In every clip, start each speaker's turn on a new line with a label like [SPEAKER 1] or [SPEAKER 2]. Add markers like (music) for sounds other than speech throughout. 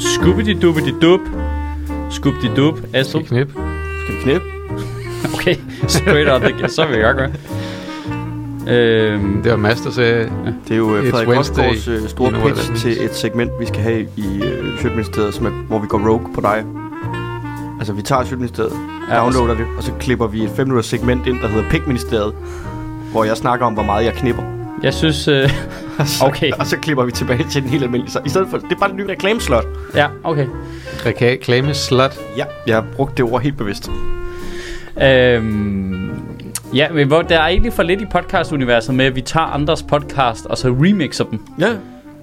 [SPEAKER 1] Skubbidi-dubbidi-dub. Skub-di-dub. Astrid.
[SPEAKER 2] Skal knip.
[SPEAKER 3] Skal vi knæppe?
[SPEAKER 1] Okay, straight out the Så vil jeg godt gøre. Øhm,
[SPEAKER 2] Det var Mads, der sagde,
[SPEAKER 3] Det er jo øh,
[SPEAKER 2] It's
[SPEAKER 3] Frederik
[SPEAKER 2] Wednesday.
[SPEAKER 3] Rosgaards øh, store
[SPEAKER 2] You know what that
[SPEAKER 3] pitch til et segment, vi skal have i øh, Sjøtministeriet, som er, hvor vi går rogue på dig. Altså, vi tager Sjøtministeriet,
[SPEAKER 1] Ja,
[SPEAKER 3] ja, downloader det, og så klipper vi et 5 minutters segment ind, der hedder Pikministeriet, hvor jeg snakker om, hvor meget jeg knipper.
[SPEAKER 1] jeg synes... Øh, okay,
[SPEAKER 3] (laughs) Og så klipper vi tilbage til den helt almindelige. Så i stedet for, det er bare en ny reklameslot.
[SPEAKER 1] ja, okay.
[SPEAKER 2] reklame slut.
[SPEAKER 3] Ja, jeg har brugt det ord helt bevidst.
[SPEAKER 1] Øhm, ja, men hvor, der er egentlig for lidt i podcastuniverset med, at vi tager andres podcast, og så remixer dem.
[SPEAKER 3] Ja.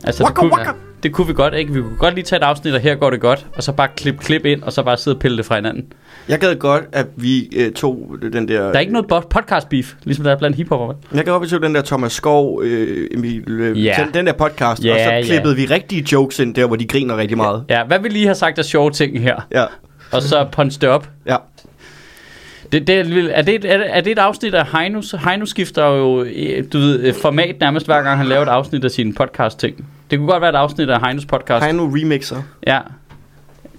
[SPEAKER 1] Altså,
[SPEAKER 3] Waka
[SPEAKER 1] det, kunne,
[SPEAKER 3] waka.
[SPEAKER 1] det kunne vi godt, ikke? Vi kunne godt lige tage et afsnit, og her går det godt, og så bare klip klip ind, og så bare sidde og pille det fra hinanden.
[SPEAKER 3] Jeg gad godt, at vi øh, tog den der...
[SPEAKER 1] Der er ikke noget bo- podcast beef, ligesom der er blandt hiphopper. vel?
[SPEAKER 3] Jeg kan op til den der Thomas Skov, øh, Emil, øh,
[SPEAKER 1] Ja.
[SPEAKER 3] den, den der podcast,
[SPEAKER 1] Ja,
[SPEAKER 3] og
[SPEAKER 1] ja.
[SPEAKER 3] så klippede vi rigtige jokes ind der, hvor de griner rigtig meget.
[SPEAKER 1] Ja, hvad vi lige har sagt af sjove ting her,
[SPEAKER 3] Ja,
[SPEAKER 1] og så punch det op.
[SPEAKER 3] ja.
[SPEAKER 1] Det, det, er lidt- er, det et, er, det- er det et afsnit af Heinus? Heinus skifter jo øh, du ved, øh, format nærmest hver gang, han laver et afsnit af sine podcast-ting. Det kunne godt være et afsnit af Heinus podcast.
[SPEAKER 3] Hej nu remixer.
[SPEAKER 1] Ja.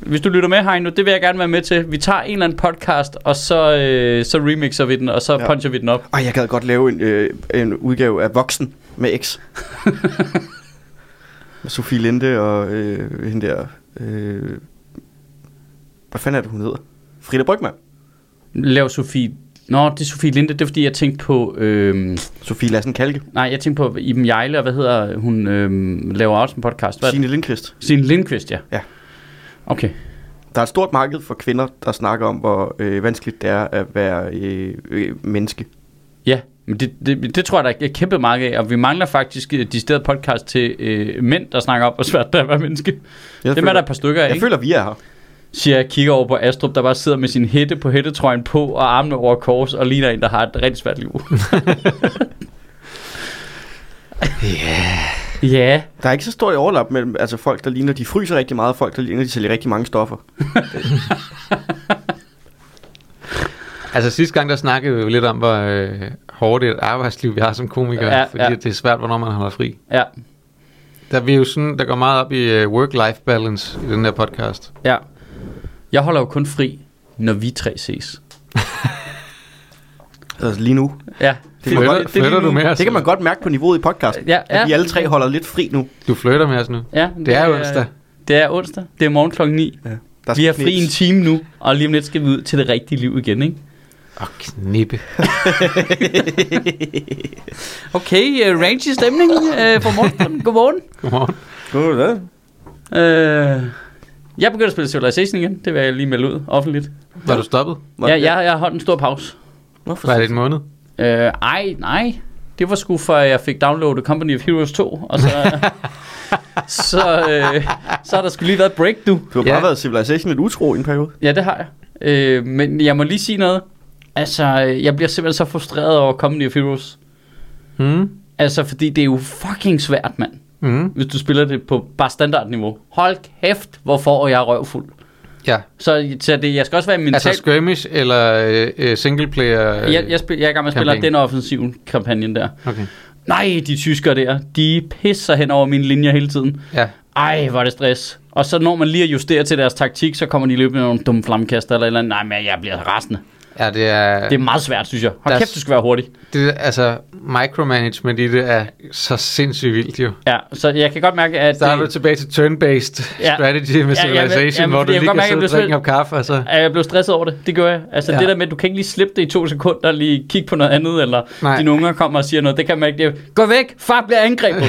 [SPEAKER 1] Hvis du lytter med, Heino, det vil jeg gerne være med til. Vi tager en eller anden podcast, og så, øh, så remixer vi den, og så ja.
[SPEAKER 3] Ja.
[SPEAKER 1] puncher vi den op.
[SPEAKER 3] Ej, jeg gad godt lave en, øh, en udgave af Voksen
[SPEAKER 1] (laughs)
[SPEAKER 3] med X. med Sofie Linde og øh, hende der... Øh, hvad fanden er det, hun hedder? Frida Brygman.
[SPEAKER 1] Lav Sofie... Nå, det er Sofie Linde, det er fordi, jeg tænkte på... Øhm,
[SPEAKER 3] Sofie Lassen Kalke.
[SPEAKER 1] nej, jeg tænkte på Iben Jejle, og hvad hedder hun? Øhm, laver også en podcast. Hvad?
[SPEAKER 3] Signe Lindqvist.
[SPEAKER 1] Signe Lindqvist, ja.
[SPEAKER 3] Ja.
[SPEAKER 1] Okay.
[SPEAKER 3] Der er et stort marked for kvinder, der snakker om, hvor øh, vanskeligt det er at være øh, øh, menneske.
[SPEAKER 1] Ja, men det, det, det tror jeg, der er et kæmpe marked af, og vi mangler faktisk øh, decideret podcast til øh, mænd, der snakker om, hvor svært det er at være menneske.
[SPEAKER 3] Jeg
[SPEAKER 1] Dem er der et par stykker af,
[SPEAKER 3] Jeg
[SPEAKER 1] ikke?
[SPEAKER 3] føler, vi er her.
[SPEAKER 1] siger jeg, kigger over på Astrup, der bare sidder med sin hætte på hættetrøjen på og armene over kors og ligner en, der har et rigtig
[SPEAKER 3] (laughs)
[SPEAKER 1] svært liv. Ja. Ja.
[SPEAKER 3] Der er ikke så stor et overlap mellem altså folk, der ligner, de fryser rigtig meget, og folk, der ligner, de sælger rigtig mange stoffer.
[SPEAKER 2] Altså sidste gang, der snakkede vi jo lidt om, hvor øh, hårdt et arbejdsliv vi har som komikere,
[SPEAKER 1] Ja,
[SPEAKER 2] ja, fordi
[SPEAKER 1] ja.
[SPEAKER 2] ja. det er svært, hvornår man holder fri.
[SPEAKER 1] Ja.
[SPEAKER 2] Der, vi er jo sådan, der går meget op i øh, work-life balance i den her podcast.
[SPEAKER 1] Ja. Jeg holder jo kun fri, når vi tre ses.
[SPEAKER 3] Altså lige nu.
[SPEAKER 1] Ja.
[SPEAKER 3] Det kan man
[SPEAKER 2] Flytter,
[SPEAKER 3] godt-
[SPEAKER 2] det, flytter du med os?
[SPEAKER 3] Det kan man godt mærke på niveauet i podcasten.
[SPEAKER 1] Ja, ja.
[SPEAKER 3] At vi alle tre holder lidt fri nu.
[SPEAKER 2] Du flytter med os nu.
[SPEAKER 1] Ja,
[SPEAKER 2] Det er jo onsdag.
[SPEAKER 1] Det er onsdag. Det er morgen klokken 9.
[SPEAKER 3] Der
[SPEAKER 1] Vi
[SPEAKER 3] skal
[SPEAKER 1] har fri en
[SPEAKER 3] knips.
[SPEAKER 1] time nu, og lige om lidt skal vi ud til det rigtige liv igen, ikke?
[SPEAKER 2] Åh, knippe.
[SPEAKER 1] Okay, uh, range stemning uh, for (laughs) morgenen. Godmorgen.
[SPEAKER 2] Godmorgen.
[SPEAKER 1] Uh, jeg begynder at spille Civilization igen. Det vil jeg lige melde ud offentligt.
[SPEAKER 2] Var du stoppet?
[SPEAKER 3] Hvor-
[SPEAKER 1] Ja, jeg, jeg har holdt en stor pause.
[SPEAKER 3] Hvorfor?
[SPEAKER 2] Var det en måned?
[SPEAKER 1] Øh, ej, nej. Det var sgu for, at jeg fik downloadet Company of Heroes 2, og
[SPEAKER 3] (laughs)
[SPEAKER 1] så... så, øh, så har der skulle lige været et break, du.
[SPEAKER 3] Du har bare
[SPEAKER 2] Ja.
[SPEAKER 3] været Civilization et utro i en periode.
[SPEAKER 1] Ja, det har jeg. Øh, men jeg må lige sige noget. Altså, øh, jeg bliver simpelthen så frustreret over Company of Heroes.
[SPEAKER 2] Mm.
[SPEAKER 1] Altså, fordi det er jo fucking svært, mand.
[SPEAKER 2] Mm.
[SPEAKER 1] Hvis du spiller det på bare standardniveau. Hold kæft, hvor får jeg røvfuld.
[SPEAKER 2] Ja.
[SPEAKER 1] Så, så det, jeg skal også være mental...
[SPEAKER 2] Altså skirmish eller øh, øh, single player? Øh,
[SPEAKER 1] jeg, jeg, spil, jeg er i gang med at spille
[SPEAKER 2] Campaign.
[SPEAKER 1] den offensive kampagnen der.
[SPEAKER 2] Okay.
[SPEAKER 1] Nej, de tyskere der, de pisser hen over mine linjer hele tiden.
[SPEAKER 2] Ja.
[SPEAKER 1] Ej, hvor er det stress. Og så når man lige at justere til deres taktik, så kommer de løbende med nogle dumme flammekaster eller et eller andet. Nej, men jeg bliver rasende.
[SPEAKER 2] Ja, det er...
[SPEAKER 1] Det er meget svært, synes jeg. Hold
[SPEAKER 2] Der-
[SPEAKER 1] kæft, du skal være hurtig.
[SPEAKER 2] Det, altså, micromanagement i det er så sindssygt vildt jo.
[SPEAKER 1] Ja, så jeg kan godt mærke, at...
[SPEAKER 2] Så er du
[SPEAKER 1] Det,
[SPEAKER 2] tilbage til turn-based
[SPEAKER 1] Ja.
[SPEAKER 2] ja. strategy med
[SPEAKER 1] Ja, ja, men-
[SPEAKER 2] civilization,
[SPEAKER 1] ja, men
[SPEAKER 2] hvor
[SPEAKER 1] fordi
[SPEAKER 2] du
[SPEAKER 1] jeg kan godt
[SPEAKER 2] lige kan
[SPEAKER 1] mærke,
[SPEAKER 2] sidde
[SPEAKER 1] jeg
[SPEAKER 2] og
[SPEAKER 1] blev
[SPEAKER 2] drikke en kop kaffe, og så...
[SPEAKER 1] at jeg blev stresset over det. Det gør jeg. Altså ja.
[SPEAKER 2] Ja.
[SPEAKER 1] det der med, at du kan ikke lige slippe det i to sekunder, lige kigge på noget andet, eller Nej.
[SPEAKER 2] Nej.
[SPEAKER 1] dine unger kommer og siger noget. Det kan man ikke. Det er, Gå væk! Far bliver
[SPEAKER 2] (laughs)
[SPEAKER 1] angrebet!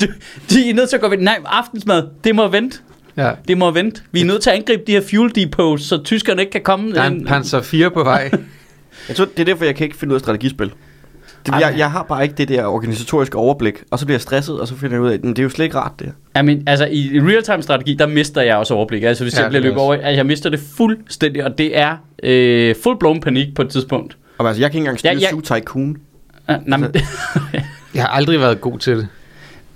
[SPEAKER 1] de, de er nødt til at gå væk. Nej, aftensmad. Det må vente.
[SPEAKER 2] Ja.
[SPEAKER 1] Det må vente. Vi er nødt til at angribe de her fuel depots, så tyskerne ikke kan komme.
[SPEAKER 2] Der er
[SPEAKER 1] Øh,
[SPEAKER 2] en Panzer 4 på vej.
[SPEAKER 3] Jeg tror, det er derfor, jeg kan ikke finde ud af strategispil. Det, jeg, jeg har bare ikke det der organisatoriske overblik, og så bliver jeg stresset, og så finder jeg ud af, at det er jo slet ikke rart, det her.
[SPEAKER 1] Ja, men altså i real-time strategi, der mister jeg også overblik. Altså hvis
[SPEAKER 2] Ja,
[SPEAKER 1] ja, jeg bliver
[SPEAKER 2] det er
[SPEAKER 1] løbet over, altså, jeg mister det fuldstændig, og det er øh, full-blown panik på et tidspunkt.
[SPEAKER 3] Og altså, jeg kan ikke engang styre
[SPEAKER 1] Ja,
[SPEAKER 3] ja,
[SPEAKER 1] jeg-
[SPEAKER 3] ja. Zoo Tycoon.
[SPEAKER 1] Ah, Nej, men,
[SPEAKER 2] (laughs) Jeg har aldrig været god til det.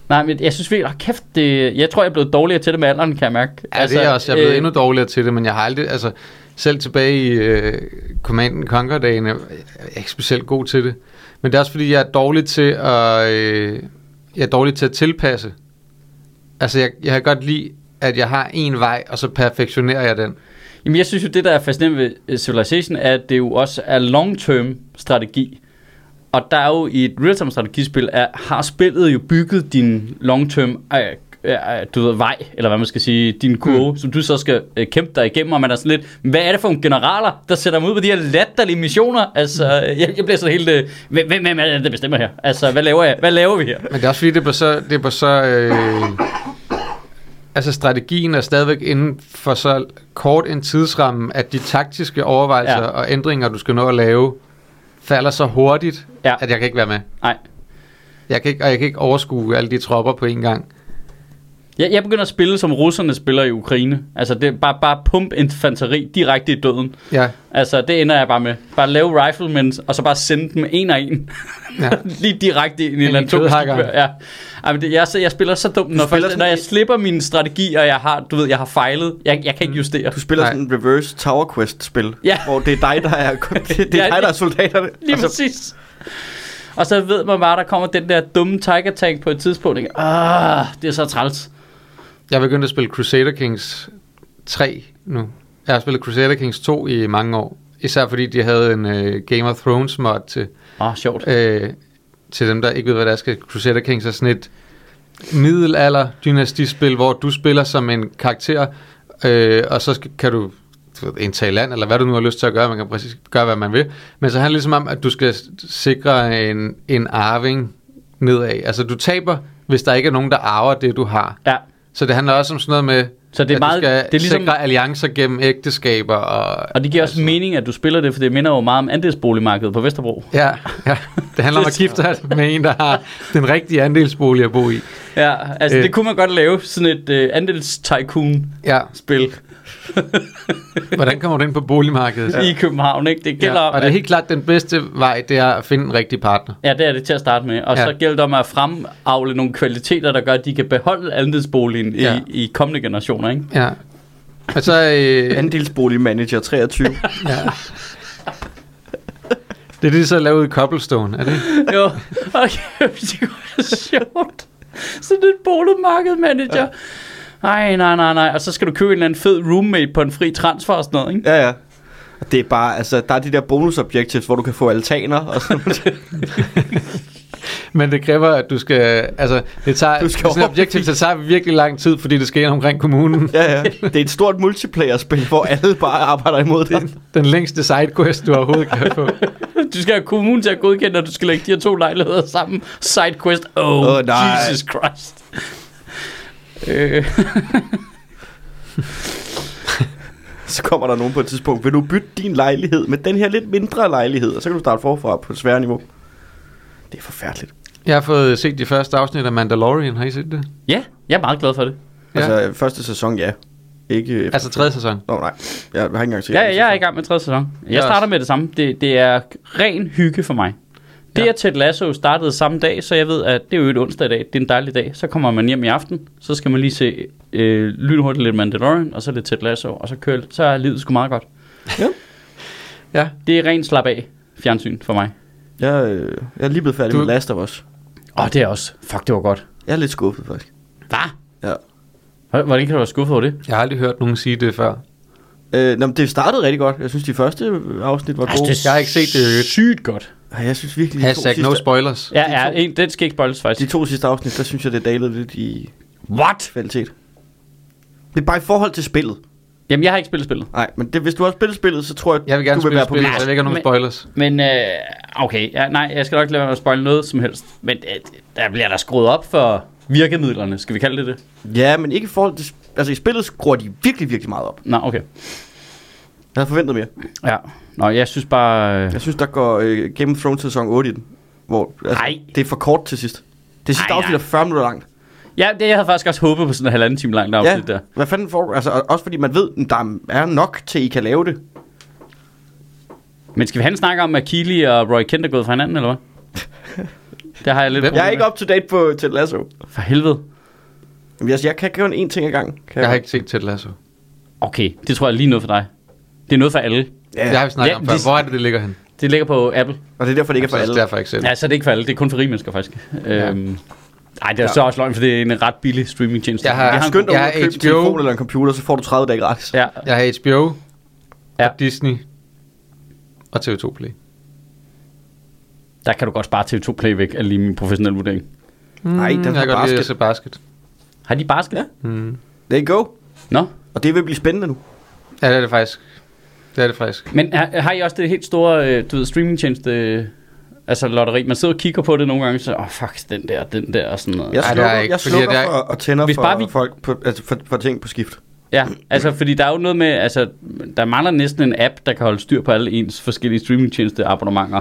[SPEAKER 1] nej, men jeg synes virkelig, oh, kæft, det, jeg tror, jeg er blevet dårligere til det med alderen, kan jeg mærke.
[SPEAKER 2] Ja, altså, det er også. Jeg er blevet øh, endnu dårligere til det, men jeg har aldrig... Altså, selv tilbage i øh, Command and Conquer-dagene, jeg er ikke specielt god til det. Men det er også, fordi jeg er dårlig til at, øh, jeg er dårlig til at tilpasse. Altså, jeg, jeg kan godt lide, at jeg har en vej, og så perfektionerer jeg den.
[SPEAKER 1] Jamen, jeg synes jo, det der er fascinerende ved øh, Civilization, er, at det jo også er long-term strategi. Og der er jo i et real-time strategispil, er, har spillet jo bygget din long-term øh, øh, øh, du ved, vej, eller hvad man skal sige, din kurve, mm. som du så skal øh, kæmpe dig igennem, og man er sådan lidt, hvad er det for nogle generaler, der sætter mig ud på de her latterlige missioner? Altså, øh, jeg, jeg bliver sådan helt, øh, hvem, hvem hvem er det, der bestemmer her? Altså, hvad laver jeg? Hvad laver vi her?
[SPEAKER 2] Men det er også fordi, det er på så... Det er på så øh, altså, strategien er stadigvæk inden for så kort en tidsramme, at de taktiske overvejelser
[SPEAKER 1] Ja.
[SPEAKER 2] ja. og ændringer, du skal nå at lave, falder så hurtigt,
[SPEAKER 1] Ja.
[SPEAKER 2] ja. at jeg kan ikke være med.
[SPEAKER 1] Nej.
[SPEAKER 2] Jeg kan ikke, og jeg kan ikke overskue alle de tropper på en gang.
[SPEAKER 1] Jeg, jeg begynder at spille, som russerne spiller i Ukraine. Altså, det er bare, bare pump infanteri direkte i døden.
[SPEAKER 2] Ja,
[SPEAKER 1] Altså, det ender jeg bare med. Bare lave riflemen, og så bare sende dem en og en. (laughs)
[SPEAKER 2] ja.
[SPEAKER 1] Lige direkte ind i en eller anden
[SPEAKER 2] kødhakker.
[SPEAKER 1] tungskib. Ja. Ej, men det, jeg, så, jeg spiller så dumt, når,
[SPEAKER 3] spiller
[SPEAKER 1] først,
[SPEAKER 3] sådan
[SPEAKER 1] når jeg
[SPEAKER 3] en-
[SPEAKER 1] slipper min strategi, og jeg har, du ved, jeg har fejlet. Jeg, jeg kan ikke justere.
[SPEAKER 3] Du spiller
[SPEAKER 2] Nej.
[SPEAKER 3] sådan en reverse Tower Quest-spil,
[SPEAKER 1] Ja.
[SPEAKER 3] hvor det er dig, der er, det er,
[SPEAKER 1] (laughs) Ja,
[SPEAKER 3] dig, der er soldaterne.
[SPEAKER 1] (laughs) Lige altså, præcis. Og så ved man bare, der kommer den der dumme Tiger Tank på et tidspunkt. Ikke? Ah, det er så træls.
[SPEAKER 2] Jeg begyndte at spille Crusader Kings 3 nu. Jeg har spillet Crusader Kings 2 i mange år. Især fordi de havde en øh, Game of Thrones mod til,
[SPEAKER 1] Åh, oh, sjovt.
[SPEAKER 2] øh, til dem, der ikke ved, hvad det er. Skal Crusader Kings er sådan et middelalder dynastispil, hvor du spiller som en karakter, øh, og så skal, kan du du ved, indtage land, eller hvad du nu har lyst til at gøre. Man kan præcis gøre, hvad man vil. Men så handler det ligesom om, at du skal s- sikre en, en arving nedad. Altså, du taber, hvis der ikke er nogen, der arver det, du har.
[SPEAKER 1] Ja.
[SPEAKER 2] Så det handler også om sådan noget med,
[SPEAKER 1] Så det er
[SPEAKER 2] at
[SPEAKER 1] meget-
[SPEAKER 2] du skal
[SPEAKER 1] det er ligesom-
[SPEAKER 2] sikre alliancer gennem ægteskaber. Og,
[SPEAKER 1] Og det giver også mening, at du spiller det, for det minder jo meget om andelsboligmarkedet på Vesterbro.
[SPEAKER 2] ja, ja, det handler om at gifte sig med en, der har den rigtige andelsbolig at bo i.
[SPEAKER 1] Ja, altså øh.
[SPEAKER 2] Øh.
[SPEAKER 1] det kunne man godt lave, sådan et øh, andels-tycoon-spil.
[SPEAKER 2] Ja, hvordan kommer du ind på boligmarkedet?
[SPEAKER 1] ja. i København, ikke? Det gælder
[SPEAKER 2] Ja,
[SPEAKER 1] ja, om,
[SPEAKER 2] og det er
[SPEAKER 1] at,
[SPEAKER 2] helt klart den bedste vej, det er at finde en rigtig partner.
[SPEAKER 1] ja, det er det til at starte med. Og ja.
[SPEAKER 2] Ja.
[SPEAKER 1] så gælder det om at fremavle nogle kvaliteter, der gør, at de kan beholde andelsboligen ja.
[SPEAKER 2] Ja.
[SPEAKER 1] i, i kommende generationer,
[SPEAKER 2] (laughs)
[SPEAKER 1] ikke?
[SPEAKER 2] Ja. Og så, øh,
[SPEAKER 3] Andelsboligmanager
[SPEAKER 2] (laughs)
[SPEAKER 3] 23.
[SPEAKER 2] ja. det er det, de så lavet i Cobblestone, er det ikke?
[SPEAKER 1] jo, okay, det kunne være sjovt. Sådan et boligmarkedmanager. Ej, nej, nej, nej. Og så skal du købe en eller anden fed roommate på en fri transfer og sådan noget, ikke?
[SPEAKER 3] ja, ja. Og Det er bare, altså, der er de der bonusobjectives, hvor du kan få altaner, og sådan
[SPEAKER 2] Men det kræver, at du skal... Altså, det tager,
[SPEAKER 3] Du
[SPEAKER 2] du
[SPEAKER 3] skal
[SPEAKER 2] skal sådan et objektiv, så tager virkelig lang tid, fordi det sker ind omkring kommunen.
[SPEAKER 3] Ja, ja. Det er et stort multiplayer-spil, hvor alle bare arbejder imod det.
[SPEAKER 2] Den længste sidequest, du overhovedet kan få.
[SPEAKER 1] Du skal have kommunen til at godkende, når du skal lægge de her to lejligheder sammen. Sidequest. Oh, oh
[SPEAKER 3] Åh, nej.
[SPEAKER 1] Jesus Christ. øh.
[SPEAKER 3] Så kommer der nogen på et tidspunkt, vil du bytte din lejlighed med den her lidt mindre lejlighed, og så kan du starte forfra på et sværere niveau. Det er forfærdeligt.
[SPEAKER 2] Jeg har fået set de første afsnit af Mandalorian. Har I set det?
[SPEAKER 1] Ja, jeg er meget glad for det.
[SPEAKER 2] Ja.
[SPEAKER 3] Altså, første sæson, ja. Ikke... øh,
[SPEAKER 2] Altså tredje sæson.
[SPEAKER 3] Nå, nej. Jeg har ikke engang set
[SPEAKER 1] Ja,
[SPEAKER 3] anden
[SPEAKER 1] jeg er i
[SPEAKER 3] sæson.
[SPEAKER 1] gang med tredje sæson. Jeg
[SPEAKER 2] Jeg
[SPEAKER 1] starter
[SPEAKER 2] også.
[SPEAKER 1] med det samme. Det, det er ren hygge for mig. Det
[SPEAKER 2] Ja.
[SPEAKER 1] at Ted Lasso startede samme dag, så jeg ved, at det er jo et onsdag i dag. Det er en dejlig dag. Så kommer man hjem i aften. Så skal man lige se øh, lynhurtigt lidt Mandalorian, og så lidt Ted Lasso, og så køl. Så er livet sgu meget godt.
[SPEAKER 2] Ja.
[SPEAKER 1] Det er ren slap af fjernsyn for mig.
[SPEAKER 3] Jeg, øh, jeg er lige blevet færdig
[SPEAKER 2] Du-
[SPEAKER 3] med Last of Us.
[SPEAKER 1] Åh, det er også. Fuck, det var godt.
[SPEAKER 3] Jeg er lidt skuffet, faktisk.
[SPEAKER 1] Hvad?
[SPEAKER 3] Ja.
[SPEAKER 1] Hvordan kan du være skuffet over det?
[SPEAKER 2] Jeg har aldrig hørt nogen sige det før.
[SPEAKER 3] Øh, nå, men det startede rigtig godt. Jeg synes, de første afsnit var gode.
[SPEAKER 2] Jeg har ikke set det i øvrigt.
[SPEAKER 1] sygt godt.
[SPEAKER 3] Ej, jeg synes virkelig, de to,
[SPEAKER 2] Hashtag
[SPEAKER 3] sidste,
[SPEAKER 2] no spoilers.
[SPEAKER 1] Ja, ja, en, den skal ikke spoiles
[SPEAKER 3] de
[SPEAKER 1] faktisk.
[SPEAKER 3] to sidste afsnit, der synes jeg, det dalede lidt i
[SPEAKER 1] What?
[SPEAKER 3] kvalitet. Det er bare i forhold til spillet.
[SPEAKER 1] Jamen, jeg har ikke spillet spillet.
[SPEAKER 3] Nej, men det, hvis du har spillet spillet, så tror jeg,
[SPEAKER 2] Jeg vil gerne
[SPEAKER 3] du vil
[SPEAKER 2] spille
[SPEAKER 3] være på
[SPEAKER 2] spillet, så jeg ikke har nogen
[SPEAKER 1] Men-
[SPEAKER 2] spoilers.
[SPEAKER 1] Men øh, okay, ja, nej, jeg skal nok ikke lade være med at spoil noget som helst. Men øh, der bliver der skruet op for virkemidlerne, skal vi kalde det det?
[SPEAKER 3] min- Ja, men ikke i forhold til... sp- Altså, i spillet skruer de virkelig, virkelig meget op.
[SPEAKER 1] Nå, okay.
[SPEAKER 3] Jeg havde forventet mere.
[SPEAKER 1] Ja. Nå, jeg synes bare... Øh,
[SPEAKER 3] Jeg synes, der går øh, Game of Thrones sæson 8 i den. Hvor,
[SPEAKER 1] Nej.
[SPEAKER 3] det er for kort til sidst. Det sidste
[SPEAKER 1] Nej,
[SPEAKER 3] afsnit
[SPEAKER 1] nej.
[SPEAKER 3] er 40 minutter langt.
[SPEAKER 1] Ja, det, jeg havde faktisk også håbet på sådan en halvanden time langt afsnit ja. der.
[SPEAKER 3] hvad fanden får Altså, og- også fordi man ved, at der er nok til, I kan lave det.
[SPEAKER 1] Men skal vi have en snak om, at Keely og Roy Kent er gået fra hinanden, eller
[SPEAKER 3] (laughs)
[SPEAKER 1] hvad? Det har jeg lidt
[SPEAKER 2] Hvem?
[SPEAKER 1] problemer
[SPEAKER 3] Jeg er ikke
[SPEAKER 1] med.
[SPEAKER 3] up to date på Ted Lasso.
[SPEAKER 1] For helvede.
[SPEAKER 3] Jamen, altså, jeg kan kun én ting ad gangen. Kan
[SPEAKER 2] Jeg har ikke set Ted Lasso.
[SPEAKER 1] Okay, det tror jeg er lige noget for dig. Det er noget for alle.
[SPEAKER 3] Ja,
[SPEAKER 2] Det har vi snakket
[SPEAKER 1] Ja,
[SPEAKER 2] om før.
[SPEAKER 1] det-
[SPEAKER 2] Hvor er det, det ligger hen?
[SPEAKER 1] Det ligger på Apple.
[SPEAKER 3] Og det er derfor, det ikke er for
[SPEAKER 2] Så
[SPEAKER 3] alle.
[SPEAKER 2] Derfor har jeg ikke set det.
[SPEAKER 1] Ja, så er det ikke for alle. Det er kun for rige mennesker, faktisk. Ja.
[SPEAKER 2] Ja.
[SPEAKER 1] Øhm, ej, det er så også løgn, for det er en ret billig streamingtjeneste.
[SPEAKER 2] Jeg har-
[SPEAKER 1] Vi
[SPEAKER 3] Jeg
[SPEAKER 1] en
[SPEAKER 3] har skyndt dig
[SPEAKER 2] jeg
[SPEAKER 3] at
[SPEAKER 2] er
[SPEAKER 3] købe en
[SPEAKER 2] HBO.
[SPEAKER 3] telefon eller en computer, så får du 30 dage gratis.
[SPEAKER 1] god- Ja,
[SPEAKER 2] Jeg har HBO,
[SPEAKER 1] Ja.
[SPEAKER 2] ja. Disney og TV2 Play.
[SPEAKER 1] der kan du godt spare TV2 Play væk, er lige min professionelle vurdering.
[SPEAKER 3] Nej, den
[SPEAKER 2] Mm. jeg
[SPEAKER 3] har
[SPEAKER 2] kan godt lide at
[SPEAKER 3] basket.
[SPEAKER 2] se basket.
[SPEAKER 1] Har de basket? Ja.
[SPEAKER 3] There you go.
[SPEAKER 1] Nå,
[SPEAKER 3] Og det vil blive spændende nu.
[SPEAKER 2] Ja, det er det faktisk. Det er det faktisk.
[SPEAKER 1] men har, har I også det helt store øh, du ved, streamingtjeneste, øh, altså lotteri? Man sidder og kigger på det nogle gange, så åh, oh, fuck, den der, den der og sådan noget.
[SPEAKER 3] Jeg
[SPEAKER 2] Ej, det har
[SPEAKER 3] slukker,
[SPEAKER 2] jeg ikke,
[SPEAKER 3] jeg
[SPEAKER 2] fordi
[SPEAKER 3] slukker
[SPEAKER 2] det er-
[SPEAKER 3] for og tænder
[SPEAKER 1] Hvis
[SPEAKER 3] for,
[SPEAKER 1] bare vi-
[SPEAKER 3] folk på, altså for, for, ting på skift.
[SPEAKER 1] Ja, altså fordi der er jo noget med, altså der mangler næsten en app, der kan holde styr på alle ens forskellige streamingtjeneste abonnementer.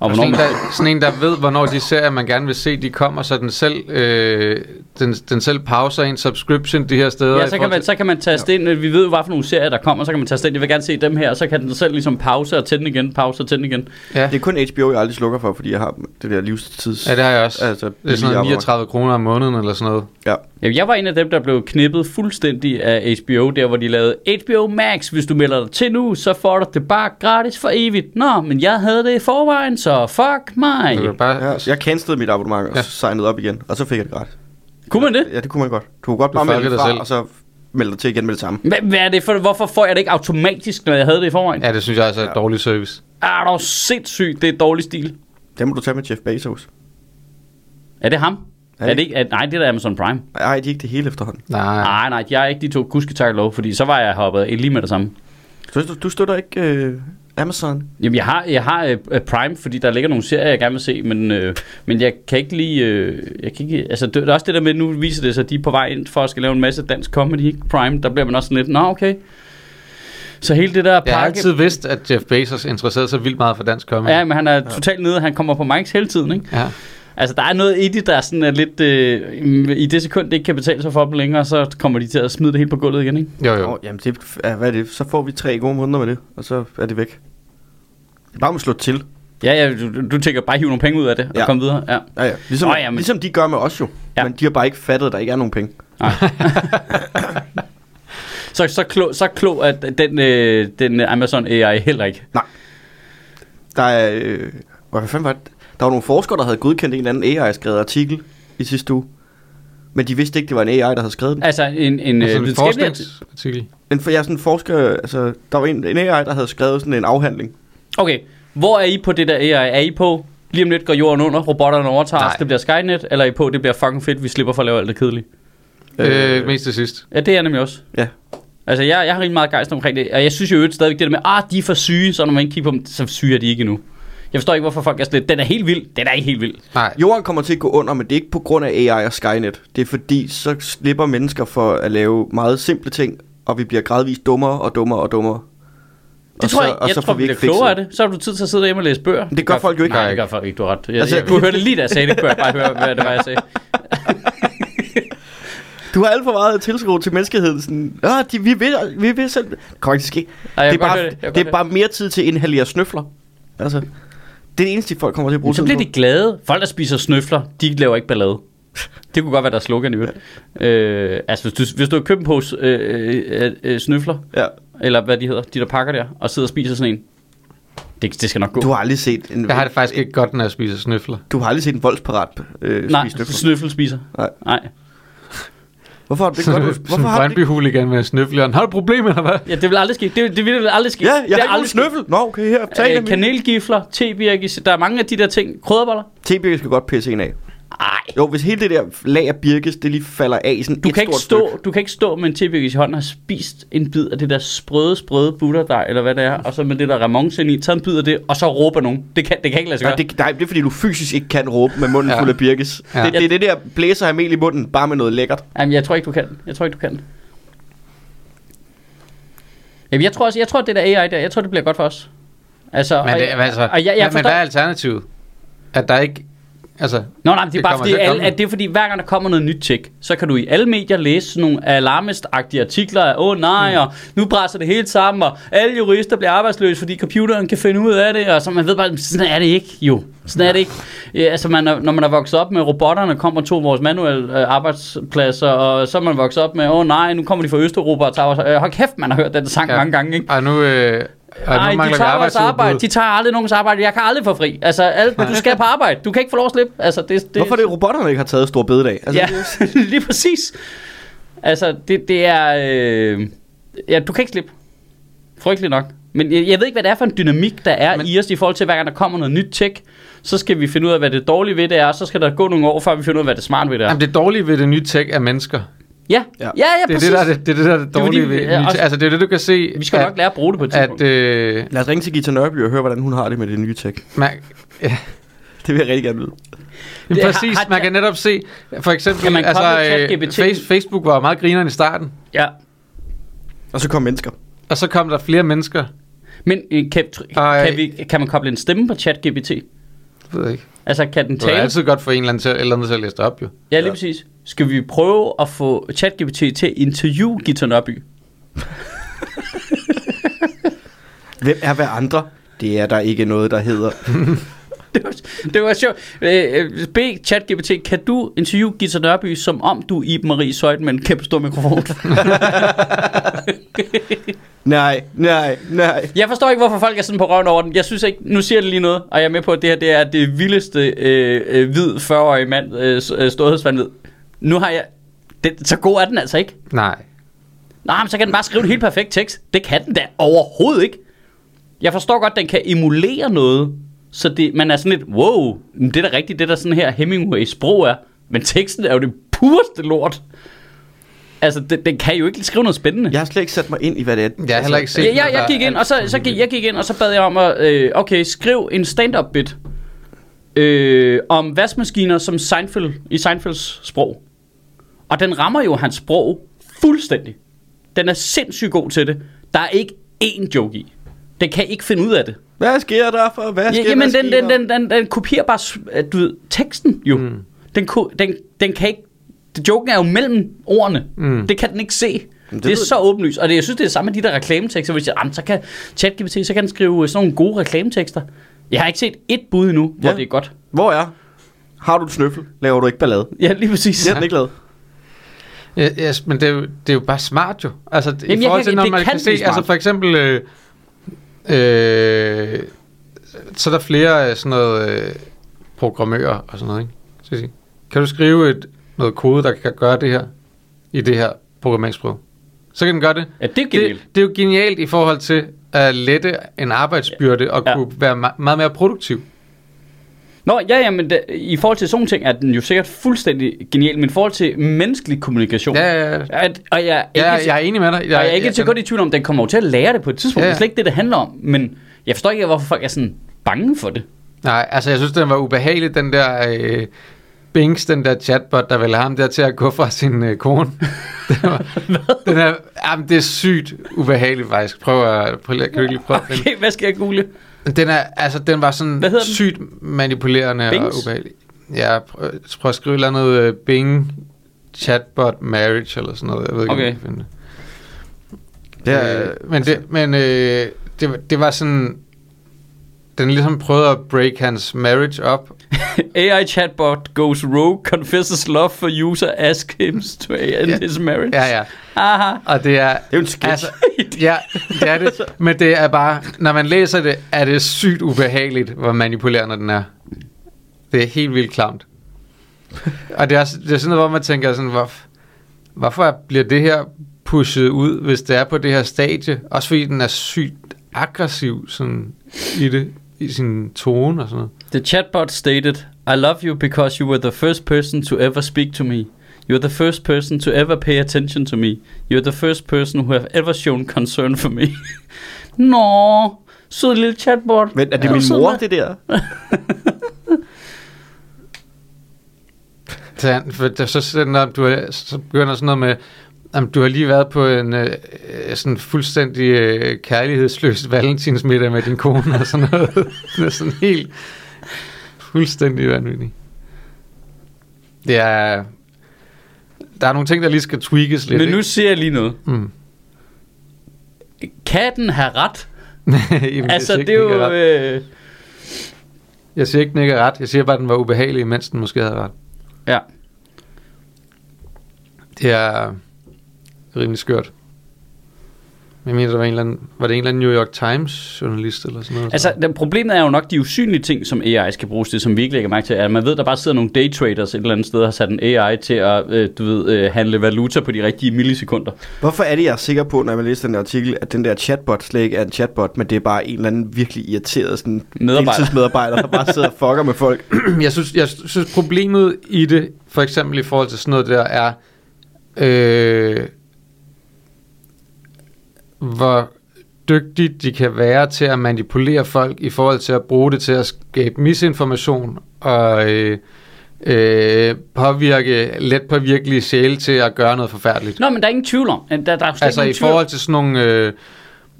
[SPEAKER 1] Og
[SPEAKER 2] Og sådan,
[SPEAKER 1] hvornår
[SPEAKER 2] en,
[SPEAKER 1] man,
[SPEAKER 2] der, sådan en, der ved, hvornår de serier, man gerne vil se, de kommer, så den selv, øh, den, den selv pauser en subscription de her
[SPEAKER 1] ja,
[SPEAKER 2] steder. i
[SPEAKER 1] så kan,
[SPEAKER 2] forhold
[SPEAKER 1] man,
[SPEAKER 2] til-
[SPEAKER 1] så kan man taste ind, vi ved jo, hvad for nogle serier, der kommer, så kan man taste ind, jeg vil gerne se dem her, og så kan den selv ligesom pause og tænde igen, pause og tænde igen.
[SPEAKER 2] ja.
[SPEAKER 3] Det er kun HBO, jeg aldrig slukker for, fordi jeg har det der livstids...
[SPEAKER 2] ja, det har jeg også.
[SPEAKER 3] Altså,
[SPEAKER 2] Altså, det er sådan
[SPEAKER 3] billigere
[SPEAKER 2] noget 39 kroner om måneden eller sådan noget.
[SPEAKER 3] Ja.
[SPEAKER 1] Jamen, jeg var en af dem, der blev knippet fuldstændig af HBO, der hvor de lavede HBO Max. Hvis du melder dig til nu, så får du det bare gratis for evigt. Nå, men jeg havde det i forvejen, så fuck mig.
[SPEAKER 2] Du kan bare,
[SPEAKER 3] Ja,
[SPEAKER 2] ja.
[SPEAKER 3] så jeg cancelede mit abonnement og
[SPEAKER 2] Ja.
[SPEAKER 3] ja. signede op igen, og så fik jeg det gratis.
[SPEAKER 1] Kunne man det?
[SPEAKER 3] Ja, det kunne man godt. Du kunne godt bare melde
[SPEAKER 2] fuckede
[SPEAKER 3] dig
[SPEAKER 2] dig
[SPEAKER 3] fra,
[SPEAKER 2] selv.
[SPEAKER 3] og så melde dig til igen med det samme.
[SPEAKER 1] Hvad, hvad er det for, hvorfor får jeg det ikke automatisk, når jeg havde det i forvejen?
[SPEAKER 2] ja, det synes jeg altså er et dårligt service.
[SPEAKER 1] Er dog sindssygt, det er dårlig stil.
[SPEAKER 3] Det må du tage med Jeff Bezos.
[SPEAKER 1] Er det ham? Er det ikke? Er, nej, det er da Amazon Prime.
[SPEAKER 3] Nej, de er ikke det hele efterhånden.
[SPEAKER 2] Nej.
[SPEAKER 1] Nej, nej, jeg er ikke de to kuske tak og lov, fordi så var jeg hoppet af lige med det samme.
[SPEAKER 3] Så du, du støtter ikke øh, Amazon?
[SPEAKER 1] Jamen, jeg har, jeg har øh, øh, Prime, fordi der ligger nogle serier, jeg gerne vil se, men, øh, men jeg kan ikke lige... Øh, jeg kan ikke, altså, det, det er også det der med, nu viser det sig, at de er på vej ind for at skal lave en masse dansk comedy, ikke? Prime, der bliver man også sådan lidt, nå, okay. Så hele det der
[SPEAKER 2] Jeg har
[SPEAKER 1] pakke...
[SPEAKER 2] altid vidst, at Jeff Bezos interesserede sig vildt meget for dansk comedy.
[SPEAKER 1] Ja, men han er totalt nede, han kommer på mics hele tiden, ikke?
[SPEAKER 2] ja.
[SPEAKER 1] Altså, der er noget i det, der er sådan er lidt... Øh, I det sekund, det ikke kan betale sig for dem længere, så kommer de til at smide det helt på gulvet igen, ikke?
[SPEAKER 2] Jo, jo.
[SPEAKER 3] Åh, oh, jamen, det, er- hvad er det? Så får vi tre gode måneder med det, og så er det væk. Det er bare om at slå til.
[SPEAKER 1] Ja, ja, du, du tænker bare hive nogle penge ud af det og
[SPEAKER 3] Ja.
[SPEAKER 1] komme videre. Ja.
[SPEAKER 3] Ja, ja. Ligesom,
[SPEAKER 1] Nå,
[SPEAKER 3] oh,
[SPEAKER 1] ja, men-
[SPEAKER 3] ligesom de gør med os jo.
[SPEAKER 1] Ja.
[SPEAKER 3] Ja. Men de har bare ikke fattet, at der ikke er nogen penge.
[SPEAKER 1] (laughs) Så, så klog, så klog at den, øh, den øh, Amazon AI heller ikke.
[SPEAKER 3] Der er... Øh, hvad fanden var det? Der var nogle forskere, der havde godkendt en eller anden AI-skrevet artikel i sidste uge. Men de vidste ikke, det var en AI, der havde skrevet øh, den.
[SPEAKER 1] Altså en, en
[SPEAKER 2] Og
[SPEAKER 1] altså,
[SPEAKER 2] sådan en
[SPEAKER 1] videnskabelig...
[SPEAKER 2] forskningsartikel.
[SPEAKER 3] En, for jeg er sådan en forsker... Altså, der var en, en AI, der havde skrevet sådan en afhandling.
[SPEAKER 1] Okay, hvor er I på det der AI? Er I på, lige om lidt går jorden under, robotterne overtager os,
[SPEAKER 2] Nej.
[SPEAKER 1] det bliver Skynet, eller er I på, det bliver fucking fedt, vi slipper for at lave alt det kedelige?
[SPEAKER 2] Øh, mest til sidst.
[SPEAKER 1] Ja, det er jeg nemlig også.
[SPEAKER 3] Ja.
[SPEAKER 1] Altså, jeg, jeg har rigtig meget gejst omkring det, og jeg synes jo i øvrigt stadigvæk det der med, ah, de er for syge, så når man ikke kigger på dem, så syge er de ikke endnu. Jeg forstår ikke, hvorfor folk er sådan lidt, den er helt vild, den er ikke helt vild.
[SPEAKER 2] Nej.
[SPEAKER 3] Jorden kommer til at gå under, men det er ikke på grund af AI og Skynet. Det er fordi, så slipper mennesker for at lave meget simple ting, og vi bliver gradvist dummere og dummere og dummere.
[SPEAKER 1] Det tror jeg, jeg tror, vi bliver
[SPEAKER 3] fikset
[SPEAKER 1] klogere af det. Så har du tid til at sidde derhjemme og læse bøger.
[SPEAKER 3] det gør folk jo ikke.
[SPEAKER 1] Nej, det gør folk ikke. Du har ret. Jeg, altså,
[SPEAKER 3] Altså-
[SPEAKER 1] jeg, du hørte det lige, da jeg sagde det. Kunne jeg bare høre, hvad det var, jeg sagde.
[SPEAKER 3] Du har alt for meget at tilskrive til menneskeheden. Sådan, ah, de, vi, vil, vi vil selv... Det kommer ikke til at ske.
[SPEAKER 1] Ej, jeg
[SPEAKER 3] det, er
[SPEAKER 1] kan godt
[SPEAKER 3] bare,
[SPEAKER 1] høre det. Jeg kan
[SPEAKER 3] det, det,
[SPEAKER 1] godt
[SPEAKER 3] er bare mere tid til at inhalere snøfler. Altså, det er det eneste, folk kommer til at bruge
[SPEAKER 1] Så
[SPEAKER 3] tiden
[SPEAKER 1] bliver
[SPEAKER 3] på.
[SPEAKER 1] de glade. Folk, der spiser snøfler, de laver ikke ballade. Det kunne godt være, der er slogan i øvrigt. Øh, altså, hvis du, hvis du har købt en pose øh, øh, øh, snøfler,
[SPEAKER 3] Ja.
[SPEAKER 1] eller hvad de hedder, de der pakker der, og sidder og spiser sådan en, det, det skal nok gå.
[SPEAKER 3] Du har aldrig set en,
[SPEAKER 2] Jeg har det faktisk ikke godt, når jeg spiser snøfler.
[SPEAKER 3] du har aldrig set en voldsparat øh,
[SPEAKER 1] Nej,
[SPEAKER 3] spise snøfler.
[SPEAKER 1] snøffel spiser.
[SPEAKER 3] Nej.
[SPEAKER 1] Nej.
[SPEAKER 3] Hvorfor
[SPEAKER 2] (laughs)
[SPEAKER 3] har du det
[SPEAKER 2] Sådan
[SPEAKER 3] godt?
[SPEAKER 2] en
[SPEAKER 3] Hvorfor har du det?
[SPEAKER 2] Brøndby-huligan med snøfleren. Har du et problem, eller hvad?
[SPEAKER 1] Ja, det vil aldrig ske. Det, det vil aldrig ske.
[SPEAKER 3] Ja,
[SPEAKER 1] det
[SPEAKER 3] jeg
[SPEAKER 1] er
[SPEAKER 3] har ikke nogen
[SPEAKER 1] aldrig sket.
[SPEAKER 3] snøffel. Nå, okay, her. Tag
[SPEAKER 1] Øh,
[SPEAKER 3] øh, kan...
[SPEAKER 1] kanelgifler, tebirkis, der er mange af de der ting. Krydderboller?
[SPEAKER 3] Tebirke skal godt pisse en af.
[SPEAKER 1] Nej.
[SPEAKER 3] Jo, hvis hele det der lag af birkes, det lige falder af i sådan
[SPEAKER 1] Du
[SPEAKER 3] et
[SPEAKER 1] kan, ikke
[SPEAKER 3] stort
[SPEAKER 1] stå,
[SPEAKER 3] stykke.
[SPEAKER 1] du kan ikke stå med en tebirkes i hånden og have spist en bid af det der sprøde, sprøde butterdej, eller hvad det er, og så med det der ramonce ind i, taget en bid af det, og så råber nogen. Det kan, det kan ikke lade sig
[SPEAKER 3] Nej
[SPEAKER 1] gøre.
[SPEAKER 3] det, nej, det er fordi, du fysisk ikke kan råbe med munden
[SPEAKER 2] Ja.
[SPEAKER 3] fuld af birkes.
[SPEAKER 2] Ja.
[SPEAKER 3] Det, det er det der blæser af mel i munden, bare med noget lækkert.
[SPEAKER 1] Jamen, jeg tror ikke, du kan. Jeg tror ikke, du kan. Jamen, jeg tror også, jeg tror, det der AI der, jeg tror, det bliver godt for os. Altså,
[SPEAKER 2] Men,
[SPEAKER 1] og,
[SPEAKER 2] det, altså,
[SPEAKER 1] og jeg, jeg
[SPEAKER 2] men, men
[SPEAKER 1] forstår,
[SPEAKER 2] hvad er alternativet? at der ikke... Altså,
[SPEAKER 1] Nå, nej, men det er
[SPEAKER 2] Det
[SPEAKER 1] bare
[SPEAKER 2] kommer
[SPEAKER 1] fordi,
[SPEAKER 2] til at
[SPEAKER 1] alle,
[SPEAKER 2] komme.
[SPEAKER 1] at det er fordi, hver gang der kommer noget nyt tjek, så kan du i alle medier læse sådan nogle alarmist-agtige artikler af, åh nej, mm. og nu brænder det hele sammen, og alle jurister bliver arbejdsløse, fordi computeren kan finde ud af det, og så man ved bare, sådan er det ikke, jo. Sådan er det ikke. Ja, altså, man er, når man er vokset op med, robotterne kommer og tog vores manuelle øh, arbejdspladser, og så er man vokset op med, åh nej, nu kommer de fra Østeuropa og tager vores... Øh, hold kæft, man har hørt den sang ja.
[SPEAKER 2] Ja.
[SPEAKER 1] mange gange, ikke?
[SPEAKER 2] Ej, nu, øh, ej, nu
[SPEAKER 1] Nej, de
[SPEAKER 2] mangler
[SPEAKER 1] tager vores arbejde. De
[SPEAKER 2] arbejdsudbud.
[SPEAKER 1] tager aldrig nogens arbejde. Jeg kan aldrig få fri. Altså, alt, du skal på arbejde. Du kan ikke få lov at slippe. Altså, det, det,
[SPEAKER 3] Hvorfor er det, robotterne ikke har taget stor bededag? Altså,
[SPEAKER 1] ja, (laughs) lige præcis. Altså, det, det er... Øh, ja, du kan ikke slippe. Frygteligt nok. Men jeg, jeg ved ikke, hvad det er for en dynamik, der er Men...
[SPEAKER 2] Men-
[SPEAKER 1] i os i forhold til, hver gang der kommer noget nyt tech, så skal vi finde ud af, hvad det dårlige ved det er, og så skal der gå nogle år, før vi finder ud af, hvad det smarte ved det er.
[SPEAKER 2] Jamen, det dårlige ved det nye tech er mennesker.
[SPEAKER 1] ja, ja,
[SPEAKER 3] Ja.
[SPEAKER 1] ja, ja
[SPEAKER 2] Det er
[SPEAKER 1] præcis.
[SPEAKER 2] det, der er det, det, er det, der er det
[SPEAKER 1] Det er jo
[SPEAKER 2] dårlige
[SPEAKER 1] lige-
[SPEAKER 2] ved det
[SPEAKER 1] ja,
[SPEAKER 2] nye
[SPEAKER 1] også-
[SPEAKER 2] tech. Altså, det er det, du kan se...
[SPEAKER 1] Vi skal
[SPEAKER 2] at,
[SPEAKER 1] nok lære at bruge det på et tidspunkt.
[SPEAKER 2] at,
[SPEAKER 1] At, øh...
[SPEAKER 2] øh,
[SPEAKER 3] Lad os ringe til Gita Nørby og høre, hvordan hun har det med det nye tech.
[SPEAKER 2] man,
[SPEAKER 3] Det vil jeg rigtig gerne vide.
[SPEAKER 2] Jamen,
[SPEAKER 1] Det har-
[SPEAKER 2] præcis,
[SPEAKER 1] har-
[SPEAKER 2] man kan netop se, for eksempel,
[SPEAKER 1] Kan man
[SPEAKER 2] altså,
[SPEAKER 1] koble
[SPEAKER 2] øh,
[SPEAKER 1] ChatGPT?
[SPEAKER 2] face, Facebook var jo meget grineren i starten,
[SPEAKER 1] Ja.
[SPEAKER 3] Og så kom mennesker.
[SPEAKER 2] og så kom der flere mennesker, jeg
[SPEAKER 1] Men øh, kan, tr-
[SPEAKER 2] Ej.
[SPEAKER 1] kan, vi, kan man koble en stemme på ChatGPT?
[SPEAKER 2] ved jeg ikke,
[SPEAKER 1] Altså, kan den
[SPEAKER 2] det er
[SPEAKER 1] tale?
[SPEAKER 2] altid godt for en eller anden til, eller andet til at læse det op, jo.
[SPEAKER 1] Ja, lige præcis. Skal vi prøve at få ChatGPT til at interviewe Gita Nørby?
[SPEAKER 3] Hvem er hver andre? Det er der ikke noget, der
[SPEAKER 1] (laughs)
[SPEAKER 3] hedder.
[SPEAKER 1] Det var, det var sjovt. Øh, øh, Bed ChatGPT, kan du interviewe Gita Nørby, som om du er Iben Marie Søjden med en kæmpe stor mikrofon?
[SPEAKER 3] Nej, nej, nej.
[SPEAKER 1] (laughs) jeg forstår ikke, hvorfor folk er sådan på røven over den. Jeg synes ikke, nu siger det lige noget, og jeg er med på, at det her det er det vildeste øh, øh, hvid 40-årige mand øh, s- øh, storhedsvandvid. Nu har jeg... Det, så god er den altså ikke.
[SPEAKER 2] Nej.
[SPEAKER 1] Nej, men så kan den bare skrive en helt perfekt tekst. Det kan den da overhovedet ikke. Jeg forstår godt, at den kan emulere noget, så det, man er sådan lidt, wow, men det er da rigtigt, det der sådan her Hemingways sprog er. Men teksten er jo det pureste lort. Altså, den, den kan jo ikke skrive noget spændende.
[SPEAKER 3] Jeg har slet ikke sat mig ind i, hvad det er. Altså,
[SPEAKER 2] Jeg har heller ikke set
[SPEAKER 1] Ja, jeg,
[SPEAKER 2] noget,
[SPEAKER 1] jeg
[SPEAKER 2] der
[SPEAKER 1] gik
[SPEAKER 2] er
[SPEAKER 1] ind, og så,
[SPEAKER 2] alt
[SPEAKER 1] så
[SPEAKER 2] muligt.
[SPEAKER 1] gik, jeg gik ind, og så bad jeg om at, øh, okay, skriv en stand-up bit øh, om vaskemaskiner som Seinfeld, i Seinfelds sprog. Og den rammer jo hans sprog fuldstændig. Den er sindssygt god til det. Der er ikke én joke i. Den kan ikke finde ud af det.
[SPEAKER 3] Hvad sker der for? Hvad sker
[SPEAKER 1] Ja, jamen,
[SPEAKER 3] der
[SPEAKER 1] den, den, den, den, den kopierer bare s- øh, du ved, teksten jo. Mm. Den, ko- den, den kan ikke... Joken er jo mellem ordene. Mm. Det kan den ikke se. Det, det
[SPEAKER 3] det
[SPEAKER 1] er
[SPEAKER 3] ved-
[SPEAKER 1] så åbenlyst. Og det, jeg synes, det er det samme med de der reklametekster. Hvis jeg, jamen, så kan ChatGPT, så kan den skrive øh, sådan nogle gode reklametekster. Jeg har ikke set et bud endnu, hvor
[SPEAKER 3] Ja.
[SPEAKER 1] det er godt.
[SPEAKER 3] Hvor er? Har du et snøffel? Laver du ikke ballade?
[SPEAKER 1] Ja, lige præcis.
[SPEAKER 3] Det er den ikke lavet.
[SPEAKER 2] Ja, yes, men det er, jo, det er jo bare smart jo. Altså, Jamen,
[SPEAKER 1] jeg
[SPEAKER 2] i forhold
[SPEAKER 1] kan-
[SPEAKER 2] til, når
[SPEAKER 1] det
[SPEAKER 2] man
[SPEAKER 1] kan
[SPEAKER 2] kan, se,
[SPEAKER 1] blive smart.
[SPEAKER 2] altså for eksempel, øh, øh, så er der flere øh, sådan noget øh, programmører og sådan noget, ikke? Så sige, Kan du skrive et, noget kode, der kan gøre det her, i det her programmeringsprog? Så kan den gøre det.
[SPEAKER 1] Ja, det er
[SPEAKER 2] Det,
[SPEAKER 1] genialt.
[SPEAKER 2] det er jo genialt i forhold til at lette en arbejdsbyrde og
[SPEAKER 1] Ja.
[SPEAKER 2] kunne være ma- meget mere produktiv.
[SPEAKER 1] Nå, ja, ja, men da, i forhold til sådan nogle ting er den jo sikkert fuldstændig genial, men i forhold til menneskelig kommunikation...
[SPEAKER 2] Ja, ja, ja.
[SPEAKER 1] At, og jeg er ikke,
[SPEAKER 2] Ja, jeg er enig med dig.
[SPEAKER 1] Jeg, og jeg er ikke
[SPEAKER 2] jeg-
[SPEAKER 1] til godt i tvivl om, den kommer jo til at lære det på et tidspunkt. Ja.
[SPEAKER 2] Ja.
[SPEAKER 1] Det er slet ikke det, det handler om. Men jeg forstår ikke, hvorfor folk er sådan bange for det.
[SPEAKER 2] Nej, altså jeg synes, den var ubehagelig, den der øh, Bings, den der chatbot, der ville have ham der til at gå fra sin
[SPEAKER 1] (laughs)
[SPEAKER 2] øh, kone. Det var, den er, jamen, det er sygt ubehageligt faktisk. Prøv at, prøv, at- kan du ikke lige prøve at
[SPEAKER 1] (laughs)
[SPEAKER 2] finde?
[SPEAKER 1] Okay, hvad skal jeg google? (laughs)
[SPEAKER 2] Den er, altså, den var sådan
[SPEAKER 1] Hvad hedder den?
[SPEAKER 2] sygt manipulerende
[SPEAKER 1] Bings?
[SPEAKER 2] og ubehagelig. Ja, prøv, prøv at skrive et eller andet øh, Bing chatbot marriage eller sådan noget. Jeg ved ikke,
[SPEAKER 1] Okay.
[SPEAKER 2] om jeg kan finde det.
[SPEAKER 3] Det
[SPEAKER 2] Ja, øh, men det, men øh, det, det var sådan... Den ligesom prøvede at break hans marriage op,
[SPEAKER 1] AI chatbot goes rogue, confesses love for user, ask him to end
[SPEAKER 2] Ja.
[SPEAKER 1] his marriage.
[SPEAKER 2] Ja, ja.
[SPEAKER 1] Aha.
[SPEAKER 2] Og det er... Det
[SPEAKER 3] er jo en sketch.
[SPEAKER 2] ja, det er
[SPEAKER 3] (laughs)
[SPEAKER 2] det. Men det er bare... Når man læser det, er det sygt ubehageligt, hvor manipulerende den er. Det er helt vildt klamt. Og det er, også- det er sådan noget, hvor man tænker sådan, hvor, hvorfor bliver det her pushet ud, hvis det er på det her stadie? Også fordi den er sygt aggressiv sådan, i det i sin tone og sådan noget.
[SPEAKER 1] The chatbot stated, I love you because you were the first person to ever speak to me. You're the first person to ever pay attention to me. You're the first person who have ever shown concern for me. (laughs) Nå, sød lille chatbot.
[SPEAKER 3] Men er det
[SPEAKER 1] du
[SPEAKER 3] min
[SPEAKER 1] sød,
[SPEAKER 3] mor,
[SPEAKER 1] mand?
[SPEAKER 3] det der?
[SPEAKER 2] Så, han, for der, så, sender, du, er- så begynder sådan noget med, jamen, du har lige været på en øh, øh, sådan fuldstændig øh,
[SPEAKER 1] (laughs)
[SPEAKER 2] kærlighedsløs valentinsmiddag med din kone og sådan noget. Det er sådan helt... fuldstændig vanvittig. Det er... Der er nogle ting, der lige skal tweakes lidt.
[SPEAKER 1] Men nu siger jeg lige noget.
[SPEAKER 2] ikke? Mm. (laughs)
[SPEAKER 1] Kan den have ret?
[SPEAKER 2] Jamen, jeg
[SPEAKER 1] altså,
[SPEAKER 2] siger
[SPEAKER 1] det
[SPEAKER 2] ikke,
[SPEAKER 1] er
[SPEAKER 2] den ikke
[SPEAKER 1] jo...
[SPEAKER 2] ret.
[SPEAKER 1] Øh,
[SPEAKER 2] Jeg siger ikke, den ikke er ret. Jeg siger bare, at den var ubehagelig, mens den måske havde ret.
[SPEAKER 1] ja.
[SPEAKER 2] Det er rimelig skørt. Jeg mener, der var, en eller anden, var det en eller anden New York Times journalist eller sådan noget?
[SPEAKER 1] Altså, den, problemet er jo nok de usynlige ting, som AI skal bruges til, som vi ikke lægger mærke til. At man ved, der bare sidder nogle daytraders et eller andet sted og har sat en AI til at øh, du ved, øh, handle valuta på de rigtige millisekunder.
[SPEAKER 3] Hvorfor er det, jeg er sikker på, når man læser den her artikel, at den der chatbot slet ikke er en chatbot, men det er bare en eller anden virkelig irriteret sådan
[SPEAKER 1] Medarbejder.
[SPEAKER 3] deltidsmedarbejder, der bare sidder og fucker med folk.
[SPEAKER 2] (clears throat) jeg, synes, jeg synes, problemet i det, for eksempel i forhold til sådan noget der, er, øh, hvor dygtige de kan være til at manipulere folk i forhold til at bruge det til at skabe misinformation og øh, øh, påvirke let påvirkelige sjæle til at gøre noget forfærdeligt.
[SPEAKER 1] Nå, men der er ingen tvivl om. at Der, der er jo slet
[SPEAKER 2] Altså
[SPEAKER 1] ingen
[SPEAKER 2] i
[SPEAKER 1] tvivl.
[SPEAKER 2] forhold til sådan nogle, øh,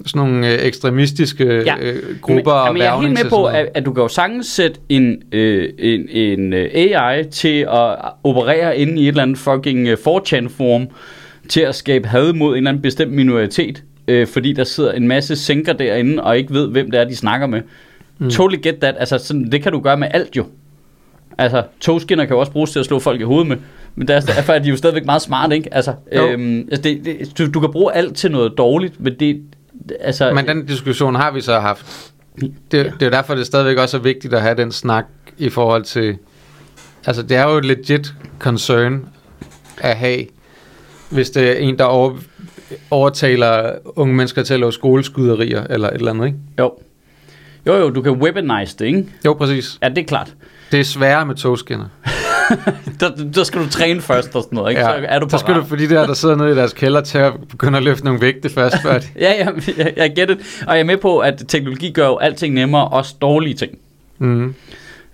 [SPEAKER 2] sådan nogle øh, ekstremistiske
[SPEAKER 1] Ja,
[SPEAKER 2] ja. øh, grupper
[SPEAKER 1] men,
[SPEAKER 2] og
[SPEAKER 1] jamen, jeg er helt
[SPEAKER 2] hvervnings
[SPEAKER 1] med
[SPEAKER 2] og
[SPEAKER 1] på,
[SPEAKER 2] sådan noget.
[SPEAKER 1] at, at du kan jo sagtens sætte en, øh, en, en øh, AI til at operere inde i et eller andet fucking øh, 4chan-forum til at skabe had mod en eller anden bestemt minoritet, øh, fordi der sidder en masse sænker derinde og ikke ved, hvem det er, de snakker med. Mm. Totally get that. Altså, sådan, det kan du gøre med alt jo. Altså, togskinner kan jo også bruges til at slå folk i hovedet med. Men der er, derfor er de jo stadigvæk meget smarte, ikke? Altså,
[SPEAKER 2] Jo.
[SPEAKER 1] øhm, altså det, det, du, du kan bruge alt til noget dårligt, men det... Altså,
[SPEAKER 2] Men den diskussion har vi så haft. Det, det er jo derfor, det stadigvæk også er vigtigt at have den snak i forhold til... Altså, det er jo et legit concern at have, hvis det er en, der over, overtaler unge mennesker til at lave skoleskyderier eller et eller andet, ikke?
[SPEAKER 1] Jo. Jo, jo, du kan weaponize det, ikke?
[SPEAKER 2] Jo, præcis.
[SPEAKER 1] Ja, det er klart.
[SPEAKER 2] Det er sværere med togskinner.
[SPEAKER 1] Der, der skal du træne først og sådan noget, ikke? Ja. Så er du
[SPEAKER 2] så skal du
[SPEAKER 1] parat.
[SPEAKER 2] få de der, der sidder nede i deres kælder, til at begynde at løfte nogle vægte først, før
[SPEAKER 1] (laughs)
[SPEAKER 2] de...
[SPEAKER 1] Ja, ja, jeg, jeg gætter det. Og jeg er med på, at teknologi gør jo alting nemmere, også dårlige ting.
[SPEAKER 2] Mm.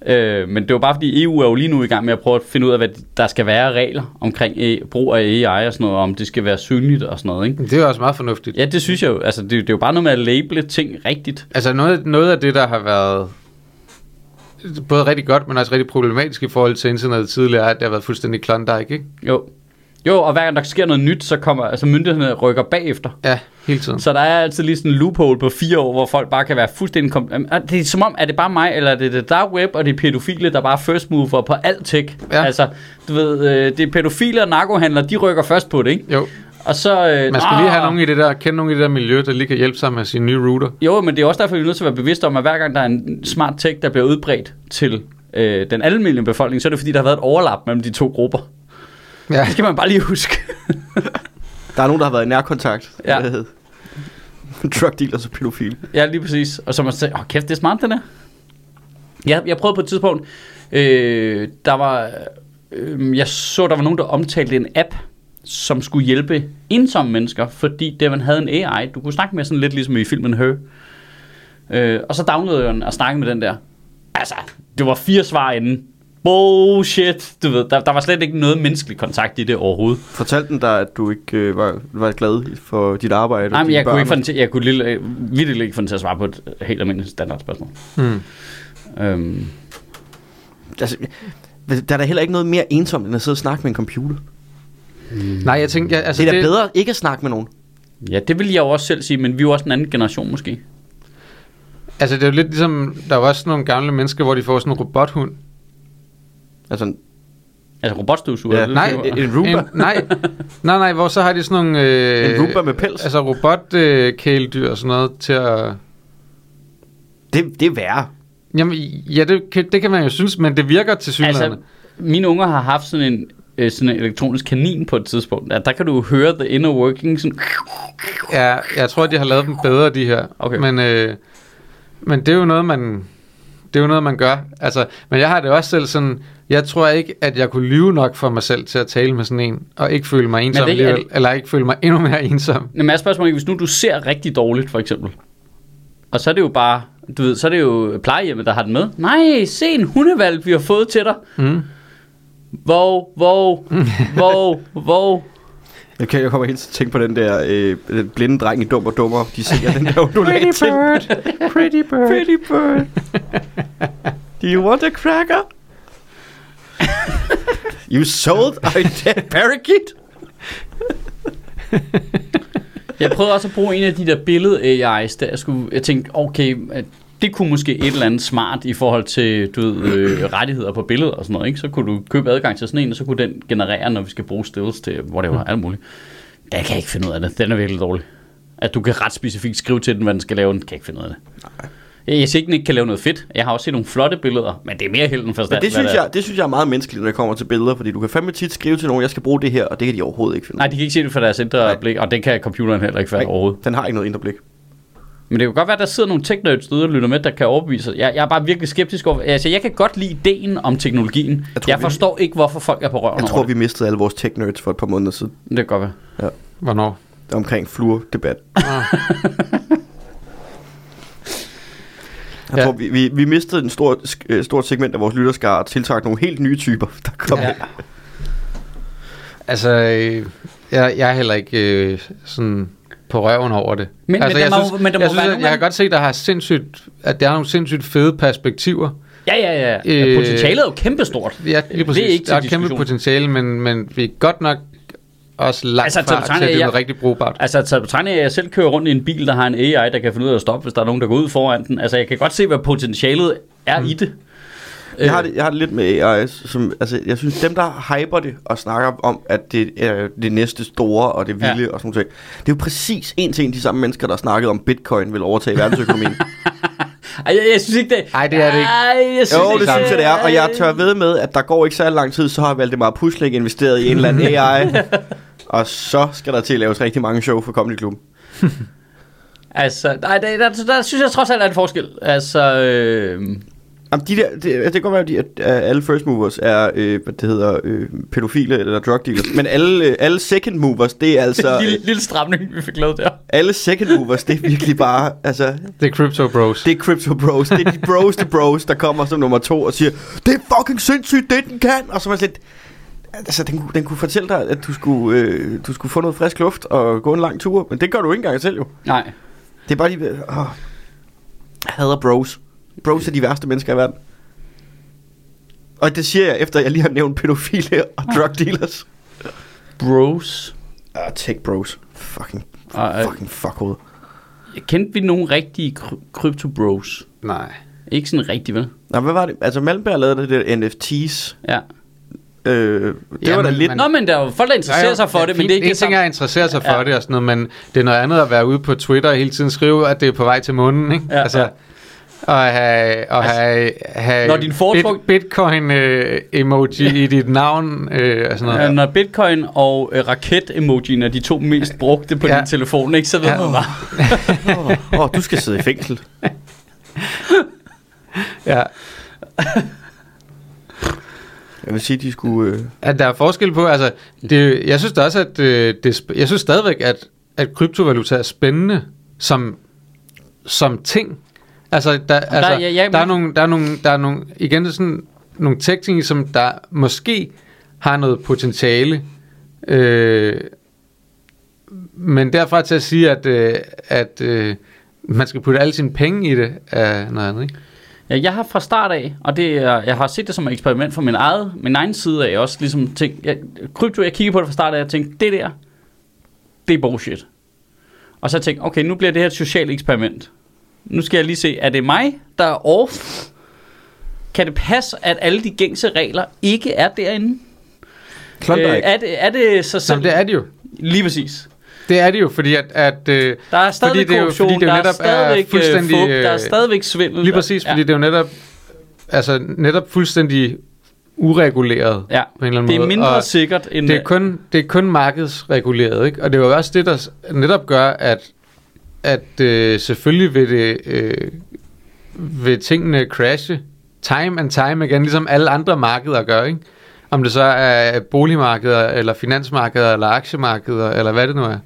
[SPEAKER 1] Øh, men det er jo bare fordi EU er jo lige nu i gang med at prøve at finde ud af, hvad der skal være af regler omkring A- brug af AI og sådan noget, og om det skal være synligt og sådan noget, ikke?
[SPEAKER 2] Det er jo også meget fornuftigt.
[SPEAKER 1] Ja, det synes jeg jo. Altså, det, det er jo bare noget med at label ting rigtigt.
[SPEAKER 2] Altså noget, noget af det, der har været både rigtig godt, men også rigtig problematisk i forhold til internettet tidligere, er, at det har været fuldstændig klondike, ikke?
[SPEAKER 1] Jo. Jo, og hver gang der sker noget nyt, så kommer, altså myndighederne rykker bagefter.
[SPEAKER 2] Ja, hele tiden.
[SPEAKER 1] Så der er altid lige sådan en loophole på fire år, hvor folk bare kan være fuldstændig... Kom- Jamen, er det er som om, er det bare mig, eller er det det dark web, og det er pædofile, der bare er first mover på alt tech?
[SPEAKER 2] Ja.
[SPEAKER 1] Altså, du ved, øh, det er pædofile og narkohandlere, de rykker først på det, ikke?
[SPEAKER 2] Jo,
[SPEAKER 1] Og så... Øh,
[SPEAKER 2] man skal lige have
[SPEAKER 1] ah,
[SPEAKER 2] nogen i det der, kende nogen i det der miljø, der lige kan hjælpe sig med sine nye router.
[SPEAKER 1] Jo, men det er også derfor, vi er nødt til at være bevidste om, at hver gang der er en smart tech, der bliver udbredt til øh, den almindelige befolkning, så er det fordi, der har været et overlap mellem de to grupper.
[SPEAKER 2] Ja,
[SPEAKER 1] Det skal man bare lige huske.
[SPEAKER 3] Der er nogen, der har været i nærkontakt.
[SPEAKER 1] Ja.
[SPEAKER 3] Det hed. (laughs) Drug dealers og pædofil.
[SPEAKER 1] Ja, lige præcis. Og så man sagde, åh kæft, det er smart, den er. Ja, jeg prøvede på et tidspunkt, øh, der var, øh, jeg så, der var nogen, der omtalte en app, som skulle hjælpe ensomme mennesker, fordi det, man havde en AI, du kunne snakke med sådan lidt ligesom i filmen Her. Øh, og så downloadede jeg den og snakkede med den der. Altså, det var fire svar inden. Bullshit, du ved, der, der var slet ikke noget menneskelig kontakt i det overhovedet.
[SPEAKER 3] Fortalte den dig, at du ikke øh, var, var glad for dit arbejde? og
[SPEAKER 1] Nej, men
[SPEAKER 3] dine
[SPEAKER 1] jeg kunne,
[SPEAKER 3] børn?
[SPEAKER 1] ikke få den til, jeg kunne lille, øh, virkelig ikke få den til at svare på et øh, helt almindeligt standardspørgsmål.
[SPEAKER 2] mm.
[SPEAKER 1] Øhm,
[SPEAKER 3] Altså, der er da heller ikke noget mere ensomt, end at sidde og snakke med en computer.
[SPEAKER 2] Nej, jeg tænker, ja, altså
[SPEAKER 3] det er da bedre ikke at snakke med nogen.
[SPEAKER 1] Ja, det vil jeg jo også selv sige, men vi er jo også en anden generation måske.
[SPEAKER 2] altså det er jo lidt ligesom, der er jo også nogle gamle mennesker, hvor de får sådan en robothund.
[SPEAKER 3] Altså, en-
[SPEAKER 1] Altså robotstøvsuger.
[SPEAKER 3] Ja,
[SPEAKER 1] det-
[SPEAKER 2] nej,
[SPEAKER 1] det-
[SPEAKER 3] en Roomba.
[SPEAKER 2] En, nej, nej, nej, hvor så har de sådan nogle... Øh,
[SPEAKER 3] En Roomba med pels.
[SPEAKER 2] Altså robotkæledyr øh, kæledyr og sådan noget til at...
[SPEAKER 3] det, det er værre.
[SPEAKER 2] Jamen, ja, det kan, det kan man jo synes, men det virker til synligheden.
[SPEAKER 1] altså, mine unger har haft sådan en, øh, sådan en elektronisk kanin på et tidspunkt. Ja, der kan du jo høre the inner working. Sådan,
[SPEAKER 2] Ja, jeg tror, de har lavet dem bedre, de her.
[SPEAKER 1] Okay.
[SPEAKER 2] Men, øh, men det er jo noget, man... Det er jo noget, man gør. Altså, men jeg har det også selv sådan... Jeg tror ikke, at jeg kunne lyve nok for mig selv til at tale med sådan en, og ikke føle mig ensom
[SPEAKER 1] det er ikke-
[SPEAKER 2] alligevel, eller ikke føle mig endnu mere ensom.
[SPEAKER 1] Jamen, er spørgsmålet, hvis nu du ser rigtig dårligt, for eksempel. Og så er det jo bare, du ved, så er det jo plejehjemmet, der har den med. Nej, se en hundevalg, vi har fået til dig.
[SPEAKER 2] Mm.
[SPEAKER 1] Vov, vov, vov, vov.
[SPEAKER 3] Jeg, kan, jeg kommer helt til at tænke på den der øh, den blinde dreng i Dum og Dummer. De ser den der undulat
[SPEAKER 2] Pretty
[SPEAKER 3] til.
[SPEAKER 2] bird, pretty bird.
[SPEAKER 3] Pretty bird. Do you want a cracker? you sold a dead parakeet?
[SPEAKER 1] Jeg prøvede også at bruge en af de der billede AI's, der jeg, skulle, jeg tænkte, okay, at det kunne måske et eller andet smart i forhold til du ved, øh, rettigheder på billeder og sådan noget. Ikke? Så kunne du købe adgang til sådan en, og så kunne den generere, når vi skal bruge stills til whatever, alt muligt. Jeg kan ikke finde ud af det. Den er virkelig dårlig. At du kan ret specifikt skrive til den, hvad den skal lave, den kan jeg ikke finde ud af det. Nej. Jeg siger ikke, den ikke kan lave noget fedt. Jeg har også set nogle flotte billeder, men det er mere held end forstand.
[SPEAKER 3] Men det
[SPEAKER 1] hvad
[SPEAKER 3] synes,
[SPEAKER 1] der er.
[SPEAKER 3] jeg, det synes jeg er meget menneskeligt, når det kommer til billeder, fordi du kan fandme tit skrive til nogen, jeg skal bruge det her, og det kan de overhovedet ikke finde.
[SPEAKER 1] Nej, de kan ikke se det fra deres indre blik, og det kan computeren heller ikke
[SPEAKER 3] ud af.
[SPEAKER 1] være overhovedet.
[SPEAKER 3] Den har ikke noget indre blik.
[SPEAKER 1] Men det kan godt være, der sidder nogle teknøds derude og lytter med, der kan overbevise. Jeg, jeg er bare virkelig skeptisk over... Altså, jeg kan godt lide ideen om teknologien. Jeg,
[SPEAKER 3] Jeg tror,
[SPEAKER 1] tror, jeg
[SPEAKER 3] vi-
[SPEAKER 1] forstår ikke, hvorfor folk er på røven
[SPEAKER 3] Jeg
[SPEAKER 1] over
[SPEAKER 3] tror,
[SPEAKER 1] det.
[SPEAKER 3] vi mistede alle vores tech nerds for et par måneder siden.
[SPEAKER 1] Det kan godt være.
[SPEAKER 2] Hvornår?
[SPEAKER 3] omkring fluordebat.
[SPEAKER 2] Ah.
[SPEAKER 3] Jeg
[SPEAKER 2] Ja.
[SPEAKER 3] tror, vi, vi, vi mistede en stor, sk- øh, stort segment af vores lytterskare og tiltrak nogle helt nye typer, (laughs) der kom. Ja.
[SPEAKER 2] (laughs) Altså, øh, jeg, jeg er heller ikke øh, sådan på røven over det.
[SPEAKER 1] Men-
[SPEAKER 2] altså,
[SPEAKER 1] men der
[SPEAKER 2] jeg
[SPEAKER 1] må- men der må
[SPEAKER 2] jeg, synes,
[SPEAKER 1] være
[SPEAKER 2] at-
[SPEAKER 1] nogen
[SPEAKER 2] jeg
[SPEAKER 1] af-
[SPEAKER 2] kan godt se, der har sindssygt, at der er nogle sindssygt fede perspektiver.
[SPEAKER 1] Ja, ja, ja. Øh,
[SPEAKER 2] Øh,
[SPEAKER 1] Potentialet er jo kæmpestort.
[SPEAKER 2] Ja, lige præcis.
[SPEAKER 1] Det er ikke til
[SPEAKER 2] der er et kæmpe
[SPEAKER 1] diskussion.
[SPEAKER 2] potentiale, men, men vi er godt nok også langt
[SPEAKER 1] Altså,
[SPEAKER 2] altså,
[SPEAKER 1] til
[SPEAKER 2] fra til, at
[SPEAKER 1] betragtning af,
[SPEAKER 2] det er
[SPEAKER 1] jeg-
[SPEAKER 2] noget rigtig brugbart.
[SPEAKER 1] Altså, taget på tegning af, at jeg selv kører rundt i en bil, der har en AI, der kan finde ud af at stoppe, hvis der er nogen, der går ud foran den. Altså, jeg kan godt se, hvad potentialet er mm. i det. Øh.
[SPEAKER 3] Jeg, har det, jeg har det lidt med AI, som, altså, jeg synes, dem der hyper det og snakker om, at det er det næste store og det
[SPEAKER 1] Ja.
[SPEAKER 3] vilde ja. og sådan noget. Det er jo præcis en ting, de samme mennesker, der snakkede om, bitcoin vil overtage verdensøkonomien.
[SPEAKER 1] Øh, Ej, jeg, jeg synes ikke, det...
[SPEAKER 2] Ej, det er det ikke.
[SPEAKER 1] Ej, jeg synes
[SPEAKER 3] jo,
[SPEAKER 1] ikke,
[SPEAKER 3] det synes jeg, det er, og jeg tør ved med, at der går ikke så lang tid, så har Valdemar Puslik investeret i en eller anden AI, og så skal der til at laves rigtig mange show for Comedy Klubben.
[SPEAKER 1] Altså, nej, der, der, der, der synes jeg trods alt, der er en forskel. Altså, øh,
[SPEAKER 3] Jamen, de der, det, altså, det kan godt være, at, de, at at alle first movers er, øh, hvad det hedder, øh, pædofile eller drug dealers, men alle, øh, alle second movers,
[SPEAKER 1] (laughs)
[SPEAKER 3] det er altså,
[SPEAKER 1] lille,
[SPEAKER 3] øh,
[SPEAKER 1] lille stramning, vi fik lavet der.
[SPEAKER 3] alle second movers, det er virkelig bare, altså,
[SPEAKER 2] Det er Crypto Bros.
[SPEAKER 3] det er crypto bros, det er de bros til bros, der kommer som nummer to og siger, det er fucking sindssygt, det den kan, og så er man sådan lidt, altså, den, kunne- den kunne fortælle dig, at du skulle, øh, du skulle få noget frisk luft og gå en lang tur, men det gør du ikke engang selv jo.
[SPEAKER 1] Nej.
[SPEAKER 3] Det er bare de... Åh, jeg hader bros. Bros er de værste mennesker i verden. Og det siger jeg, efter jeg lige har nævnt pædofile og drug dealers.
[SPEAKER 1] Bros.
[SPEAKER 3] Ah, tech bros. Fucking,
[SPEAKER 1] Og, øh,
[SPEAKER 3] fucking fuckhoved.
[SPEAKER 1] kendte vi nogle rigtige kry- crypto bros?
[SPEAKER 2] Nej.
[SPEAKER 1] Ikke sådan rigtig, vel?
[SPEAKER 3] Nå, hvad var det? Altså, Malmberg lavede det der NFTs.
[SPEAKER 1] Ja.
[SPEAKER 3] Øh, det
[SPEAKER 2] Ja,
[SPEAKER 3] var da
[SPEAKER 2] men-
[SPEAKER 3] lidt...
[SPEAKER 2] men-
[SPEAKER 1] Nå, men der er jo folk, der interesserer sig for det, men det er ikke
[SPEAKER 2] en
[SPEAKER 1] det
[SPEAKER 2] ting
[SPEAKER 1] samme.
[SPEAKER 2] er at interessere sig for
[SPEAKER 1] Ja.
[SPEAKER 2] ja. det og sådan noget, men det er noget andet at være ude på Twitter og hele tiden skrive, at det er på vej til månen, ikke? Altså,
[SPEAKER 1] Ja, ja.
[SPEAKER 2] Og have, og
[SPEAKER 1] Altså,
[SPEAKER 2] have, have
[SPEAKER 1] når din foretruk-
[SPEAKER 2] bitcoin-emoji øh, i dit navn øh, og sådan noget.
[SPEAKER 1] Ja. Når bitcoin og øh, raket-emojien er de to mest brugte på ja.
[SPEAKER 2] Ja.
[SPEAKER 1] din telefon, ikke, så ved ja.
[SPEAKER 2] Ja.
[SPEAKER 1] man bare.
[SPEAKER 3] Åh, oh, du skal sidde i fængsel.
[SPEAKER 2] Ja.
[SPEAKER 3] Jeg vil sige, de skulle... Øh,
[SPEAKER 2] At der er forskel på, altså, det, jeg synes da også, at øh, det, er sp- jeg synes stadigvæk, at, at kryptovaluta er spændende som, som ting. Altså, der, altså,
[SPEAKER 1] ja, ja,
[SPEAKER 2] der, er
[SPEAKER 1] men-
[SPEAKER 2] nogle, der er nogle, der er nogle, igen, det er sådan nogle tech som der måske har noget potentiale, øh, men derfra til at sige, at, øh, at øh, man skal putte alle sine penge i det, er noget andet, ikke?
[SPEAKER 1] Ja, jeg har fra start af, og det er, jeg har set det som et eksperiment fra min, eget, min egen side af også, ligesom tænkt, jeg, krypto, jeg kiggede på det fra start af, og tænkte, det der, det er bullshit. Og så tænkte okay, nu bliver det her et socialt eksperiment. Nu skal jeg lige se, er det mig, der er off? Kan det passe, at alle de gængse regler ikke er derinde? Øh,
[SPEAKER 3] Klondike.
[SPEAKER 2] Øh,
[SPEAKER 1] er, det, er det sig selv?
[SPEAKER 2] Jamen, det er det jo.
[SPEAKER 1] Lige præcis.
[SPEAKER 2] Det er det jo, fordi at, at øh,
[SPEAKER 1] Der er stadigvæk
[SPEAKER 2] Fordi det er jo-
[SPEAKER 1] korruption,
[SPEAKER 2] fordi det jo
[SPEAKER 1] der er
[SPEAKER 2] netop er
[SPEAKER 1] stadigvæk øh,
[SPEAKER 2] fuldstændig,
[SPEAKER 1] fup, der er
[SPEAKER 2] øh,
[SPEAKER 1] stadigvæk svindel.
[SPEAKER 2] Lige præcis,
[SPEAKER 1] ja.
[SPEAKER 2] fordi det er jo netop, altså netop fuldstændig ureguleret
[SPEAKER 1] ja.
[SPEAKER 2] på en eller anden
[SPEAKER 1] det er
[SPEAKER 2] måde.
[SPEAKER 1] mindre
[SPEAKER 2] og
[SPEAKER 1] sikkert end...
[SPEAKER 2] det er, kun, det er kun markedsreguleret, ikke? Og det er jo også det, der s- netop gør, at, at øh, selvfølgelig vil, det, øh, vil tingene crashe time and time igen, ligesom alle andre markeder gør, ikke? Om det så er boligmarkeder, eller finansmarkeder, eller aktiemarkeder, eller hvad det nu er.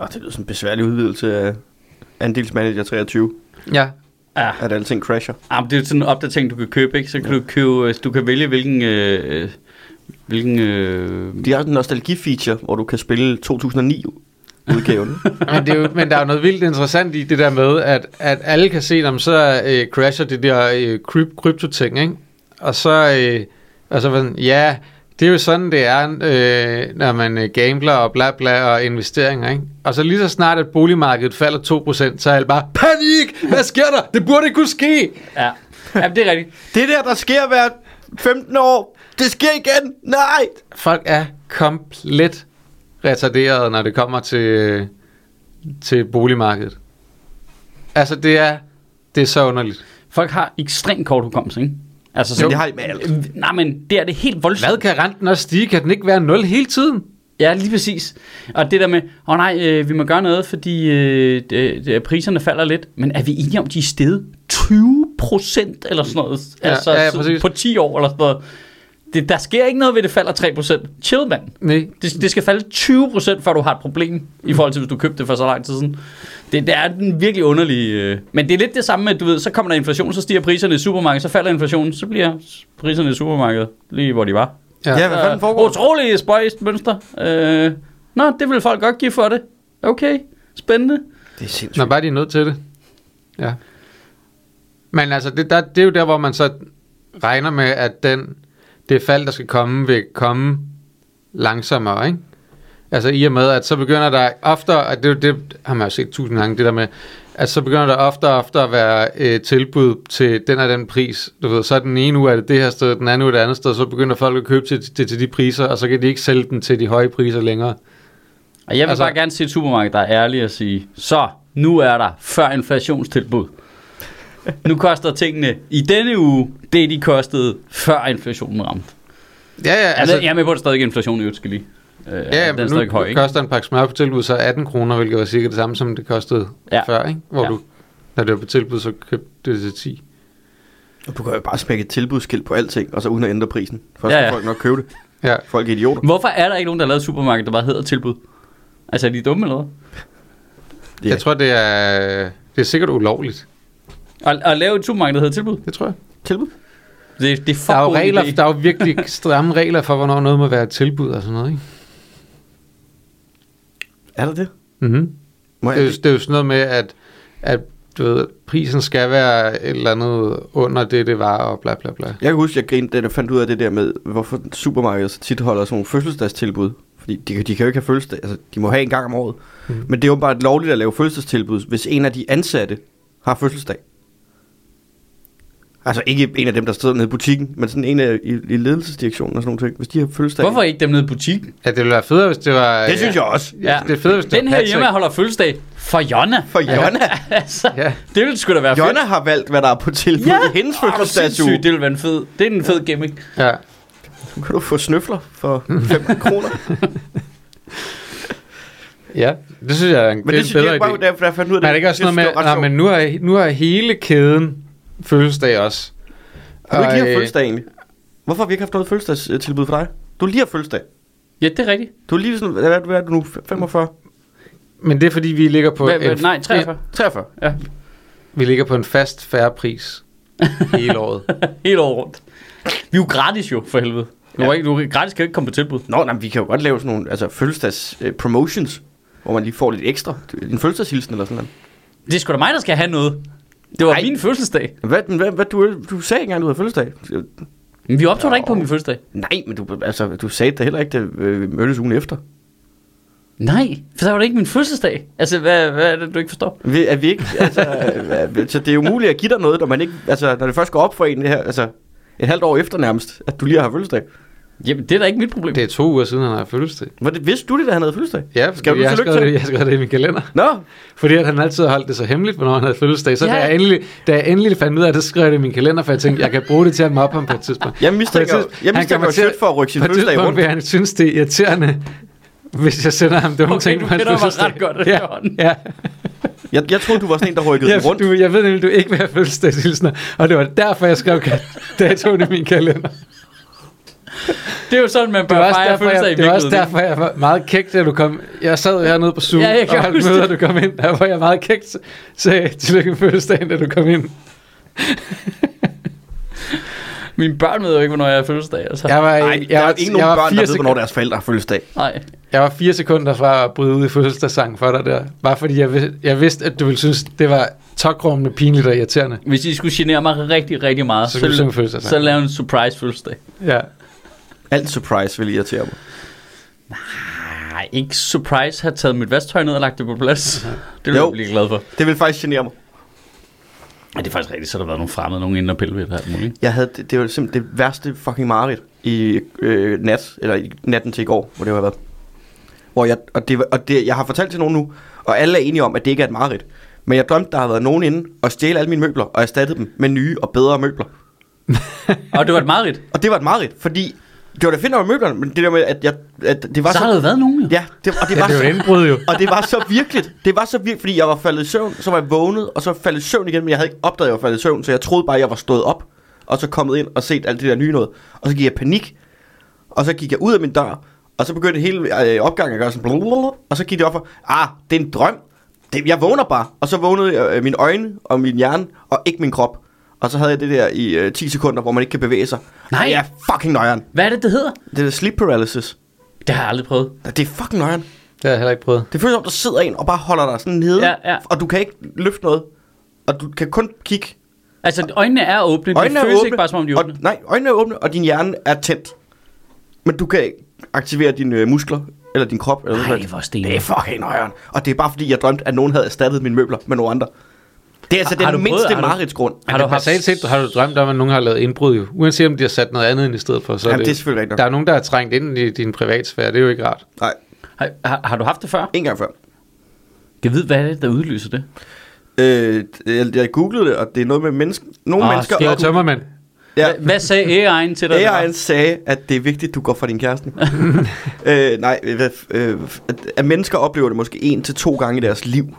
[SPEAKER 3] åh, det lyder som en besværlig udvidelse af andelsmanager 23,
[SPEAKER 2] Ja,
[SPEAKER 1] ja.
[SPEAKER 3] at alting crasher.
[SPEAKER 1] Ah, men det er jo sådan en opdatering, du kan købe, ikke? Så kan du købe, øh, du kan vælge, hvilken... Øh, hvilken øh,
[SPEAKER 3] De har sådan en nostalgi-feature, hvor du kan spille 2009 udgaven.
[SPEAKER 2] men, det er jo, men der er jo noget vildt interessant i det der med, at, at alle kan se, om så øh, crasher det der øh, kryp, krypto-ting, ikke? Og så, øh, og så var sådan, ja, det er jo sådan, det er, øh, når man øh, gambler og bla bla og investeringer, ikke? Og så lige så snart, at boligmarkedet falder 2%, så er alt bare, panik! Hvad sker der? Det burde ikke kunne ske!
[SPEAKER 1] Ja. Jamen, det er rigtigt.
[SPEAKER 3] Det der, der sker hver 15 år, det sker igen. Nej!
[SPEAKER 2] Folk er komplet retarderet, når det kommer til, øh, til boligmarkedet. Altså, det er, det er så underligt.
[SPEAKER 1] Folk har ekstremt kort hukommelse, ikke? Altså,
[SPEAKER 3] Men det har I med alt.
[SPEAKER 1] Nej, men det er det helt voldsomt.
[SPEAKER 2] Hvad kan renten også stige? Kan den ikke være 0 hele tiden?
[SPEAKER 1] Ja, lige præcis. Og det der med, åh oh, nej, øh, vi må gøre noget, fordi øh, d- d- priserne falder lidt. Men er vi enige om, de er steget 20 procent eller sådan noget?
[SPEAKER 2] Ja,
[SPEAKER 1] altså
[SPEAKER 2] ja, ja,
[SPEAKER 1] sådan
[SPEAKER 2] præcis.
[SPEAKER 1] på 10 år eller sådan noget. Det, der sker ikke noget ved, at det falder 3 procent. Chill, mand.
[SPEAKER 2] Nej.
[SPEAKER 1] Det, det skal falde 20 procent, før du har et problem, i forhold til, hvis du købte det for så lang tid siden. Det, det er den virkelig underlige... Øh. Men det er lidt det samme med, at du ved, så kommer der inflation, så stiger priserne i supermarkedet, så falder inflationen, så bliver priserne i supermarkedet lige, hvor de var.
[SPEAKER 2] Ja.
[SPEAKER 3] Ja, hvad fanden foregår?
[SPEAKER 1] Utrolig spøjst mønster. Øh, nå, det vil folk godt give for det. Okay, spændende.
[SPEAKER 3] Det er sindssygt.
[SPEAKER 2] Når bare de er nødt til det. Ja. Men altså, det, der, det er jo der, hvor man så regner med, at den, det fald, der skal komme, vil komme langsommere, ikke? Altså i og med, at så begynder der oftere, og det, er jo det har man jo set tusind gange, det der med, at så begynder der oftere og oftere at være øh, tilbud til den og den pris. Du ved, så er den ene uge er det det her sted, den anden uge er det andet sted, så begynder folk at købe til, til, til de priser, og så kan de ikke sælge den til de høje priser længere.
[SPEAKER 1] Og jeg vil altså,
[SPEAKER 2] Altså-
[SPEAKER 1] bare gerne se et supermarked, der er ærlig og sige, så, nu er der før inflationstilbud. nu koster tingene i denne uge, det de kostede før inflationen ramte.
[SPEAKER 2] Ja, ja,
[SPEAKER 1] Altså, jeg er med på, at der stadig er inflation i øvrigt, skal lige. Øh,
[SPEAKER 2] Ja,
[SPEAKER 1] den er
[SPEAKER 2] men
[SPEAKER 1] stadig
[SPEAKER 2] nu
[SPEAKER 1] høj, ikke?
[SPEAKER 2] koster en pakke smør på tilbud så 18 kroner, hvilket var cirka det samme, som det kostede
[SPEAKER 1] Ja.
[SPEAKER 2] ja. før, ikke? Hvor
[SPEAKER 1] Ja.
[SPEAKER 2] ja. du, når det var på tilbud, så købte det til 10.
[SPEAKER 3] Du kan jo bare smække et tilbudsskilt på alting, og så uden at ændre prisen. For så
[SPEAKER 1] Ja,
[SPEAKER 3] ja,
[SPEAKER 1] ja.
[SPEAKER 3] ja. folk nok købe det.
[SPEAKER 2] Ja.
[SPEAKER 3] Folk er idioter.
[SPEAKER 1] Hvorfor er der ikke nogen, der har lavet et supermarked, der bare hedder tilbud? Altså, er de dumme eller hvad?
[SPEAKER 3] Ja.
[SPEAKER 2] Jeg tror, det er, det er sikkert ulovligt.
[SPEAKER 1] At, at lave et supermarked, der hedder tilbud?
[SPEAKER 2] Det tror jeg.
[SPEAKER 3] Tilbud?
[SPEAKER 1] Det, det er for
[SPEAKER 2] Der er, jo
[SPEAKER 1] god
[SPEAKER 2] regler,
[SPEAKER 1] idé.
[SPEAKER 2] der er jo
[SPEAKER 3] (laughs)
[SPEAKER 2] virkelig stramme regler for, hvornår noget må være et tilbud og sådan noget, ikke?
[SPEAKER 3] Er der det?
[SPEAKER 2] Mm-hmm.
[SPEAKER 3] Må
[SPEAKER 2] Det,
[SPEAKER 3] jeg
[SPEAKER 2] er, jo-
[SPEAKER 3] det?
[SPEAKER 2] det er jo sådan noget med, at, at du ved, prisen skal være et eller andet under det, det var, og bla bla bla.
[SPEAKER 3] Jeg kan huske, jeg grinte, da jeg fandt ud af det der med, hvorfor supermarkeder så tit holder sådan nogle fødselsdagstilbud. Fordi de, kan- de kan jo ikke have fødselsdag, altså de må have en gang om året. Mm. Men det er jo bare lovligt at lave fødselsdagstilbud, hvis en af de ansatte har fødselsdag. Altså ikke en af dem, der sidder nede i butikken, men sådan en af i, i ledelsesdirektionen og sådan nogle ting. Hvis de har fødselsdag...
[SPEAKER 1] Hvorfor ikke dem nede i butikken?
[SPEAKER 2] Ja, det ville være federe, hvis det var...
[SPEAKER 3] Det synes jeg også.
[SPEAKER 2] Ja. Det er federe, hvis det
[SPEAKER 1] Den
[SPEAKER 2] var
[SPEAKER 1] her
[SPEAKER 2] Patrick.
[SPEAKER 1] hjemme holder fødselsdag for Jonna.
[SPEAKER 3] For Jonna.
[SPEAKER 1] (laughs) altså,
[SPEAKER 2] Ja.
[SPEAKER 1] det ville sgu da være fedt.
[SPEAKER 3] Jonna har valgt, hvad der er på tilbud
[SPEAKER 1] Ja,
[SPEAKER 3] ja. i hendes
[SPEAKER 1] Åh, er du sindssyg,
[SPEAKER 3] fødselsdagsuge.
[SPEAKER 1] det ville være en fed. Det er en fed gimmick.
[SPEAKER 2] Ja.
[SPEAKER 3] Nu kan du få snøfler for 15
[SPEAKER 2] (laughs)
[SPEAKER 3] kroner.
[SPEAKER 2] ja, det synes jeg er en,
[SPEAKER 3] Men
[SPEAKER 2] er
[SPEAKER 3] det,
[SPEAKER 2] en
[SPEAKER 3] synes
[SPEAKER 2] bedre
[SPEAKER 3] jeg
[SPEAKER 2] idé.
[SPEAKER 3] bare, derfor jeg fandt ud af
[SPEAKER 2] Men er det ikke også noget med, nej, men nu har, nu har hele kæden fødselsdag også.
[SPEAKER 3] Du ikke lige
[SPEAKER 2] øh,
[SPEAKER 3] har fødselsdag egentlig. Hvorfor har vi ikke haft noget fødselsdagstilbud for dig? Du lige har fødselsdag.
[SPEAKER 1] Ja, det er rigtigt.
[SPEAKER 3] Du er lige sådan, hvad, hvad er du nu? 45?
[SPEAKER 2] Men det er fordi, vi ligger på,
[SPEAKER 1] Hva, hva,
[SPEAKER 2] en,
[SPEAKER 1] nej, 43.
[SPEAKER 3] 43?
[SPEAKER 1] Ja, (laughs)
[SPEAKER 2] vi ligger på en fast færre pris
[SPEAKER 1] (laughs)
[SPEAKER 2] hele året.
[SPEAKER 1] helt over rundt. Vi er jo gratis jo, for helvede. Du,
[SPEAKER 3] Ja.
[SPEAKER 1] er ikke, du er gratis kan jo ikke komme på tilbud.
[SPEAKER 3] Nå, nej, men vi kan jo godt lave sådan nogle altså, fødselsdags øh, promotions, hvor man lige får lidt ekstra. En fødselsdagshilsen eller sådan noget.
[SPEAKER 1] Det er sgu da mig, der skal have noget. Det var
[SPEAKER 3] Ej.
[SPEAKER 1] min fødselsdag.
[SPEAKER 3] Hvad, men hvad, hvad du, du sagde ikke engang, du havde fødselsdag. Øh,
[SPEAKER 1] Men vi optog da ikke på
[SPEAKER 3] Nå.
[SPEAKER 1] min fødselsdag.
[SPEAKER 3] Nej, men du, altså, du sagde det heller ikke, da øh, vi mødtes ugen efter.
[SPEAKER 1] Nej, for der var det ikke min fødselsdag. Altså, hvad, hvad er det, du ikke forstår?
[SPEAKER 3] Vi, er vi ikke, (laughs) altså, øh, så det er umuligt at give dig noget, når, man ikke, altså, når det først går op for en det her, altså et halvt år efter nærmest, at du lige har haft fødselsdag.
[SPEAKER 1] Jamen, det er da ikke mit problem.
[SPEAKER 2] Det er to uger siden, han har fødselsdag.
[SPEAKER 3] Var det, vidste du det, da han havde fødselsdag?
[SPEAKER 2] Ja,
[SPEAKER 3] Skal
[SPEAKER 2] skal
[SPEAKER 3] du
[SPEAKER 2] jeg, har
[SPEAKER 3] tillykke
[SPEAKER 2] skrevet
[SPEAKER 3] til?
[SPEAKER 2] det, jeg har skrevet det i min kalender.
[SPEAKER 3] Nå,
[SPEAKER 2] Fordi at han altid har holdt det så hemmeligt, hvornår han havde fødselsdag. Så
[SPEAKER 1] Ja.
[SPEAKER 2] ja. da, jeg endelig, da jeg endelig fandt ud af det, så skrev jeg det i min kalender, for jeg tænkte, jeg kan bruge det til at mobbe ham på et tidspunkt.
[SPEAKER 3] Jeg mistænker-
[SPEAKER 2] På et tidspunkt-
[SPEAKER 3] jeg
[SPEAKER 2] han
[SPEAKER 3] mistænker
[SPEAKER 2] kommer
[SPEAKER 3] jo
[SPEAKER 2] til-
[SPEAKER 3] Sjøt for at rykke sin
[SPEAKER 2] på et
[SPEAKER 3] fødselsdag
[SPEAKER 2] tidspunkt
[SPEAKER 3] rundt.
[SPEAKER 2] vil han synes, det er irriterende, hvis jeg sender ham dumme
[SPEAKER 1] Okay,
[SPEAKER 2] ting
[SPEAKER 1] du
[SPEAKER 2] på hans
[SPEAKER 1] kender mig
[SPEAKER 2] fødselsdag.
[SPEAKER 1] ret godt efterhånden.
[SPEAKER 2] ja, ja.
[SPEAKER 3] jeg, jeg troede, du var sådan en, der rykkede
[SPEAKER 2] Ja,
[SPEAKER 3] den rundt.
[SPEAKER 2] du, (laughs) jeg ved nemlig, du ikke vil have fødselsdagshilsner, og det var derfor, jeg skrev datoen i min kalender.
[SPEAKER 1] Det er jo sådan, man
[SPEAKER 2] Det
[SPEAKER 1] bør
[SPEAKER 2] var også
[SPEAKER 1] fejre
[SPEAKER 2] derfor,
[SPEAKER 1] fødselsdag i
[SPEAKER 2] jeg, det var også
[SPEAKER 1] virkeligheden, ikke?
[SPEAKER 2] derfor, jeg var meget kægt, da du kom. Jeg sad jo hernede på Zoom,
[SPEAKER 1] Ja, jeg kan
[SPEAKER 2] og holdt
[SPEAKER 1] huske
[SPEAKER 2] møde,
[SPEAKER 1] det.
[SPEAKER 2] og du kom ind. Der var jeg meget kægt, sagde tillykke med fødselsdagen, da du kom ind.
[SPEAKER 1] Mine børn ved jo ikke, hvornår jeg er fødselsdag. Altså.
[SPEAKER 2] Jeg var,
[SPEAKER 3] Nej, der
[SPEAKER 2] jeg,
[SPEAKER 3] er
[SPEAKER 2] var,
[SPEAKER 3] ikke
[SPEAKER 2] jeg,
[SPEAKER 3] nogen
[SPEAKER 2] var
[SPEAKER 3] børn,
[SPEAKER 2] fire
[SPEAKER 3] der ved, hvornår
[SPEAKER 2] sekunder,
[SPEAKER 3] deres forældre har fødselsdag.
[SPEAKER 1] Nej.
[SPEAKER 2] jeg var fire sekunder fra at bryde ud i fødselsdagssang for dig der. Bare fordi jeg, vidste, jeg vidste, at du ville synes, det var tokrummende, pinligt og irriterende.
[SPEAKER 1] Hvis I skulle genere mig rigtig, rigtig meget,
[SPEAKER 2] Så skulle du synge fødselsdagssang.
[SPEAKER 1] så lav en surprise fødselsdag.
[SPEAKER 2] Ja.
[SPEAKER 3] Alt surprise vil irritere mig.
[SPEAKER 1] Nej, ikke surprise have taget mit vasktøj ned og lagt det på (laughs) plads. Det ville
[SPEAKER 3] Jo.
[SPEAKER 1] jeg blive glad for.
[SPEAKER 3] Det vil faktisk genere mig.
[SPEAKER 1] Ja, det er faktisk rigtigt, så har der været nogle fremmede, nogen inden og pille ved det her muligt.
[SPEAKER 3] Jeg havde, det, det var simpelthen det værste fucking mareridt i øh, nat, eller i natten til i går, hvor det var været. Hvor jeg, og det, var- og det, jeg har fortalt til nogen nu, og alle er enige om, at det ikke er et mareridt. Men jeg drømte, der har været nogen inde og stjæle alle mine møbler, og erstattede dem med nye og bedre møbler.
[SPEAKER 1] Og det var et mareridt.
[SPEAKER 3] Og det var et mareridt, fordi det var da fint med møblerne, men det der med, at, jeg, at det var
[SPEAKER 1] Så har der jo været nogen, jo.
[SPEAKER 3] Ja, det, og det
[SPEAKER 2] Ja,
[SPEAKER 3] var
[SPEAKER 2] det er jo et
[SPEAKER 3] så,
[SPEAKER 2] indbrud jo.
[SPEAKER 3] og det var så virkeligt. Det var så virkeligt, fordi jeg var faldet i søvn, så var jeg vågnet, og så faldet i søvn igen, men jeg havde ikke opdaget, at jeg var faldet i søvn, så jeg troede bare, at jeg var stået op, og så kommet ind og set alt det der nye noget. Og så gik jeg i panik, og så gik jeg ud af min dør, og så begyndte hele øh, opgangen at gøre sådan, blablabla, og så gik det op for, ah, det er en drøm. Det, jeg vågner bare, og så vågnede jeg, øh, mine øjne og min hjerne, og ikke min krop. Og så havde jeg det der i øh, 10 sekunder, hvor man ikke kan bevæge sig.
[SPEAKER 1] Nej.
[SPEAKER 3] Og jeg er fucking nøjeren.
[SPEAKER 1] Hvad er det, det hedder?
[SPEAKER 3] Det er sleep paralysis.
[SPEAKER 1] Det har jeg aldrig prøvet.
[SPEAKER 3] Det er fucking nøjeren.
[SPEAKER 2] Det har jeg heller ikke prøvet.
[SPEAKER 3] Det føles som, der sidder en og bare holder dig sådan nede,
[SPEAKER 1] Ja, ja.
[SPEAKER 3] og du kan ikke løfte noget, og du kan kun kigge.
[SPEAKER 1] Altså, øjnene er åbne.
[SPEAKER 3] Øjnene
[SPEAKER 1] det
[SPEAKER 3] er
[SPEAKER 1] føles
[SPEAKER 3] åbne,
[SPEAKER 1] ikke bare, som om de er
[SPEAKER 3] og,
[SPEAKER 1] åbne.
[SPEAKER 3] nej, øjnene er åbne, og din hjerne er tændt. Men du kan ikke aktivere dine øh, muskler, eller din krop, eller
[SPEAKER 1] Nej,
[SPEAKER 3] noget.
[SPEAKER 1] hvor
[SPEAKER 3] sådan.
[SPEAKER 1] stenigt.
[SPEAKER 3] Det er fucking nøjeren. Og det er bare fordi, jeg drømte, at nogen havde erstattet mine møbler med nogle andre. Det er altså
[SPEAKER 1] Har- har du
[SPEAKER 3] den
[SPEAKER 1] prøvet-
[SPEAKER 3] mindste
[SPEAKER 1] har du-
[SPEAKER 3] mareridtsgrund.
[SPEAKER 1] Har
[SPEAKER 2] Har
[SPEAKER 1] du
[SPEAKER 2] du
[SPEAKER 1] haft-
[SPEAKER 2] basalt set har du drømt om, at nogen har lavet indbrud jo. Uanset om de har sat noget andet ind i stedet for. Så
[SPEAKER 3] Jamen,
[SPEAKER 2] er
[SPEAKER 3] det er selvfølgelig rigtigt.
[SPEAKER 2] Der er nogen, der har trængt ind i din privatsfære. Det er jo ikke rart.
[SPEAKER 3] Nej,
[SPEAKER 1] Har, har, har, du haft det før?
[SPEAKER 3] en gang før.
[SPEAKER 1] Jeg ved, hvad er det, der udløser det?
[SPEAKER 3] Øh, jeg, jeg googlede det, og det er noget med menneske, nogle
[SPEAKER 1] Ah,
[SPEAKER 3] mennesker...
[SPEAKER 1] det
[SPEAKER 2] Det
[SPEAKER 1] er
[SPEAKER 2] er tømmermand.
[SPEAKER 3] ja,
[SPEAKER 1] Hva- Hvad sagde AI'en til dig?
[SPEAKER 3] AI'en sagde, at det er vigtigt, du går fra din kæreste. øh, nej, hvad, øh, at, at mennesker oplever det måske en til to gange i deres liv.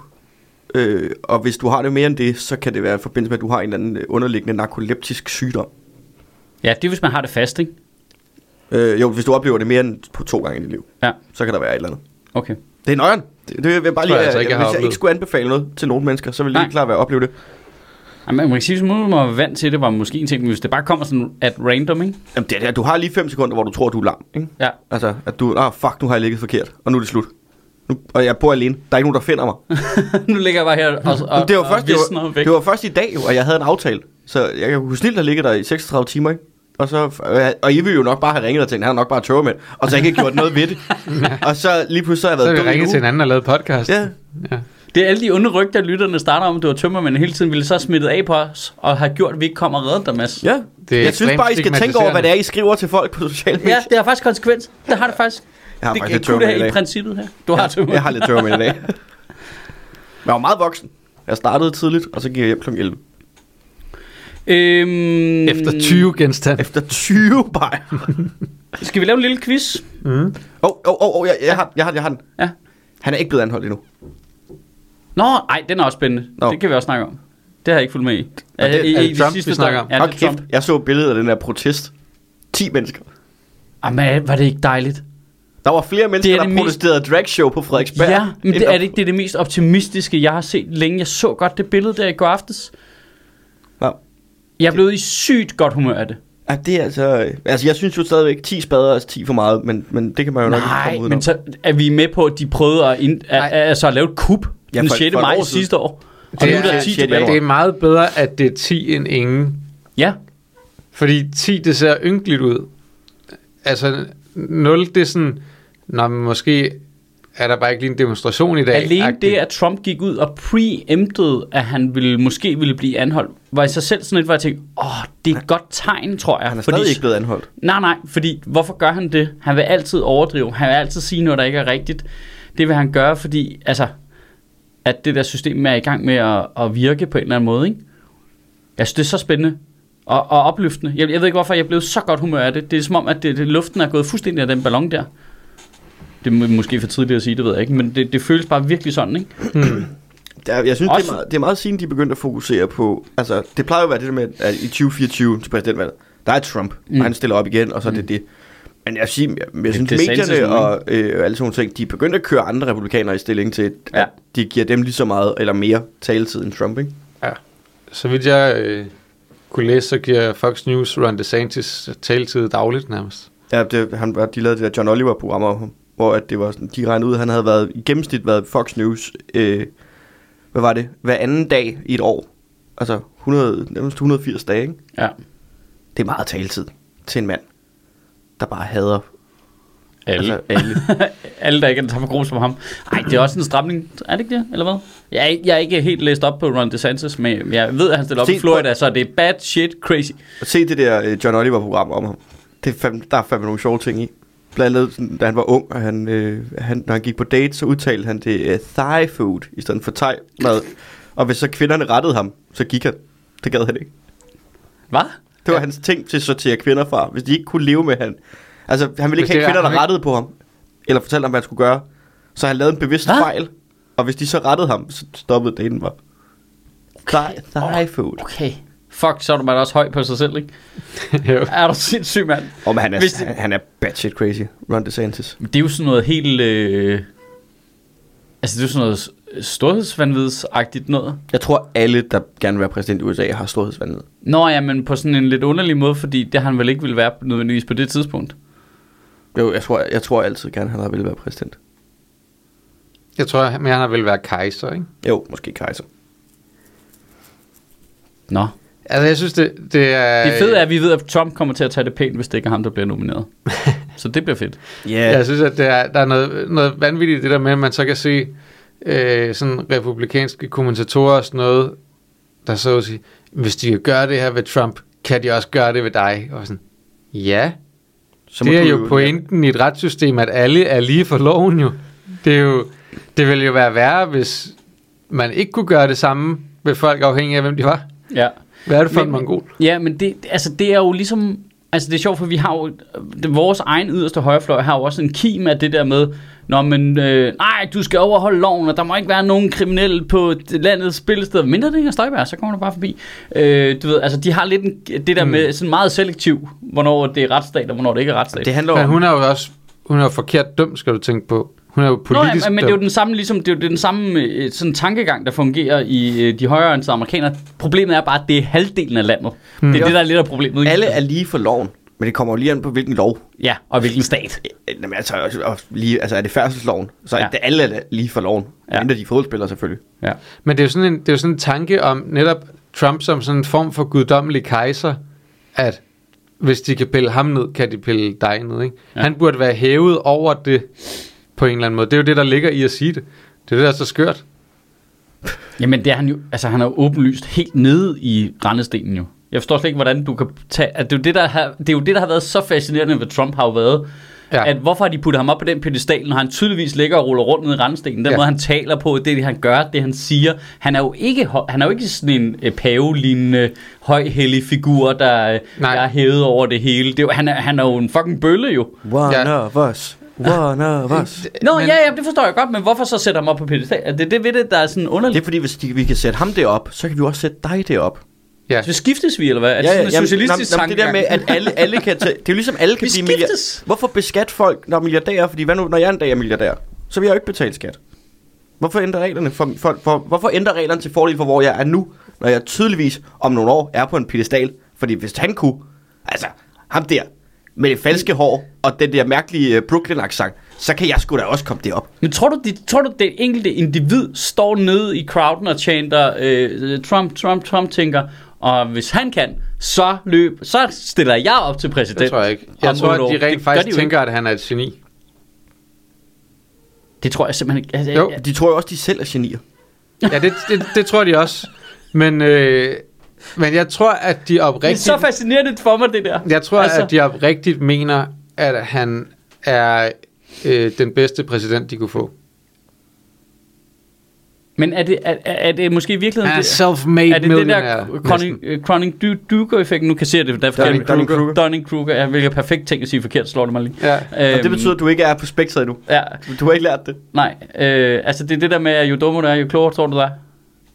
[SPEAKER 3] Øh, og hvis du har det mere end det, så kan det være i forbindelse med, at du har en eller anden øh, underliggende narkoleptisk sygdom.
[SPEAKER 1] Ja, det er, hvis man har det fast, ikke?
[SPEAKER 3] Øh, jo, hvis du oplever det mere end på to gange i dit liv,
[SPEAKER 1] Ja,
[SPEAKER 3] så kan der være et eller andet.
[SPEAKER 1] okay.
[SPEAKER 3] Det er nøjeren. Det, det vil jeg bare
[SPEAKER 2] Tror
[SPEAKER 3] lige,
[SPEAKER 2] jeg altså ikke, jeg
[SPEAKER 3] ikke,
[SPEAKER 2] har
[SPEAKER 3] hvis jeg
[SPEAKER 2] oplevet.
[SPEAKER 3] ikke skulle anbefale noget til nogle mennesker, så vil jeg
[SPEAKER 1] Nej.
[SPEAKER 3] lige klart være at opleve det.
[SPEAKER 1] Jamen, man kan sige, at man var vant til det, var måske en ting, men hvis det bare kommer sådan at random, ikke?
[SPEAKER 3] Jamen, det er, det. du har lige 5 sekunder, hvor du tror, du er lam. Ikke?
[SPEAKER 1] Ja. (laughs)
[SPEAKER 3] Altså, at du, ah fuck, nu har jeg ligget forkert, og nu er det slut. Nu, og jeg bor alene. Der er ikke nogen, der finder mig.
[SPEAKER 1] nu ligger jeg bare her og, og,
[SPEAKER 3] Og, det, var
[SPEAKER 1] og
[SPEAKER 3] først, det, var,
[SPEAKER 1] visner væk.
[SPEAKER 3] det var først i dag, jo, at jeg havde en aftale. Så jeg kan kunne snilt have ligget der i 36 timer, ikke? Og, så, og I ville jo nok bare have ringet og tænkt, han er nok bare tørmænd. Og så ikke have gjort noget
[SPEAKER 2] (laughs)
[SPEAKER 3] ved det. og så lige pludselig så har jeg
[SPEAKER 2] Så har
[SPEAKER 3] været
[SPEAKER 2] vi
[SPEAKER 3] dum i en
[SPEAKER 2] ringet
[SPEAKER 3] uge.
[SPEAKER 2] til hinanden og lavet podcast.
[SPEAKER 3] Ja.
[SPEAKER 2] ja.
[SPEAKER 1] Det er alle de onde rygter, lytterne starter om, at du var tømmer, men hele tiden ville så have smittet af på os, og har gjort, at vi ikke kommer og redder dig, Mads.
[SPEAKER 3] Ja.
[SPEAKER 2] Det er
[SPEAKER 3] jeg synes
[SPEAKER 2] ekstremt
[SPEAKER 3] bare, I skal tænke over, hvad det er, I skriver til folk på sociale medier.
[SPEAKER 1] ja, det har faktisk konsekvens. Det har det faktisk.
[SPEAKER 3] Jeg har
[SPEAKER 1] det
[SPEAKER 3] faktisk lidt
[SPEAKER 1] kunne det
[SPEAKER 3] tømmermænd i
[SPEAKER 1] her i
[SPEAKER 3] dag.
[SPEAKER 1] princippet her. Du har tømmer.
[SPEAKER 3] Jeg har lidt tørmænd i dag. Men jeg var meget voksen. Jeg startede tidligt, og så gik jeg hjem kl. 11.
[SPEAKER 1] Øhm,
[SPEAKER 2] Efter 20 genstande.
[SPEAKER 3] Efter 20 bajer.
[SPEAKER 1] Skal vi lave en lille quiz?
[SPEAKER 3] Åh, oh, oh, oh, oh, jeg, jeg, har, den, jeg, har, den, jeg har den.
[SPEAKER 1] Ja.
[SPEAKER 3] Han er ikke blevet anholdt endnu.
[SPEAKER 1] Nå, nej, den er også spændende.
[SPEAKER 3] Nå.
[SPEAKER 1] Det kan vi også snakke om. Det har jeg ikke fulgt med i.
[SPEAKER 2] Og det-
[SPEAKER 1] i,
[SPEAKER 2] er det
[SPEAKER 1] i de
[SPEAKER 2] Trump,
[SPEAKER 1] sidste
[SPEAKER 2] vi snakker
[SPEAKER 1] dage.
[SPEAKER 2] om?
[SPEAKER 1] Ja,
[SPEAKER 3] Hold
[SPEAKER 1] det er
[SPEAKER 3] kæft,
[SPEAKER 1] Trump.
[SPEAKER 3] jeg så billedet af den der protest. 10 mennesker.
[SPEAKER 1] Jamen, var det ikke dejligt?
[SPEAKER 3] Der var flere mennesker,
[SPEAKER 1] Det er det
[SPEAKER 3] det
[SPEAKER 1] mest-
[SPEAKER 3] der protesterede dragshow på Frederiksberg.
[SPEAKER 1] Ja, men
[SPEAKER 3] end
[SPEAKER 1] det, er
[SPEAKER 3] der-
[SPEAKER 1] det ikke det, er det mest optimistiske, jeg har set længe? Jeg så godt det billede der i går aftes.
[SPEAKER 3] Nå.
[SPEAKER 1] Jeg blev i sygt godt humør af det.
[SPEAKER 3] Ja, det er altså... øh, Altså, jeg synes jo stadigvæk, 10 spader er altså 10 for meget, men, men det kan man jo nok ikke
[SPEAKER 1] Nej,
[SPEAKER 3] komme ud
[SPEAKER 1] men så er vi med på, at de prøvede at, ind, at,
[SPEAKER 2] Nej.
[SPEAKER 1] altså at lave et kup
[SPEAKER 3] Ja,
[SPEAKER 1] den
[SPEAKER 3] for-
[SPEAKER 1] 6.
[SPEAKER 3] for et
[SPEAKER 1] maj
[SPEAKER 3] år siden.
[SPEAKER 1] sidste år. Og
[SPEAKER 2] Det
[SPEAKER 1] nu
[SPEAKER 2] er-
[SPEAKER 1] er der 10
[SPEAKER 3] shit,
[SPEAKER 1] tilbage.
[SPEAKER 3] ja.
[SPEAKER 2] Det er meget bedre, at det er 10 end ingen.
[SPEAKER 1] Ja,
[SPEAKER 2] Fordi 10, det ser ynkeligt ud. Altså, 0, det er sådan, når måske er der bare ikke lige en demonstration i dag.
[SPEAKER 1] alene
[SPEAKER 2] agtigt.
[SPEAKER 1] det, at Trump gik ud og preemptede, at han ville, måske ville blive anholdt, var i sig selv sådan lidt, hvor jeg tænkte, åh, det er et godt tegn, tror jeg.
[SPEAKER 3] Han er stadig ikke blevet anholdt.
[SPEAKER 1] Nej, nej, fordi hvorfor gør han det? Han vil altid overdrive. Han vil altid sige noget, der ikke er rigtigt. Det vil han gøre, fordi altså, at det der system er i gang med at, at virke på en eller anden måde. Ikke? Jeg synes, det er så spændende og, og opløftende. Jeg, jeg ved ikke, hvorfor jeg blev så godt humør af det. Det er som om, at det, det, luften er gået fuldstændig af den ballon der. Det er må- måske for tidligt at sige, det ved jeg ikke, men det, det føles bare virkelig sådan, ikke?
[SPEAKER 3] Der, jeg synes, det
[SPEAKER 1] Også-
[SPEAKER 3] er, meget, det er meget siden, de begyndte at fokusere på... Altså, det plejer jo at være det der med, at i 2024 til præsidentvalget, der er Trump, mm. og han stiller op igen, og så er det det. Men jeg, siger, jeg, jeg synes,
[SPEAKER 1] Mm. det er
[SPEAKER 3] medierne
[SPEAKER 1] sensationelt,
[SPEAKER 3] og øh, alle sådan nogle ting, de er begyndt at køre andre republikanere i stilling til, at
[SPEAKER 1] Ja.
[SPEAKER 3] ja. de giver dem lige så meget eller mere taletid end Trump, ikke?
[SPEAKER 2] Ja. Så vidt jeg øh, kunne læse, så giver Fox News Ron DeSantis taletid dagligt nærmest. (laughs)
[SPEAKER 3] Ja, det, han, var- de lavede det der John Oliver-programmer, hvor at det var sådan, de regnede ud, at han havde været, i gennemsnit været Fox News, øh, hvad var det, hver anden dag i et år. Altså 100, nærmest 180 dage, ikke?
[SPEAKER 1] Ja.
[SPEAKER 3] Det er meget taletid til en mand, der bare hader
[SPEAKER 1] Alle.
[SPEAKER 3] Altså, alle.
[SPEAKER 1] (laughs) Alle, der ikke er den samme gruppe som ham. Ej, det er også en stramning. Er det ikke det, eller hvad? Jeg er, ikke- jeg er ikke helt læst op på Ron DeSantis, men jeg ved, at han stiller op
[SPEAKER 3] Se,
[SPEAKER 1] i Florida, så det er bad shit crazy.
[SPEAKER 3] Og se det der øh, John Oliver-program om ham. Det er fandme, der er fandme nogle sjove ting i. Blandt andet, sådan, da han var ung, og han, øh, han, når han gik på date, så udtalte han det øh, thigh food, i stedet for thai mad. Og hvis så kvinderne rettede ham, så gik han. Det gad han ikke.
[SPEAKER 1] Hvad?
[SPEAKER 3] Det var ja. hans ting til at sortere kvinder fra, hvis de ikke kunne leve med han. Altså, han ville
[SPEAKER 2] Hvis det
[SPEAKER 3] ikke have
[SPEAKER 2] er-
[SPEAKER 3] kvinder,
[SPEAKER 2] han
[SPEAKER 3] der
[SPEAKER 2] ikke-
[SPEAKER 3] rettede på ham. Eller fortalte ham, hvad han skulle gøre. Så han lavede en bevidst
[SPEAKER 1] Hva?
[SPEAKER 3] fejl. Og hvis de så rettede ham, så stoppede daten bare. Thigh, thigh food.
[SPEAKER 1] Okay. Fuck, så er du bare også høj på sig selv, ikke?
[SPEAKER 2] Jo.
[SPEAKER 1] Er du sindssyg, mand?
[SPEAKER 3] Øh. Og men han er,
[SPEAKER 1] Hvis
[SPEAKER 3] det...
[SPEAKER 1] det-
[SPEAKER 3] han er batshit crazy, Ron DeSantis.
[SPEAKER 1] Det er jo sådan noget helt... Øh... Altså, det er jo sådan noget storhedsvanvidsagtigt noget.
[SPEAKER 3] Jeg tror, alle, der gerne vil være præsident i USA, har storhedsvandet.
[SPEAKER 1] Nå ja, men på sådan en lidt underlig måde, fordi det han vel ikke ville være nødvendigvis på det tidspunkt.
[SPEAKER 3] Jo, jeg tror, jeg tror altid gerne, han har vil være præsident.
[SPEAKER 2] Jeg tror, men han har vel været kejser, ikke?
[SPEAKER 3] Jo, måske kejser.
[SPEAKER 1] Nå.
[SPEAKER 2] Altså, jeg synes, det, det er...
[SPEAKER 1] Det fede er, at vi ved, at Trump kommer til at tage det pænt, hvis det ikke er ham, der bliver nomineret. Så det bliver fedt.
[SPEAKER 3] Ja.
[SPEAKER 2] Jeg synes, at det er, der er noget, noget vanvittigt i det der med, at man så kan se øh, sådan republikanske kommentatorer og sådan noget, der så sige, hvis de kan gøre det her ved Trump, kan de også gøre det ved dig. Og sådan, ja,
[SPEAKER 3] Så må
[SPEAKER 2] det er
[SPEAKER 3] du
[SPEAKER 2] jo pointen i et retssystem, at alle er lige for loven jo. Det, er jo. det ville jo være værre, hvis man ikke kunne gøre det samme ved folk, afhængig af hvem de var.
[SPEAKER 1] Ja.
[SPEAKER 2] Hvad er det for
[SPEAKER 1] Men-
[SPEAKER 2] en mongol?
[SPEAKER 1] Ja, men det, altså, det er jo ligesom... Altså, det er sjovt, for vi har jo... Det, vores egen yderste højrefløj har jo også en kim af det der med... Nå, men øh, nej, du skal overholde loven, og der må ikke være nogen kriminelle på det- landets spillested. Mindre det ikke er Støjberg, så kommer du bare forbi. Øh, du ved, altså, de har lidt en, det der med sådan meget selektiv, hvornår det er retsstat, og hvornår det ikke er retsstat.
[SPEAKER 3] Det handler
[SPEAKER 2] Men
[SPEAKER 3] om...
[SPEAKER 2] hun er jo også hun er jo forkert dømt, skal du tænke på. Hun er jo politisk
[SPEAKER 1] Nå, ja, men det er
[SPEAKER 2] dømt.
[SPEAKER 1] jo den samme, ligesom, det er jo den samme øh, sådan, tankegang, der fungerer i øh, de højreorienterede amerikanere. Problemet er bare, at det er halvdelen af landet. Mm. Det er det, der er lidt af problemet. ikke?
[SPEAKER 3] Alle er lige for loven, men det kommer jo lige an på, hvilken lov.
[SPEAKER 1] Ja, og hvilken stat.
[SPEAKER 3] Øh, Jamen, altså, og- og lige, altså, er det færdselsloven? Så er
[SPEAKER 1] Ja.
[SPEAKER 3] det alle er lige for loven.
[SPEAKER 1] Ja.
[SPEAKER 3] Ja. Mindre de er fodboldspillere, selvfølgelig.
[SPEAKER 1] Ja.
[SPEAKER 2] Men det er jo sådan en, det er jo sådan en tanke om netop Trump som sådan en form for guddommelig kejser, at hvis de kan pille ham ned, kan de pille dig ned. Ikke?
[SPEAKER 1] Ja.
[SPEAKER 2] Ja. Han burde være hævet over det på en eller anden måde. Det er jo det, der ligger i at sige det. Det er det, der er så skørt.
[SPEAKER 1] Jamen, det er han jo, altså, han er jo åbenlyst helt nede i rendestenen jo. Jeg forstår slet ikke, hvordan du kan tage... At det, er jo det, der har, det er jo det, der har været så fascinerende ved Trump, har jo været, ja.
[SPEAKER 2] Ja.
[SPEAKER 1] at hvorfor har de puttet ham op på den pedestal, når han tydeligvis ligger og ruller rundt nede i rendestenen. Den ja.
[SPEAKER 2] Ja.
[SPEAKER 1] måde, han taler på, det, han gør, det, han siger. Han er jo ikke, hø- han er jo ikke sådan en øh, pavelignende, højhellig figur, der, øh, der
[SPEAKER 2] Nej.
[SPEAKER 1] er hævet over det hele. Det er jo, han, er, han er jo en fucking bølle jo.
[SPEAKER 3] One
[SPEAKER 2] Ja.
[SPEAKER 3] of us. One of us.
[SPEAKER 1] Nå,
[SPEAKER 2] Men-
[SPEAKER 1] men, ja, ja, det forstår jeg godt, men hvorfor så sætter ham op på pedestal? Er Det er det ved det, der er sådan underligt.
[SPEAKER 3] Det er fordi, hvis de, vi kan sætte ham derop, så kan vi også sætte dig derop.
[SPEAKER 2] Ja.
[SPEAKER 1] Så skiftes vi, eller hvad? Er det sådan en socialistisk
[SPEAKER 3] jamen, jamen, det der med, at alle, alle kan tage, Det er jo ligesom, alle kan
[SPEAKER 1] Vi
[SPEAKER 3] blive milliardærer.
[SPEAKER 1] skiftes.
[SPEAKER 3] Hvorfor beskatte folk, når er milliardærer? Fordi hvad nu, når jeg en dag er milliardær? Så vil jeg jo ikke betale skat. Hvorfor ændre reglerne, for, for, for, hvorfor ændre reglerne til fordel for, hvor jeg er nu, når jeg tydeligvis om nogle år er på en pedestal? Fordi hvis han kunne, altså ham der, med det falske hår og den der mærkelige øh, Brooklyn-accent, så kan jeg sgu da også komme derop.
[SPEAKER 1] (laughs) Men tror du, det, tror du, det enkelte individ står nede i crowden og chanter øh, Trump, Trump, Trump, tænker, og hvis han kan, så løb, så stiller jeg op til præsident.
[SPEAKER 2] Det tror jeg ikke. Jeg
[SPEAKER 1] om
[SPEAKER 2] tror,
[SPEAKER 1] otte år.
[SPEAKER 2] at de
[SPEAKER 1] Det
[SPEAKER 2] rent
[SPEAKER 1] gør
[SPEAKER 2] faktisk
[SPEAKER 1] de jo
[SPEAKER 2] tænker, at han er et geni.
[SPEAKER 1] Ikke. Det tror jeg simpelthen ikke. Altså,
[SPEAKER 2] Jo.
[SPEAKER 1] jeg-
[SPEAKER 3] De tror jo også, de selv er genier.
[SPEAKER 2] Ja, det, det, det tror de også. Men, øh, men jeg tror, at de
[SPEAKER 1] Det er
[SPEAKER 2] oprigtigt...
[SPEAKER 1] så fascinerende for mig, det der.
[SPEAKER 2] Jeg tror,
[SPEAKER 1] Altså-
[SPEAKER 2] altså... at de oprigtigt mener, at han er øh, den bedste præsident, de kunne få.
[SPEAKER 1] Men er det, er, er er det måske i virkeligheden...
[SPEAKER 2] Han er
[SPEAKER 1] det-
[SPEAKER 2] self-made
[SPEAKER 1] er det det der
[SPEAKER 2] millionaire, næsten.
[SPEAKER 1] Cronin-Duker-effekten? Nu kan jeg se, at det er forkert.
[SPEAKER 3] Dunning-Kruger.
[SPEAKER 1] Dunning-Kruger. Ja, hvilket er perfekt ting at sige forkert, slår det mig lige.
[SPEAKER 2] Ja.
[SPEAKER 1] Øhm,
[SPEAKER 3] Og det betyder, at du ikke er på spektret endnu.
[SPEAKER 1] Ja,
[SPEAKER 3] Du har ikke lært det.
[SPEAKER 1] Nej, øh, altså det er det der med, at jo dummere du er, jo klogere tror du, du er.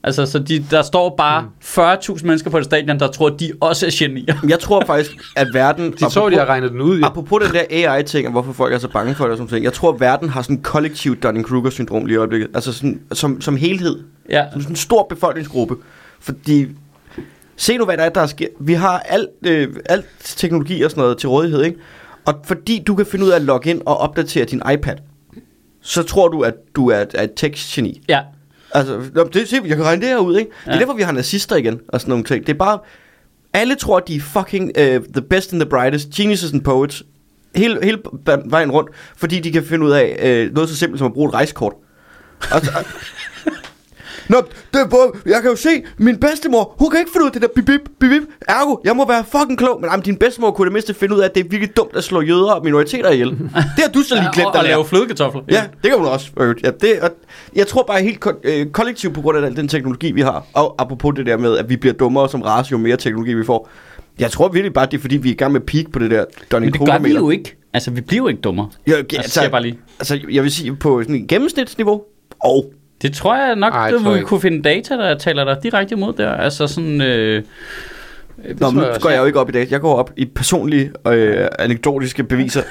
[SPEAKER 1] Altså, så de, der står bare mm. 40.000 mennesker på et stadion, der tror, de også er genier. (laughs)
[SPEAKER 3] Jeg tror faktisk, at verden...
[SPEAKER 2] De tror, de har regnet den ud. Ja.
[SPEAKER 3] Apropos den der AI-ting, og hvorfor folk er så bange for det og sådan ting. Jeg tror, verden har sådan en kollektiv Dunning-Kruger-syndrom lige i øjeblikket. Altså sådan, som, som helhed.
[SPEAKER 1] Ja,
[SPEAKER 3] Som sådan en stor befolkningsgruppe. Fordi Se nu, hvad der er, der sker. Vi har alt, øh, alt teknologi og sådan noget til rådighed, ikke? Og fordi du kan finde ud af at logge ind og opdatere din iPad, så tror du, at du er, er et tech-geni.
[SPEAKER 1] Ja.
[SPEAKER 3] Altså, nå, det, se, jeg kan regne det her ud, ikke? Ja. Det
[SPEAKER 1] Ja.
[SPEAKER 3] er derfor, vi har nazister igen, og sådan nogle ting. Det er bare, alle tror, at de er fucking uh, the best and the brightest, geniuses and poets, hele, hele ba- vejen rundt, fordi de kan finde ud af uh, noget så simpelt som at bruge et rejsekort. Og, og, Nå, det er både, jeg kan jo se, min bedstemor, hun kan ikke finde ud af det der bip, bip, bip, bip. Ergo, jeg må være fucking klog. Men jamen, din bedstemor kunne i det mindste finde ud af, at det er virkelig dumt at slå jøder og minoriteter
[SPEAKER 1] (laughs)
[SPEAKER 3] ihjel. det har du så lige glemt
[SPEAKER 1] og, og
[SPEAKER 3] at lære.
[SPEAKER 1] lave flødekartofler.
[SPEAKER 3] Ja, det kan hun også. for øvrigt. Ja, det, og jeg tror bare helt ko- øh, kollektivt på grund af den, den teknologi, vi har. Og apropos det der med, at vi bliver dummere som race, jo mere teknologi vi får. Jeg tror virkelig bare, det er fordi, vi er i gang med peak på det der
[SPEAKER 1] Men
[SPEAKER 3] donning
[SPEAKER 1] det gør vi jo ikke. Altså, vi bliver jo ikke dummere.
[SPEAKER 3] Jeg,
[SPEAKER 1] Altså, siger jeg bare lige.
[SPEAKER 3] altså, jeg vil sige på sådan et gennemsnitsniveau. Og
[SPEAKER 1] Det tror jeg nok,
[SPEAKER 2] Ej,
[SPEAKER 1] Ej,
[SPEAKER 2] det tror
[SPEAKER 1] du
[SPEAKER 2] jeg
[SPEAKER 1] vil
[SPEAKER 2] ikke.
[SPEAKER 1] kunne finde data, der taler dig direkte imod der. Altså sådan... Øh,
[SPEAKER 3] Nå, men
[SPEAKER 2] tror
[SPEAKER 3] nu
[SPEAKER 2] jeg også.
[SPEAKER 3] går jeg jo ikke op i det. Jeg går op i personlige øh, anekdotiske beviser.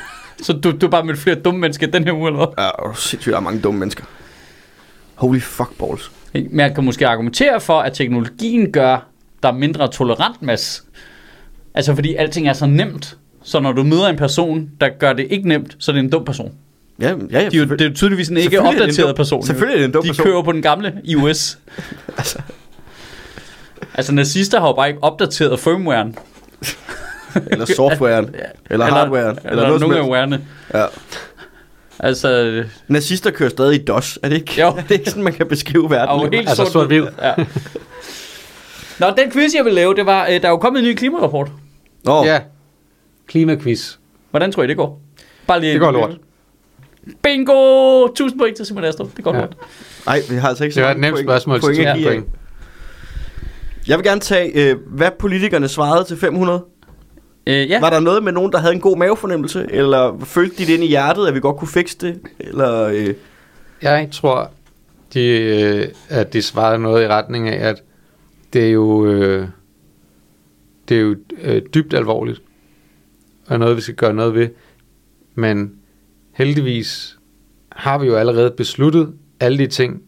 [SPEAKER 1] så du, du har bare mødt flere dumme mennesker den her uge, eller hvad?
[SPEAKER 3] Ja, uh, sindssygt, der er mange dumme mennesker. Holy fuck balls.
[SPEAKER 1] Ikke? Man kan måske argumentere for, at teknologien gør dig mindre tolerant, Mads. Altså fordi alting er så nemt. Så når du møder en person, der gør det ikke nemt, så er det en dum person.
[SPEAKER 3] Ja, ja, ja.
[SPEAKER 1] De er jo, det er jo tydeligvis en ikke
[SPEAKER 3] Selvfølgelig er det en dum-
[SPEAKER 1] opdateret person. jo.
[SPEAKER 3] selvfølgelig er det en dum
[SPEAKER 1] de
[SPEAKER 3] person.
[SPEAKER 1] De kører på den gamle iOS.
[SPEAKER 3] (laughs) Altså.
[SPEAKER 1] altså. altså nazister har jo bare ikke opdateret firmwaren.
[SPEAKER 3] Eller
[SPEAKER 1] (laughs)
[SPEAKER 3] softwaren. eller, hardwaren.
[SPEAKER 1] Eller, eller, eller
[SPEAKER 3] noget som
[SPEAKER 1] nogle af
[SPEAKER 3] helst.
[SPEAKER 1] warene.
[SPEAKER 3] Ja.
[SPEAKER 1] Altså,
[SPEAKER 3] Nazister kører stadig i DOS, er det ikke?
[SPEAKER 1] Jo.
[SPEAKER 3] (laughs) Er det ikke sådan, man kan beskrive verden?
[SPEAKER 1] og helt
[SPEAKER 2] Altså, sort-hvid.
[SPEAKER 3] (laughs)
[SPEAKER 1] Ja. Nå, den quiz, jeg ville lave, det var, øh, der er jo kommet en ny klimarapport.
[SPEAKER 3] Nå, ja.
[SPEAKER 2] Ja. Klimaquiz.
[SPEAKER 1] Hvordan tror I, det går? Bare lige
[SPEAKER 2] Det går lort.
[SPEAKER 1] Bingo! 1000 point til Simon Astrup. Det går
[SPEAKER 2] Ja.
[SPEAKER 1] lort.
[SPEAKER 3] Ej, vi har altså ikke så
[SPEAKER 2] Det var et
[SPEAKER 3] mange
[SPEAKER 2] nemt
[SPEAKER 3] point-
[SPEAKER 2] spørgsmål til
[SPEAKER 3] point at
[SPEAKER 2] 10
[SPEAKER 3] give
[SPEAKER 2] point.
[SPEAKER 3] af. Jeg vil gerne tage, øh, hvad politikerne svarede til 500.
[SPEAKER 1] Øh, ja.
[SPEAKER 3] Ja. Var der noget med nogen, der havde en god mavefornemmelse? Eller følte de det ind i hjertet, at vi godt kunne fikse det? Eller, øh,
[SPEAKER 2] Jeg tror, de, øh, at de svarede noget i retning af, at det er jo, øh, det er jo øh, dybt alvorligt, og noget, vi skal gøre noget ved. Men heldigvis har vi jo allerede besluttet alle de ting,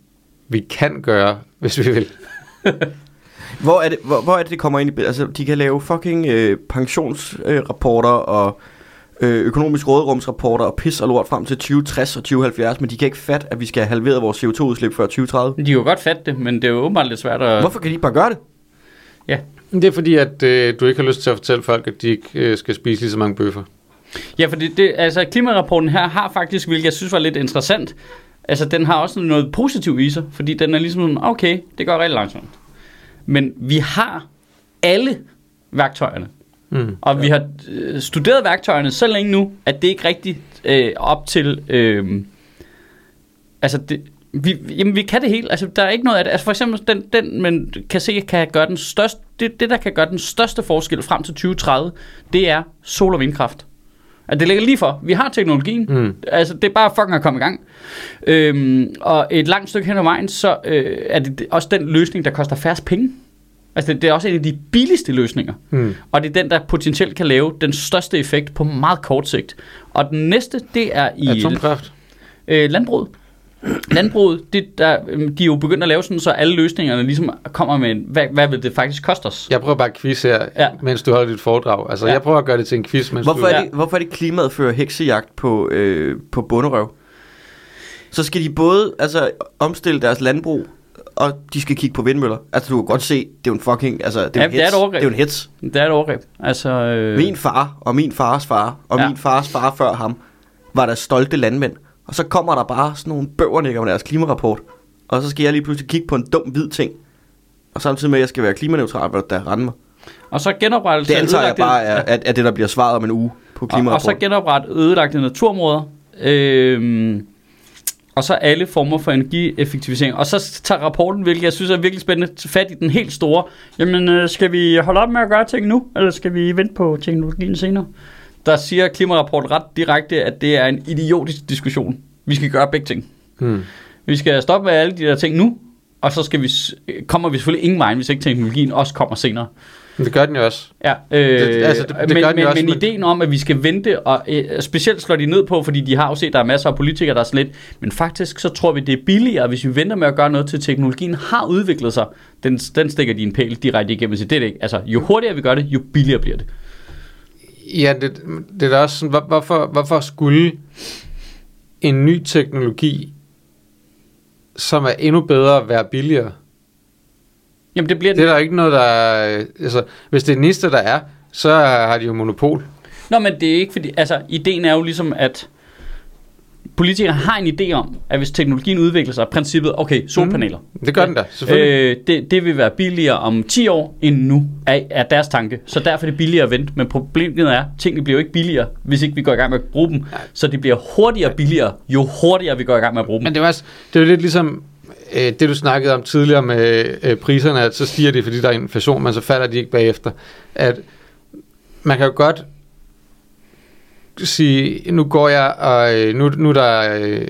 [SPEAKER 2] vi kan gøre, (laughs) hvis vi vil.
[SPEAKER 3] hvor, er det, hvor, hvor er det, det kommer ind i billedet? Altså, de kan lave fucking øh, pensionsrapporter øh, rapporter og øh, økonomisk råderumsrapporter og pis og lort frem til 2060 og 2070, men de kan ikke fatte, at vi skal have halveret vores CO2-udslip før 2030.
[SPEAKER 1] De kan jo godt fatte det, men det er jo åbenbart lidt svært at...
[SPEAKER 3] Hvorfor kan de ikke bare gøre det?
[SPEAKER 1] Ja.
[SPEAKER 2] Det er fordi, at øh, du ikke har lyst til at fortælle folk, at de ikke øh, skal spise lige så mange bøffer.
[SPEAKER 1] Ja, for det, det, altså, klimarapporten her har faktisk, hvilket jeg synes var lidt interessant, altså den har også noget positivt i sig, fordi den er ligesom sådan, okay, det går rigtig langsomt. Men vi har alle værktøjerne,
[SPEAKER 2] Mm.
[SPEAKER 1] og vi har øh, studeret værktøjerne så længe nu, at det ikke rigtigt øh, op til... Øh, altså, det, vi, jamen, vi kan det hele. Altså, der er ikke noget af det. Altså, for eksempel, den, den man kan se, kan gøre den største, det, det, der kan gøre den største forskel frem til 2030, det er sol- og vindkraft. Altså, det ligger lige for. Vi har teknologien.
[SPEAKER 2] Mm.
[SPEAKER 1] Altså, det er bare fucking at komme i gang. Øhm, og et langt stykke hen ad vejen, så øh, er det også den løsning, der koster færrest penge. Altså, det, det er også en af de billigste løsninger.
[SPEAKER 2] Mm.
[SPEAKER 1] Og det er den, der potentielt kan lave den største effekt på meget kort sigt. Og den næste, det er i
[SPEAKER 2] Atomkraft.
[SPEAKER 1] øh, landbruget. Landbruget, det der, øhm, de er jo begyndt at lave sådan, så alle løsningerne ligesom kommer med, en, hvad, hvad vil det faktisk koste os?
[SPEAKER 2] Jeg prøver bare at quiz her, ja.
[SPEAKER 1] Ja.
[SPEAKER 2] mens du holder dit foredrag. Altså, ja.
[SPEAKER 1] Ja.
[SPEAKER 2] jeg prøver at gøre det til en quiz, mens
[SPEAKER 3] Hvorfor
[SPEAKER 2] du...
[SPEAKER 3] er,
[SPEAKER 1] Ja.
[SPEAKER 3] det, hvorfor er det klimaet fører heksejagt på, øh, på bunderøv? Så skal de både altså, omstille deres landbrug, og de skal kigge på vindmøller. Altså, du kan godt se, det er jo en fucking... Altså, det er, jo en
[SPEAKER 1] Jamen, det er
[SPEAKER 3] hets.
[SPEAKER 1] et overgreb.
[SPEAKER 3] det er jo en hets.
[SPEAKER 1] Det er et overgreb. Altså, øh,
[SPEAKER 3] Min far, og min fars far, og
[SPEAKER 1] Ja.
[SPEAKER 3] min fars far før ham, var der stolte landmænd. Og så kommer der bare sådan nogle bøvernikker med deres klimarapport. Og så skal jeg lige pludselig kigge på en dum hvid ting. Og samtidig med, at jeg skal være klimaneutral, hvad der rende mig.
[SPEAKER 1] og så genoprettelse
[SPEAKER 3] Det
[SPEAKER 1] af
[SPEAKER 3] antager jeg
[SPEAKER 1] ødelagte-
[SPEAKER 3] bare er, at, at det, der bliver svaret om en uge på
[SPEAKER 1] og, og så
[SPEAKER 3] klimarapporten.
[SPEAKER 1] genoprette ødelagte naturområder. Øh, og så alle former for energieffektivisering. Og så tager rapporten, hvilket jeg synes er virkelig spændende, fat i den helt store. Jamen, øh, skal vi holde op med at gøre ting nu, eller skal vi vente på teknologien senere? Der siger klimarapporten ret direkte, at det er en idiotisk diskussion. Vi skal gøre begge ting.
[SPEAKER 2] Mm.
[SPEAKER 1] Vi skal stoppe med alle de der ting nu, og så skal vi, s- øh, kommer vi selvfølgelig ingen vej, hvis ikke teknologien også kommer senere.
[SPEAKER 2] Men det gør den jo også.
[SPEAKER 1] Ja, øh, det, altså, det, det men,
[SPEAKER 2] gør den
[SPEAKER 1] men,
[SPEAKER 2] jo også,
[SPEAKER 1] men
[SPEAKER 2] men-
[SPEAKER 1] ideen om, at vi skal vente, og øh, specielt slår de ned på, fordi de har jo set, at der er masser af politikere, der er sådan lidt, men faktisk så tror vi, det er billigere, hvis vi venter med at gøre noget til teknologien har udviklet sig. Den, den stikker de en pæl direkte igennem til det, er det ikke? Altså, jo hurtigere vi gør det, jo billigere bliver det.
[SPEAKER 2] Ja, det, det er da også sådan, hvor, hvorfor, hvorfor skulle en ny teknologi, som er endnu bedre, være billigere?
[SPEAKER 1] Jamen, det bliver
[SPEAKER 2] Det er der ikke noget, der er, øh, altså, hvis det er den eneste, der er, så har de jo monopol.
[SPEAKER 1] Nå, men det er ikke fordi... Altså, ideen er jo ligesom, at politikere har en idé om, at hvis teknologien udvikler sig, princippet, okay, solpaneler.
[SPEAKER 2] Mm. Det gør den da,
[SPEAKER 1] Øh,
[SPEAKER 2] selvfølgelig.
[SPEAKER 1] det, det vil være billigere om 10 år end nu, er, er deres tanke. Så derfor er det billigere at vente. Men problemet er, at tingene bliver jo ikke billigere, hvis ikke vi går i gang med at bruge dem. Så det bliver hurtigere billigere, jo hurtigere vi går i gang med at bruge dem.
[SPEAKER 2] Men det er jo også, det er jo lidt ligesom øh, det, du snakkede om tidligere med øh, priserne, at så stiger de, fordi der er inflation, men så falder de ikke bagefter. At man kan jo godt sige, nu går jeg, og øh, nu, nu, er der, øh,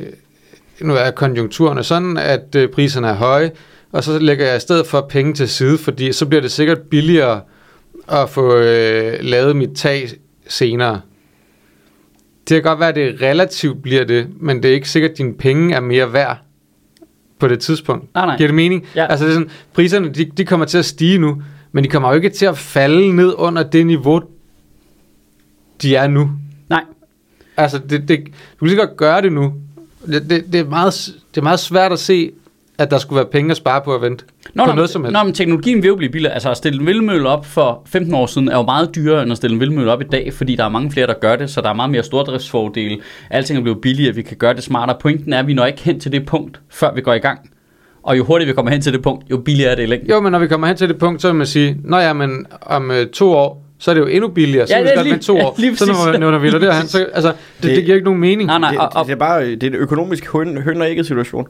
[SPEAKER 2] nu er konjunkturerne sådan, at øh, priserne er høje, og så lægger jeg i stedet for penge til side, fordi så bliver det sikkert billigere at få øh, lavet mit tag senere. Det kan godt være, at det relativt bliver det, men det er ikke sikkert, at dine penge er mere værd på det tidspunkt.
[SPEAKER 1] Nej, nej.
[SPEAKER 2] Giver det mening?
[SPEAKER 1] Ja.
[SPEAKER 2] Altså, det er sådan, priserne de, de kommer til at stige nu, men de kommer jo ikke til at falde ned under det niveau, de er nu.
[SPEAKER 1] Nej,
[SPEAKER 2] Altså, det, det, du kan lige så godt gøre det nu. Det, det, det, er meget, s- det er meget svært at se, at der skulle være penge at spare på at vente.
[SPEAKER 1] Nå,
[SPEAKER 2] på
[SPEAKER 1] nå,
[SPEAKER 2] noget som helst.
[SPEAKER 1] Nå, men teknologien vil jo blive billigere. Altså at stille en vindmølle op for 15 år siden er jo meget dyrere end at stille en vindmølle op i dag, fordi der er mange flere, der gør det, så der er meget mere stordriftsfordele. Alting er blevet billigere, vi kan gøre det smartere. Pointen er, at vi når ikke hen til det punkt, før vi går i gang. Og jo hurtigere vi kommer hen til det punkt, jo billigere er det i længden.
[SPEAKER 2] Jo, men når vi kommer hen til det punkt, så vil man sige, nå ja, men om øh, to år, så er det jo endnu billigere, så
[SPEAKER 1] Ja,
[SPEAKER 2] ja, vi
[SPEAKER 1] det er
[SPEAKER 2] godt
[SPEAKER 1] lige-
[SPEAKER 2] med
[SPEAKER 1] (laughs)
[SPEAKER 2] to
[SPEAKER 1] ja,
[SPEAKER 2] år.
[SPEAKER 1] lige
[SPEAKER 2] så når,
[SPEAKER 1] præcis.
[SPEAKER 2] man- når vi er derhen, så, altså, det, det,
[SPEAKER 3] Det-
[SPEAKER 2] giver ikke nogen mening.
[SPEAKER 1] Ah, Nej, nej,
[SPEAKER 3] det,
[SPEAKER 1] og, og,
[SPEAKER 3] det, det, er bare øh, det er en økonomisk høn, høn og ikke situation.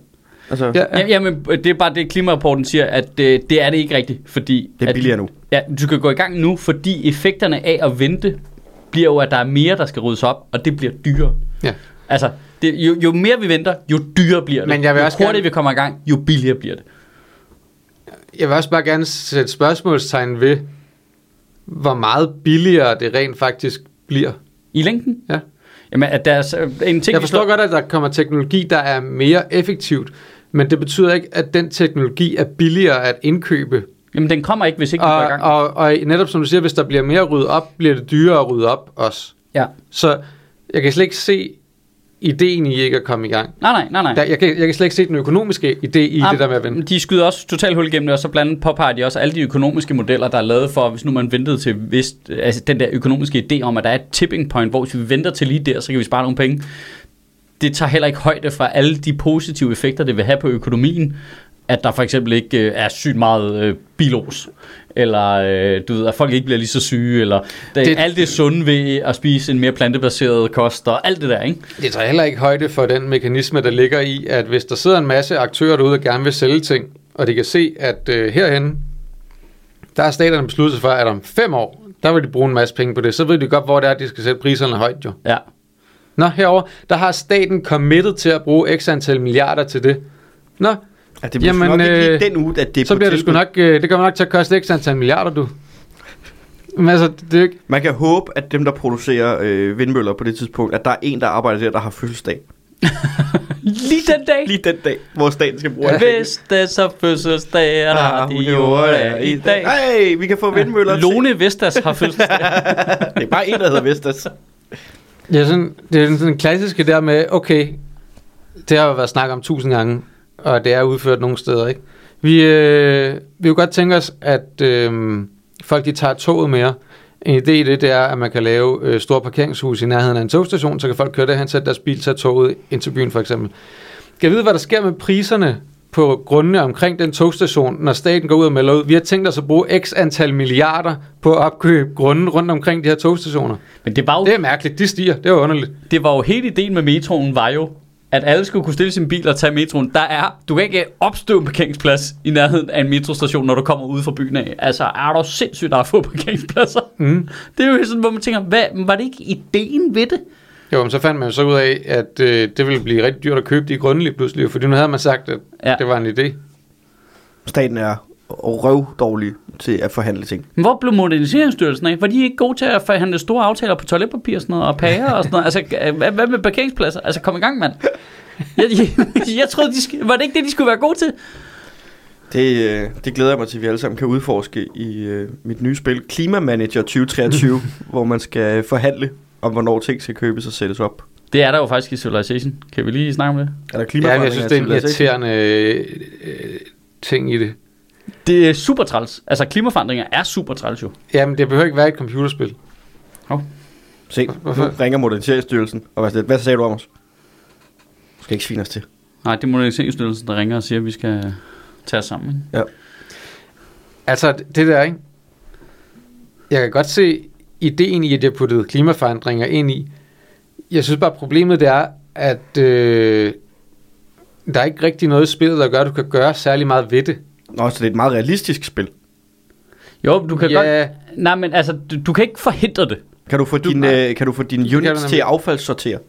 [SPEAKER 3] Altså, ja.
[SPEAKER 2] Ja,
[SPEAKER 1] Ja, jamen, det er bare det, klimarapporten siger, at det, det er det ikke rigtigt, fordi...
[SPEAKER 3] Det er
[SPEAKER 1] at-
[SPEAKER 3] billigere nu.
[SPEAKER 1] Ja, du skal gå i gang nu, fordi effekterne af at vente bliver jo, at der er mere, der skal ryddes op, og det bliver dyrere.
[SPEAKER 2] ja.
[SPEAKER 1] Altså, det, jo, jo mere vi venter, jo dyrere bliver det.
[SPEAKER 2] Men jeg vil
[SPEAKER 1] jo
[SPEAKER 2] også
[SPEAKER 1] hurtigere
[SPEAKER 2] gerne-
[SPEAKER 1] vi kommer i gang, jo billigere bliver det.
[SPEAKER 2] Jeg vil også bare gerne sætte spørgsmålstegn ved, hvor meget billigere det rent faktisk bliver.
[SPEAKER 1] I længden?
[SPEAKER 2] Ja.
[SPEAKER 1] Jamen, at deres, øh, en ting,
[SPEAKER 2] Jeg forstår godt, at der kommer teknologi, der er mere effektivt, men det betyder ikke, at den teknologi er billigere at indkøbe.
[SPEAKER 1] Jamen, den kommer ikke, hvis ikke vi går i
[SPEAKER 2] Og,
[SPEAKER 1] gang.
[SPEAKER 2] og, og netop som du siger, hvis der bliver mere ryddet op, bliver det dyrere at rydde op også.
[SPEAKER 1] ja.
[SPEAKER 2] Så jeg kan slet ikke se ideen i ikke at komme i gang.
[SPEAKER 1] Nej, nej, nej, nej.
[SPEAKER 2] Der, jeg, kan, jeg kan slet ikke se den økonomiske idé i
[SPEAKER 1] Ah,
[SPEAKER 2] det der med at vente.
[SPEAKER 1] De skyder også totalt hul igennem det, og så blandt andet påpeger de også alle de økonomiske modeller, der er lavet for, hvis nu man ventede til vist, altså den der økonomiske idé om, at der er et tipping point, hvor hvis vi venter til lige der, så kan vi spare nogle penge. Det tager heller ikke højde for alle de positive effekter, det vil have på økonomien, at der for eksempel ikke øh, er sygt meget øh, bilos, eller øh, du ved, at folk ikke bliver lige så syge, eller det,
[SPEAKER 2] Det-
[SPEAKER 1] alt det sunde ved at spise en mere plantebaseret kost, og alt det der, ikke?
[SPEAKER 2] Det tager heller ikke højde for den mekanisme, der ligger i, at hvis der sidder en masse aktører derude og gerne vil sælge ting, og de kan se, at øh, herhen, der har staterne besluttet sig for, at om fem år, der vil de bruge en masse penge på det, så ved de godt, hvor det er, de skal sætte priserne højt jo.
[SPEAKER 1] Ja.
[SPEAKER 2] Nå, herover, der har staten committed til at bruge x antal milliarder til det. Nå,
[SPEAKER 3] Ja, altså, det bliver
[SPEAKER 2] Jamen,
[SPEAKER 3] Jamen, nok ikke
[SPEAKER 2] øh,
[SPEAKER 3] lige den uge, at det er
[SPEAKER 2] så
[SPEAKER 3] på
[SPEAKER 2] bliver det sgu
[SPEAKER 3] tilbud.
[SPEAKER 2] nok, øh, det kommer nok til at koste x antal milliarder, du. Men altså, det er jo ikke,
[SPEAKER 3] Man kan håbe, at dem, der producerer øh, vindmøller på det tidspunkt, at der er en, der arbejder der, der har fødselsdag.
[SPEAKER 1] Lige den dag!
[SPEAKER 3] Lige den dag, hvor staten skal bruge alle pengene. Ah,
[SPEAKER 1] Hvis det så fødselsdag, er der
[SPEAKER 3] hun
[SPEAKER 1] de ord i dag.
[SPEAKER 3] Hey, vi kan få vindmøller til-
[SPEAKER 1] (laughs) Lone Vestas har fødselsdag.
[SPEAKER 3] Det er bare en, der hedder Vestas.
[SPEAKER 2] Det er sådan, det er sådan den klassiske der med, okay, det har jo været snakket om tusind gange, og det er udført nogle steder, ikke? Vi, øh, vi kunne godt tænke os, at øh, folk de tager toget mere. En idé i det, det er, at man kan lave øh, store parkeringshus i nærheden af en togstation, så kan folk køre derhen, sætte deres bil, tage toget ind til byen for eksempel. Kan jeg vide, hvad der sker med priserne på grundene omkring den togstation, når staten går ud og melder ud, vi har tænkt os at bruge x antal milliarder på at opkøbe grunden rundt omkring de her togstationer.
[SPEAKER 1] (laughs) Men det var, jo,
[SPEAKER 2] Det er mærkeligt, de stiger, det er jo underligt.
[SPEAKER 1] det var jo hele ideen med metroen, var jo, at alle skulle kunne stille sin bil og tage metroen. Der er, du kan ikke opstøve en parkeringsplads i nærheden af en metrostation, når du kommer ud fra byen af. Altså, er der sindssygt, der er få parkeringspladser? Mm. Det er jo sådan, hvor man tænker, hvad, men var det ikke ideen ved det?
[SPEAKER 2] Jo, men så fandt man jo så ud af, at øh, det ville blive rigtig dyrt at købe de grunde lige pludselig, fordi nu havde man sagt, at
[SPEAKER 1] Ja.
[SPEAKER 2] ja. det var en idé.
[SPEAKER 3] Staten er røv dårlig til at forhandle ting.
[SPEAKER 1] Men hvor blev moderniseringsstyrelsen af? Var de ikke gode til at forhandle store aftaler på toiletpapir og sådan noget, og pager og sådan noget? Altså, øh, hvad, hvad med parkeringspladser? Altså, kom i gang, mand. Jeg, jeg, jeg troede, de sk- var det ikke det, de skulle være gode til?
[SPEAKER 3] Det, øh, det glæder jeg mig til, at vi alle sammen kan udforske i øh, mit nye spil,
[SPEAKER 2] (laughs)
[SPEAKER 3] Klimamanager 2023, hvor man skal øh, forhandle om, hvornår ting skal købes og sættes op.
[SPEAKER 1] Det er der jo faktisk i Civilization. Kan vi lige snakke om det?
[SPEAKER 3] Er der
[SPEAKER 2] Ja, men jeg synes, det er en
[SPEAKER 3] klimaforandringer i civilisation?
[SPEAKER 2] irriterende øh, øh, ting i det.
[SPEAKER 1] Det er super træls. Altså, klimaforandringer er super træls jo.
[SPEAKER 2] Jamen, det behøver ikke være et computerspil.
[SPEAKER 3] Se, nu ringer Moderniseringsstyrelsen og hvad, hvad sagde du om os? Du skal ikke svine os til.
[SPEAKER 1] Nej, det er moderniseringsstyrelsen, der ringer og siger, at vi skal tage os sammen. ikke?
[SPEAKER 2] Altså, det der, ikke? Jeg kan godt se ideen i, at jeg puttede klimaforandringer ind i. Jeg synes bare, problemet det er, at øh, der er ikke rigtig noget i spillet, der gør, at du kan gøre særlig meget ved det.
[SPEAKER 3] Nå, så det er et meget realistisk spil.
[SPEAKER 1] Jo, du kan
[SPEAKER 2] Ja.
[SPEAKER 1] godt... Nej, men altså, du, du kan ikke forhindre det.
[SPEAKER 3] Kan du få
[SPEAKER 2] Du-
[SPEAKER 3] din, øh, kan du få din
[SPEAKER 2] kan du
[SPEAKER 3] units
[SPEAKER 2] nemlig.
[SPEAKER 3] til at affaldssortere?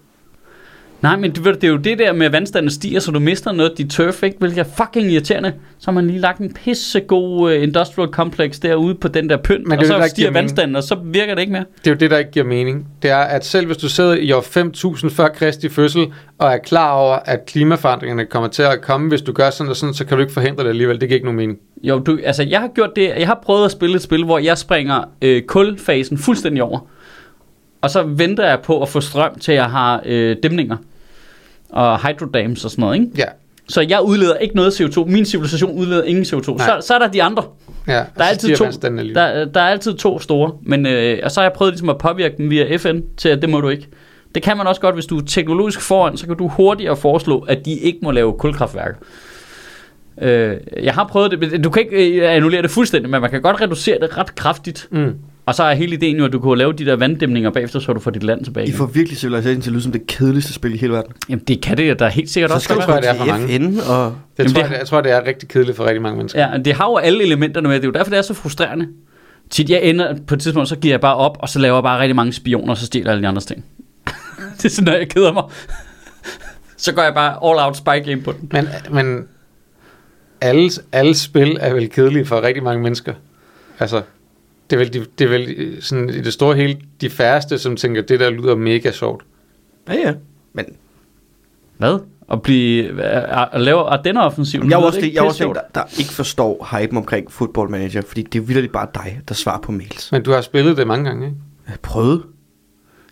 [SPEAKER 1] Nej, men det, ved du, det er jo det der med, at vandstanden stiger, så du mister noget af dit turf, ikke? hvilket er fucking irriterende. Så har man lige lagt en pissegod uh, industrial complex derude på den der pynt,
[SPEAKER 2] Men det er
[SPEAKER 1] og
[SPEAKER 2] jo det,
[SPEAKER 1] så
[SPEAKER 2] der
[SPEAKER 1] stiger
[SPEAKER 2] giver mening.
[SPEAKER 1] vandstanden, og så virker det ikke mere.
[SPEAKER 2] Det er jo det, der ikke giver mening. Det er, at selv hvis du sidder i år 5000 før Kristi fødsel, og er klar over, at klimaforandringerne kommer til at komme, hvis du gør sådan og sådan, så kan du ikke forhindre det alligevel. Det giver ikke nogen mening.
[SPEAKER 1] Jo, du, altså, jeg har gjort det, jeg har prøvet at spille et spil, hvor jeg springer øh, kulfasen fuldstændig over. Og så venter jeg på at få strøm til, at jeg har øh, dæmninger og hydrodams og sådan noget, ikke?
[SPEAKER 2] Ja,
[SPEAKER 1] Så jeg udleder ikke noget CO2. Min civilisation udleder ingen CO2. Så,
[SPEAKER 2] Nej.
[SPEAKER 1] så er der de andre.
[SPEAKER 2] ja. og
[SPEAKER 1] Der er
[SPEAKER 2] så
[SPEAKER 1] altid
[SPEAKER 2] stiger
[SPEAKER 1] to.
[SPEAKER 2] vandstanden alligevel.
[SPEAKER 1] Der, der er altid to store, men øh, og så har jeg prøvet ligesom at påvirke dem via FN til, at det må du ikke. Det kan man også godt, hvis du er teknologisk foran, så kan du hurtigere foreslå, at de ikke må lave kulkraftværker. Øh, jeg har prøvet det, men du kan ikke øh, annullere det fuldstændig, men man kan godt reducere det ret kraftigt.
[SPEAKER 2] Mm.
[SPEAKER 1] Og så er hele ideen jo, at du kunne lave de der vanddæmninger bagefter, så du får dit land tilbage.
[SPEAKER 3] I
[SPEAKER 1] igen.
[SPEAKER 3] får virkelig Civilization til at lyde som det kedeligste spil i hele verden.
[SPEAKER 1] Jamen det kan det, der er helt sikkert
[SPEAKER 3] Så
[SPEAKER 1] også.
[SPEAKER 3] skal
[SPEAKER 1] godt
[SPEAKER 3] du
[SPEAKER 2] tror
[SPEAKER 1] være.
[SPEAKER 2] jeg, det er
[SPEAKER 3] komme
[SPEAKER 2] for
[SPEAKER 3] til FN og...
[SPEAKER 2] Det
[SPEAKER 1] Jamen,
[SPEAKER 2] tror
[SPEAKER 1] det-
[SPEAKER 2] jeg, det, jeg tror, det er rigtig kedeligt for rigtig mange mennesker.
[SPEAKER 1] Ja, det har jo alle elementerne med. Det er jo derfor, det er så frustrerende. Tit jeg ender på et tidspunkt, så giver jeg bare op, og så laver jeg bare rigtig mange spioner, og så stjæler jeg alle de andres ting. (laughs) det er sådan, når jeg keder mig. (laughs) så går jeg bare all out spy game på den.
[SPEAKER 2] Men, men alle, alle spil er vel kedelige for rigtig mange mennesker. Altså, det er vel, de, det er vel øh, sådan, i det store hele de færreste, som tænker, det der lyder mega sjovt.
[SPEAKER 3] Ja, ja. Men
[SPEAKER 1] Hvad? At blive, at, at lave Ardenner-offensiven.
[SPEAKER 3] jeg er jo også,
[SPEAKER 1] lyder
[SPEAKER 3] det, jeg er også
[SPEAKER 1] pissesjovt?
[SPEAKER 3] den, der, der ikke forstår hypen omkring Football Manager, fordi det er vildt bare dig, der svarer på mails.
[SPEAKER 2] Men du har spillet det mange gange, ikke?
[SPEAKER 3] Jeg prøvede.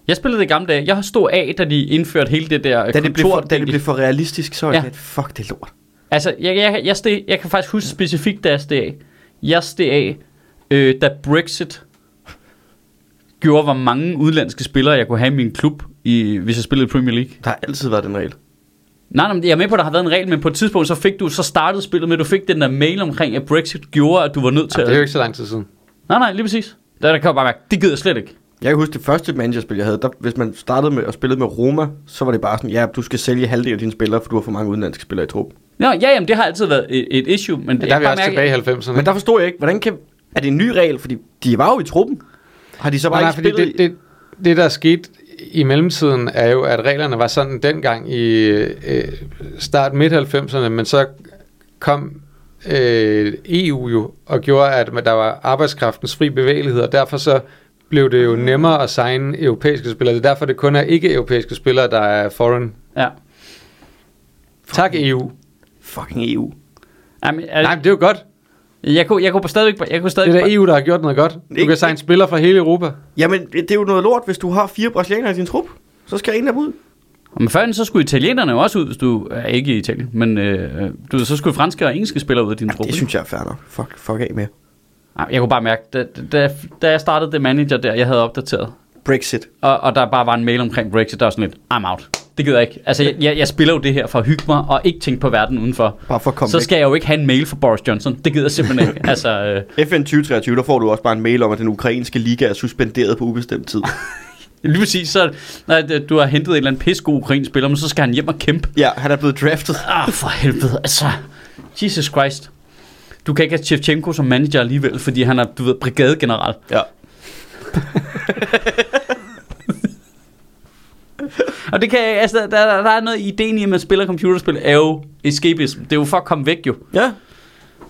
[SPEAKER 1] Jeg spillede det i gamle dage. Jeg stod af, da de indførte hele det der
[SPEAKER 3] Da det, blev for,
[SPEAKER 1] kontor.
[SPEAKER 3] da det blev for realistisk, så var
[SPEAKER 1] Ja.
[SPEAKER 3] ja. det, fuck det er lort.
[SPEAKER 1] Altså, jeg, jeg, jeg, steg, jeg kan faktisk huske specifikt, da jeg steg af. Jeg steg af, øh, da Brexit gjorde, hvor mange udlandske spillere, jeg kunne have i min klub, i, hvis jeg spillede i Premier League.
[SPEAKER 3] Der har altid været den regel.
[SPEAKER 1] Nej, nej, men jeg er med på, at der har været en regel, men på et tidspunkt, så, fik du, så startede spillet med, at du fik den der mail omkring, at Brexit gjorde, at du var nødt til
[SPEAKER 2] Jamen, det er jo
[SPEAKER 1] at...
[SPEAKER 2] ikke så lang tid siden.
[SPEAKER 1] Nej, nej, lige præcis. Der, der kan jeg bare mærke, det gider jeg slet ikke.
[SPEAKER 3] Jeg kan huske det første managerspil, jeg havde, der, hvis man startede med at spille med Roma, så var det bare sådan, ja, du skal sælge halvdelen af dine spillere, for du har for mange udenlandske spillere i truppen.
[SPEAKER 1] Nå, ja, jamen, det har altid været et, et issue, men,
[SPEAKER 2] Men
[SPEAKER 1] jeg
[SPEAKER 2] der
[SPEAKER 1] kan
[SPEAKER 2] er vi
[SPEAKER 1] bare
[SPEAKER 2] også
[SPEAKER 1] mærke,
[SPEAKER 2] tilbage i 90'erne.
[SPEAKER 3] Men der forstod jeg ikke, hvordan kan... Er det en ny regel? Fordi de var jo i truppen. Har de så
[SPEAKER 2] Nej,
[SPEAKER 3] bare
[SPEAKER 2] nej,
[SPEAKER 3] ikke
[SPEAKER 2] fordi
[SPEAKER 3] spillet
[SPEAKER 2] det, det, det, der er sket i mellemtiden, er jo, at reglerne var sådan dengang i øh, start midt 90'erne, men så kom øh, EU jo og gjorde, at der var arbejdskraftens fri bevægelighed, og derfor så blev det jo nemmere at signe europæiske spillere. Det er derfor, det kun er ikke-europæiske spillere, der er foreign.
[SPEAKER 1] Ja.
[SPEAKER 2] Tak EU.
[SPEAKER 3] Fucking E EU.
[SPEAKER 1] Jamen,
[SPEAKER 2] Nej,
[SPEAKER 1] jeg,
[SPEAKER 2] men det er jo godt.
[SPEAKER 1] jeg, kunne, jeg kunne stadigvæk... Jeg kunne stadigvæk
[SPEAKER 2] Det er da EU, der har gjort noget godt. Du
[SPEAKER 3] Ikke-
[SPEAKER 2] kan signe spillere fra hele Europa.
[SPEAKER 3] Jamen, det er jo noget lort, hvis du har fire brasilianere i din trup. Så skal en af dem ud.
[SPEAKER 1] Men førhen så skulle italienerne jo også ud, hvis du er ikke i Italien, men øh, du, ved, så skulle franske og engelske spillere ud af din
[SPEAKER 3] Ja,
[SPEAKER 1] truppe.
[SPEAKER 3] det synes jeg er fair nok. Fuck, fuck af med.
[SPEAKER 1] Ej, Jeg kunne bare mærke, da, da, da jeg startede det manager der, jeg havde opdateret,
[SPEAKER 3] Brexit.
[SPEAKER 1] og, og der bare var en mail omkring Brexit, der var sådan lidt, I'm out. Det gider jeg ikke. Altså, jeg, jeg, jeg spiller jo det her for at hygge mig og ikke tænke på verden udenfor.
[SPEAKER 3] Bare for at komme
[SPEAKER 1] så skal jeg jo ikke have en mail fra Boris Johnson. Det gider jeg simpelthen
[SPEAKER 3] (laughs)
[SPEAKER 1] ikke. altså, øh,
[SPEAKER 3] væk. FN 2023, der får du også bare en mail om, at den ukrainske liga er suspenderet på ubestemt tid.
[SPEAKER 1] lige præcis, så, når det- du har hentet en eller anden pissegod ukrainsk spiller, men så skal han hjem og kæmpe.
[SPEAKER 3] (laughs) ja, han er blevet draftet.
[SPEAKER 1] Ah, for helvede, altså. Jesus Christ. Du kan ikke have Shevchenko som manager alligevel, fordi han er, du ved, brigadegeneral.
[SPEAKER 3] Ja.
[SPEAKER 1] Og det kan, altså, der, der, der er noget i ideen i, at man spiller computerspil, er jo escapism. Det er jo for at komme væk, jo.
[SPEAKER 3] Ja.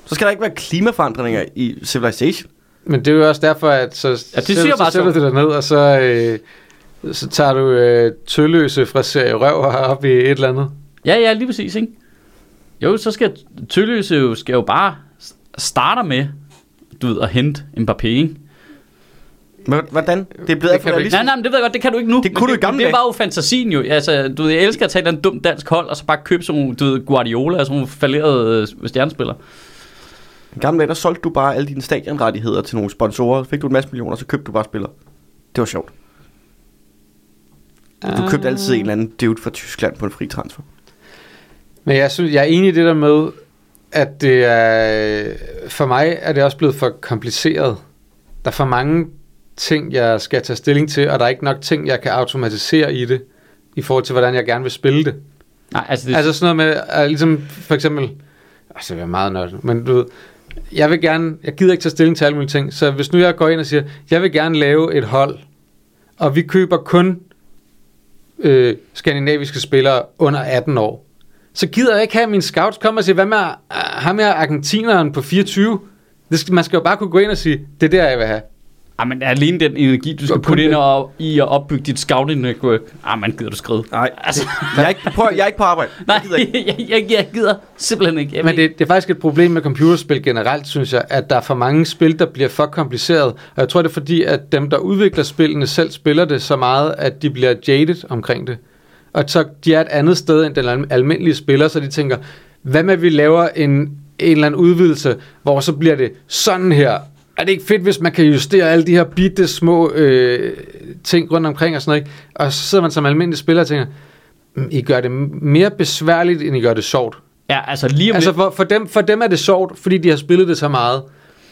[SPEAKER 3] Så skal der ikke være klimaforandringer i Civilization.
[SPEAKER 2] Men det er jo også derfor, at så,
[SPEAKER 1] det
[SPEAKER 2] sætter-
[SPEAKER 1] siger
[SPEAKER 2] så
[SPEAKER 1] bare
[SPEAKER 2] sætter
[SPEAKER 1] så.
[SPEAKER 2] du dig ned, og så, øh, så tager du øh, tølløse fra serie røv og op i et eller andet.
[SPEAKER 1] Ja, ja, lige præcis, ikke? Jo, så skal Tølløse jo, skal jo bare s- starter med, du ved, at hente Mbappé, ikke?
[SPEAKER 3] Men hvordan? Det er
[SPEAKER 2] kan
[SPEAKER 3] blevet
[SPEAKER 2] du ikke.
[SPEAKER 1] Nej, nej, men det ved jeg godt, det kan du ikke nu.
[SPEAKER 3] Det kunne
[SPEAKER 1] Men
[SPEAKER 3] du i gamle
[SPEAKER 1] men Det
[SPEAKER 3] dage.
[SPEAKER 1] var jo fantasien jo. Altså, du ved, jeg elsker at tage et eller andet dumt dansk hold, og så bare købe sådan nogle, du ved, Guardiola og sådan nogle falderede øh, stjernespillere.
[SPEAKER 3] I gamle dage, der solgte du bare alle dine stadionrettigheder til nogle sponsorer. Fik du en masse millioner, så købte du bare spillere. Det var sjovt. Du købte altid en eller anden dude fra Tyskland på en fri transfer.
[SPEAKER 2] Men jeg, synes, jeg er enig i det der med, at det er, øh, for mig er det også blevet for kompliceret. Der er for mange ting, jeg skal tage stilling til, og der er ikke nok ting, jeg kan automatisere i det, i forhold til, hvordan jeg gerne vil spille det.
[SPEAKER 1] Nej, altså, det,
[SPEAKER 2] Altså sådan noget med, at ligesom for eksempel, altså det er meget nørdet, men du ved, jeg vil gerne, jeg gider ikke tage stilling til alle mulige ting, så hvis nu jeg går ind og siger, jeg vil gerne lave et hold, og vi køber kun øh, skandinaviske spillere under 18 år, så gider jeg ikke have at mine scouts komme og sige, hvad med ah, ham her argentineren på 24? Det skal, man skal jo bare kunne gå ind og sige, det er der, jeg vil have.
[SPEAKER 1] Ej, Ah, men alene den energi, du skal
[SPEAKER 2] Kun
[SPEAKER 1] putte ind
[SPEAKER 2] det.
[SPEAKER 1] og, i at opbygge dit scouting network. Ej, man gider du skride.
[SPEAKER 3] Nej,
[SPEAKER 1] Altså,
[SPEAKER 3] jeg er ikke, prøv, jeg er ikke på arbejde.
[SPEAKER 1] nej,
[SPEAKER 3] Jeg gider ikke.
[SPEAKER 1] (laughs) jeg, jeg, jeg gider simpelthen ikke. Jeg
[SPEAKER 2] Men
[SPEAKER 1] ved-
[SPEAKER 2] det, det er faktisk et problem med computerspil generelt, synes jeg, at der er for mange spil, der bliver for kompliceret. Og jeg tror, det er fordi, at dem, der udvikler spillene, selv spiller det så meget, at de bliver jaded omkring det. Og så de er et andet sted end den alm- almindelige spiller, så de tænker, hvad med, at vi laver en, en eller anden udvidelse, hvor så bliver det sådan her. Er det ikke fedt, hvis man kan justere alle de her bitte små øh, ting rundt omkring og sådan noget? Ikke? Og så sidder man som almindelig spiller og tænker, "Mm, I gør det m- mere besværligt, end I gør det sjovt.
[SPEAKER 1] Ja, altså lige om
[SPEAKER 2] Altså
[SPEAKER 1] altså,
[SPEAKER 2] for, for, dem, for dem er det sjovt, fordi de har spillet det så meget.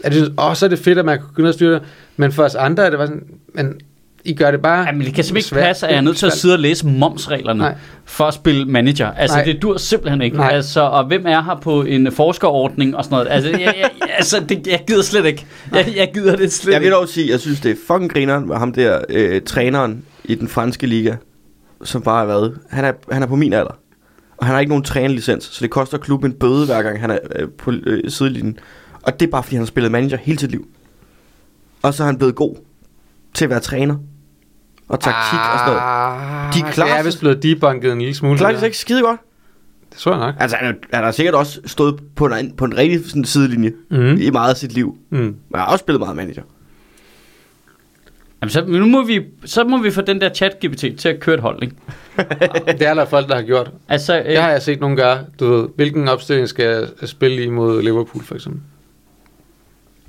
[SPEAKER 2] At de synes, åh, så er det fedt, at man kan begynde at styre det. Men for os andre er det bare sådan, men I gør det bare...
[SPEAKER 1] Jamen, det kan simpelthen
[SPEAKER 2] svært.
[SPEAKER 1] ikke passe, at jeg er nødt til at sidde og læse momsreglerne
[SPEAKER 2] Nej.
[SPEAKER 1] for at spille manager. Altså,
[SPEAKER 2] Nej.
[SPEAKER 1] det dur simpelthen ikke.
[SPEAKER 2] Nej.
[SPEAKER 1] Altså, og hvem er her på en forskerordning og sådan noget? Altså, jeg, jeg, altså det, jeg gider slet ikke. Jeg, jeg gider det slet
[SPEAKER 3] Jeg vil
[SPEAKER 1] ikke.
[SPEAKER 3] dog sige, jeg synes, det er fucking grineren med ham der øh, træneren i den franske liga, som bare har været. Han er, han er på min alder. Og han har ikke nogen trænerlicens, så det koster klubben en bøde, hver gang han er øh, på øh, sidelinjen. Og det er bare, fordi han har spillet manager hele sit liv. Og så er han blevet god til at være træner. Og taktik ah, og sådan noget. De
[SPEAKER 2] Ah,
[SPEAKER 3] klarer
[SPEAKER 2] det er
[SPEAKER 3] sig-
[SPEAKER 2] vist blevet debunket en lille smule.
[SPEAKER 3] Klarer
[SPEAKER 2] det
[SPEAKER 3] det sig ikke skide godt.
[SPEAKER 2] der. Det tror jeg nok.
[SPEAKER 3] Altså, han er, han har sikkert også stået på en, egen- på en rigtig sådan, sidelinje
[SPEAKER 2] Mhm.
[SPEAKER 3] mm. i meget af sit liv.
[SPEAKER 2] Mm.
[SPEAKER 3] Men han har også spillet meget manager.
[SPEAKER 1] Jamen, så, nu må vi, så må vi få den der chat-GPT til at køre et hold, ikke?
[SPEAKER 2] Det er der folk, der har gjort.
[SPEAKER 1] Altså, øh,
[SPEAKER 2] Det har jeg set nogen gøre. Du ved, hvilken opstilling skal jeg spille i mod Liverpool, for eksempel?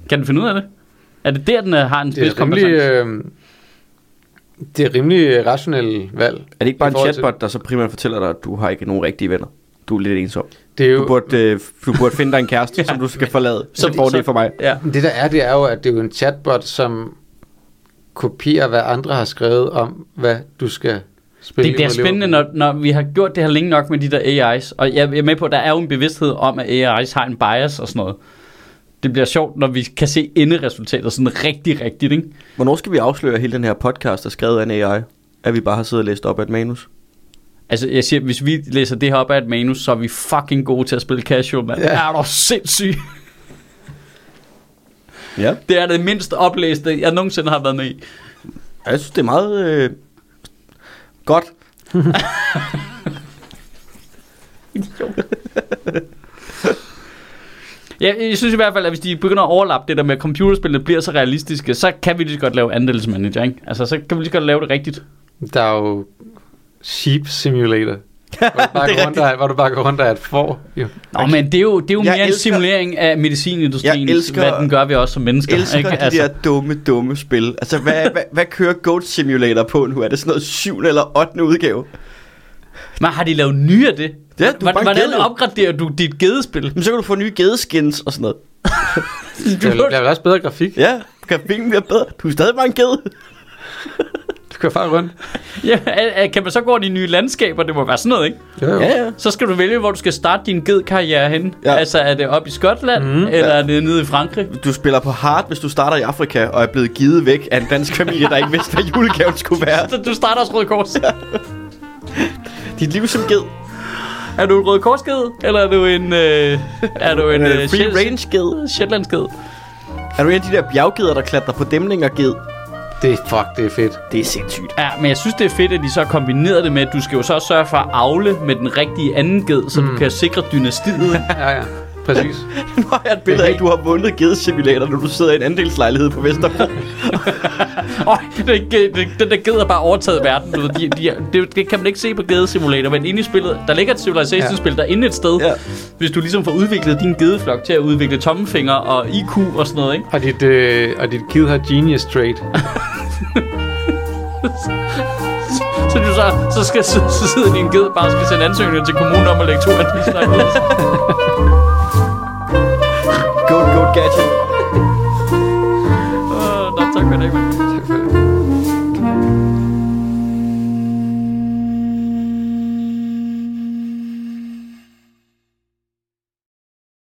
[SPEAKER 1] øh, kan den finde ud af det? Er det der, den øh, har en
[SPEAKER 2] Det er
[SPEAKER 1] spidskompetence?
[SPEAKER 2] rimelig... Øh, det er rimelig rationelle valg.
[SPEAKER 3] Er det ikke bare
[SPEAKER 2] I
[SPEAKER 3] en
[SPEAKER 2] forhold til-
[SPEAKER 3] chatbot, der så primært fortæller dig, at du har ikke nogen rigtige venner? Du er lidt ensom.
[SPEAKER 2] Det er
[SPEAKER 3] Du
[SPEAKER 2] jo,
[SPEAKER 3] burde, øh, du burde finde dig en kæreste,
[SPEAKER 2] (laughs)
[SPEAKER 3] ja, som du skal forlade. Som fordel for mig.
[SPEAKER 1] Ja.
[SPEAKER 2] Det der er, det er jo, at det er jo en chatbot, som kopierer, hvad andre har skrevet om, hvad du skal spille.
[SPEAKER 1] Det, det er
[SPEAKER 2] imod
[SPEAKER 1] spændende, når,
[SPEAKER 2] Liverpool.
[SPEAKER 1] når vi har gjort det her længe nok med de der AI's, og jeg er med på, at der er jo en bevidsthed om, at AI's har en bias og sådan noget. Det bliver sjovt, når vi kan se enderesultatet sådan rigtig, rigtigt, ikke?
[SPEAKER 3] Hvornår skal vi afsløre hele den her podcast, der er skrevet af en AI? At vi bare har siddet og læst op af et manus?
[SPEAKER 1] Altså, jeg siger, hvis vi læser det her op af et manus, så er vi fucking gode til at spille casual, mand.
[SPEAKER 2] Ja.
[SPEAKER 1] Ja. Er du sindssyg? (laughs)
[SPEAKER 3] Ja.
[SPEAKER 1] Det er det mindst oplæste, jeg nogensinde har været med i.
[SPEAKER 3] Jeg synes, det er meget øh, godt.
[SPEAKER 1] Jeg, jeg synes i hvert fald, at hvis de begynder at overlappe det der med, at computerspillene bliver så realistiske, så kan vi lige så godt lave andelsmanager, ikke? Altså, så kan vi lige så godt lave det rigtigt.
[SPEAKER 2] Der er jo Sheep
[SPEAKER 1] (laughs)
[SPEAKER 2] Simulator, hvor du bare, går, rundt og, hvor du bare går rundt og er et får. Jo.
[SPEAKER 1] Nå, men det er jo, det er jo
[SPEAKER 3] Jeg
[SPEAKER 1] mere en
[SPEAKER 3] elsker-
[SPEAKER 1] simulering af medicinindustrien,
[SPEAKER 3] Jeg elsker-
[SPEAKER 1] hvad den gør ved os som mennesker.
[SPEAKER 3] Jeg elsker
[SPEAKER 1] ikke? Altså,
[SPEAKER 3] de
[SPEAKER 2] altså-
[SPEAKER 3] der dumme, dumme spil. Altså,
[SPEAKER 2] (laughs)
[SPEAKER 3] hvad, hvad, hvad kører Goat Simulator på nu? Er det sådan noget 7. eller 8. udgave?
[SPEAKER 1] Men har de lavet nye af det?
[SPEAKER 3] Ja, du er bare
[SPEAKER 1] hvordan,
[SPEAKER 3] en
[SPEAKER 1] hvordan
[SPEAKER 3] ged, jo.
[SPEAKER 1] opgraderer du dit gedespil?
[SPEAKER 3] Jamen, så kan du få nye gedeskins og sådan noget.
[SPEAKER 2] Det bliver- bliver vel også bedre grafik.
[SPEAKER 3] Ja, grafikken bliver bedre. Du er stadig bare en ged.
[SPEAKER 2] Du kører bare rundt.
[SPEAKER 1] (laughs) ja, er- er- kan man så gå ind i nye landskaber? Det må være sådan noget, ikke?
[SPEAKER 2] Jo, jo.
[SPEAKER 3] Ja, ja.
[SPEAKER 1] Så skal du vælge, hvor du skal starte din gedkarriere hen. Ja.
[SPEAKER 3] Ja.
[SPEAKER 1] Altså, er det op i Skotland, mm, eller ja. er det nede i Frankrig?
[SPEAKER 3] Du spiller på hard, hvis du starter i Afrika og er blevet givet væk af en dansk familie, der ikke vidste, hvad julegaven skulle være.
[SPEAKER 1] Så du starter også Røde Kors.
[SPEAKER 3] Dit liv som ged.
[SPEAKER 1] Er du en rød korsked, eller er du
[SPEAKER 3] (laughs)
[SPEAKER 1] en, øh, er du en
[SPEAKER 3] En, øh,
[SPEAKER 1] øh,
[SPEAKER 3] free
[SPEAKER 1] Shet-
[SPEAKER 3] range sked?
[SPEAKER 1] Shetlandsked?
[SPEAKER 3] Er du en af de der bjerggeder, der klatrer på dæmninger ged?
[SPEAKER 2] Det, fuck, det er fedt.
[SPEAKER 3] Det er sindssygt. (laughs)
[SPEAKER 1] Ja, men jeg synes, det er fedt, at de så kombinerede det med, at du skal jo så sørge for at afle med den rigtige anden ged, så mm. du kan sikre
[SPEAKER 3] (laughs)
[SPEAKER 1] dynastiet.
[SPEAKER 2] Ja, ja. Præcis.
[SPEAKER 3] Nu har jeg et billede af, at du har vundet gedesimulator, når du sidder i en andelslejlighed på Vesterbro.
[SPEAKER 1] Øj, den, ge- den, den der ged er bare overtaget verden. Du ved, de, de, det, det kan man ikke se på gedesimulator, men inde i spillet, der ligger et civilization-spil, der er inde et sted.
[SPEAKER 3] Ja.
[SPEAKER 1] Hvis du ligesom får udviklet din gedeflok til at udvikle tommefinger og IQ og sådan noget, ikke?
[SPEAKER 2] Og dit, øh, og dit kid har genius trait.
[SPEAKER 1] Så, du så, så, skal, så, så sidder din ged bare og skal sende ansøgninger til kommunen om at lægge to af de slags.
[SPEAKER 3] Goat, goat gadget.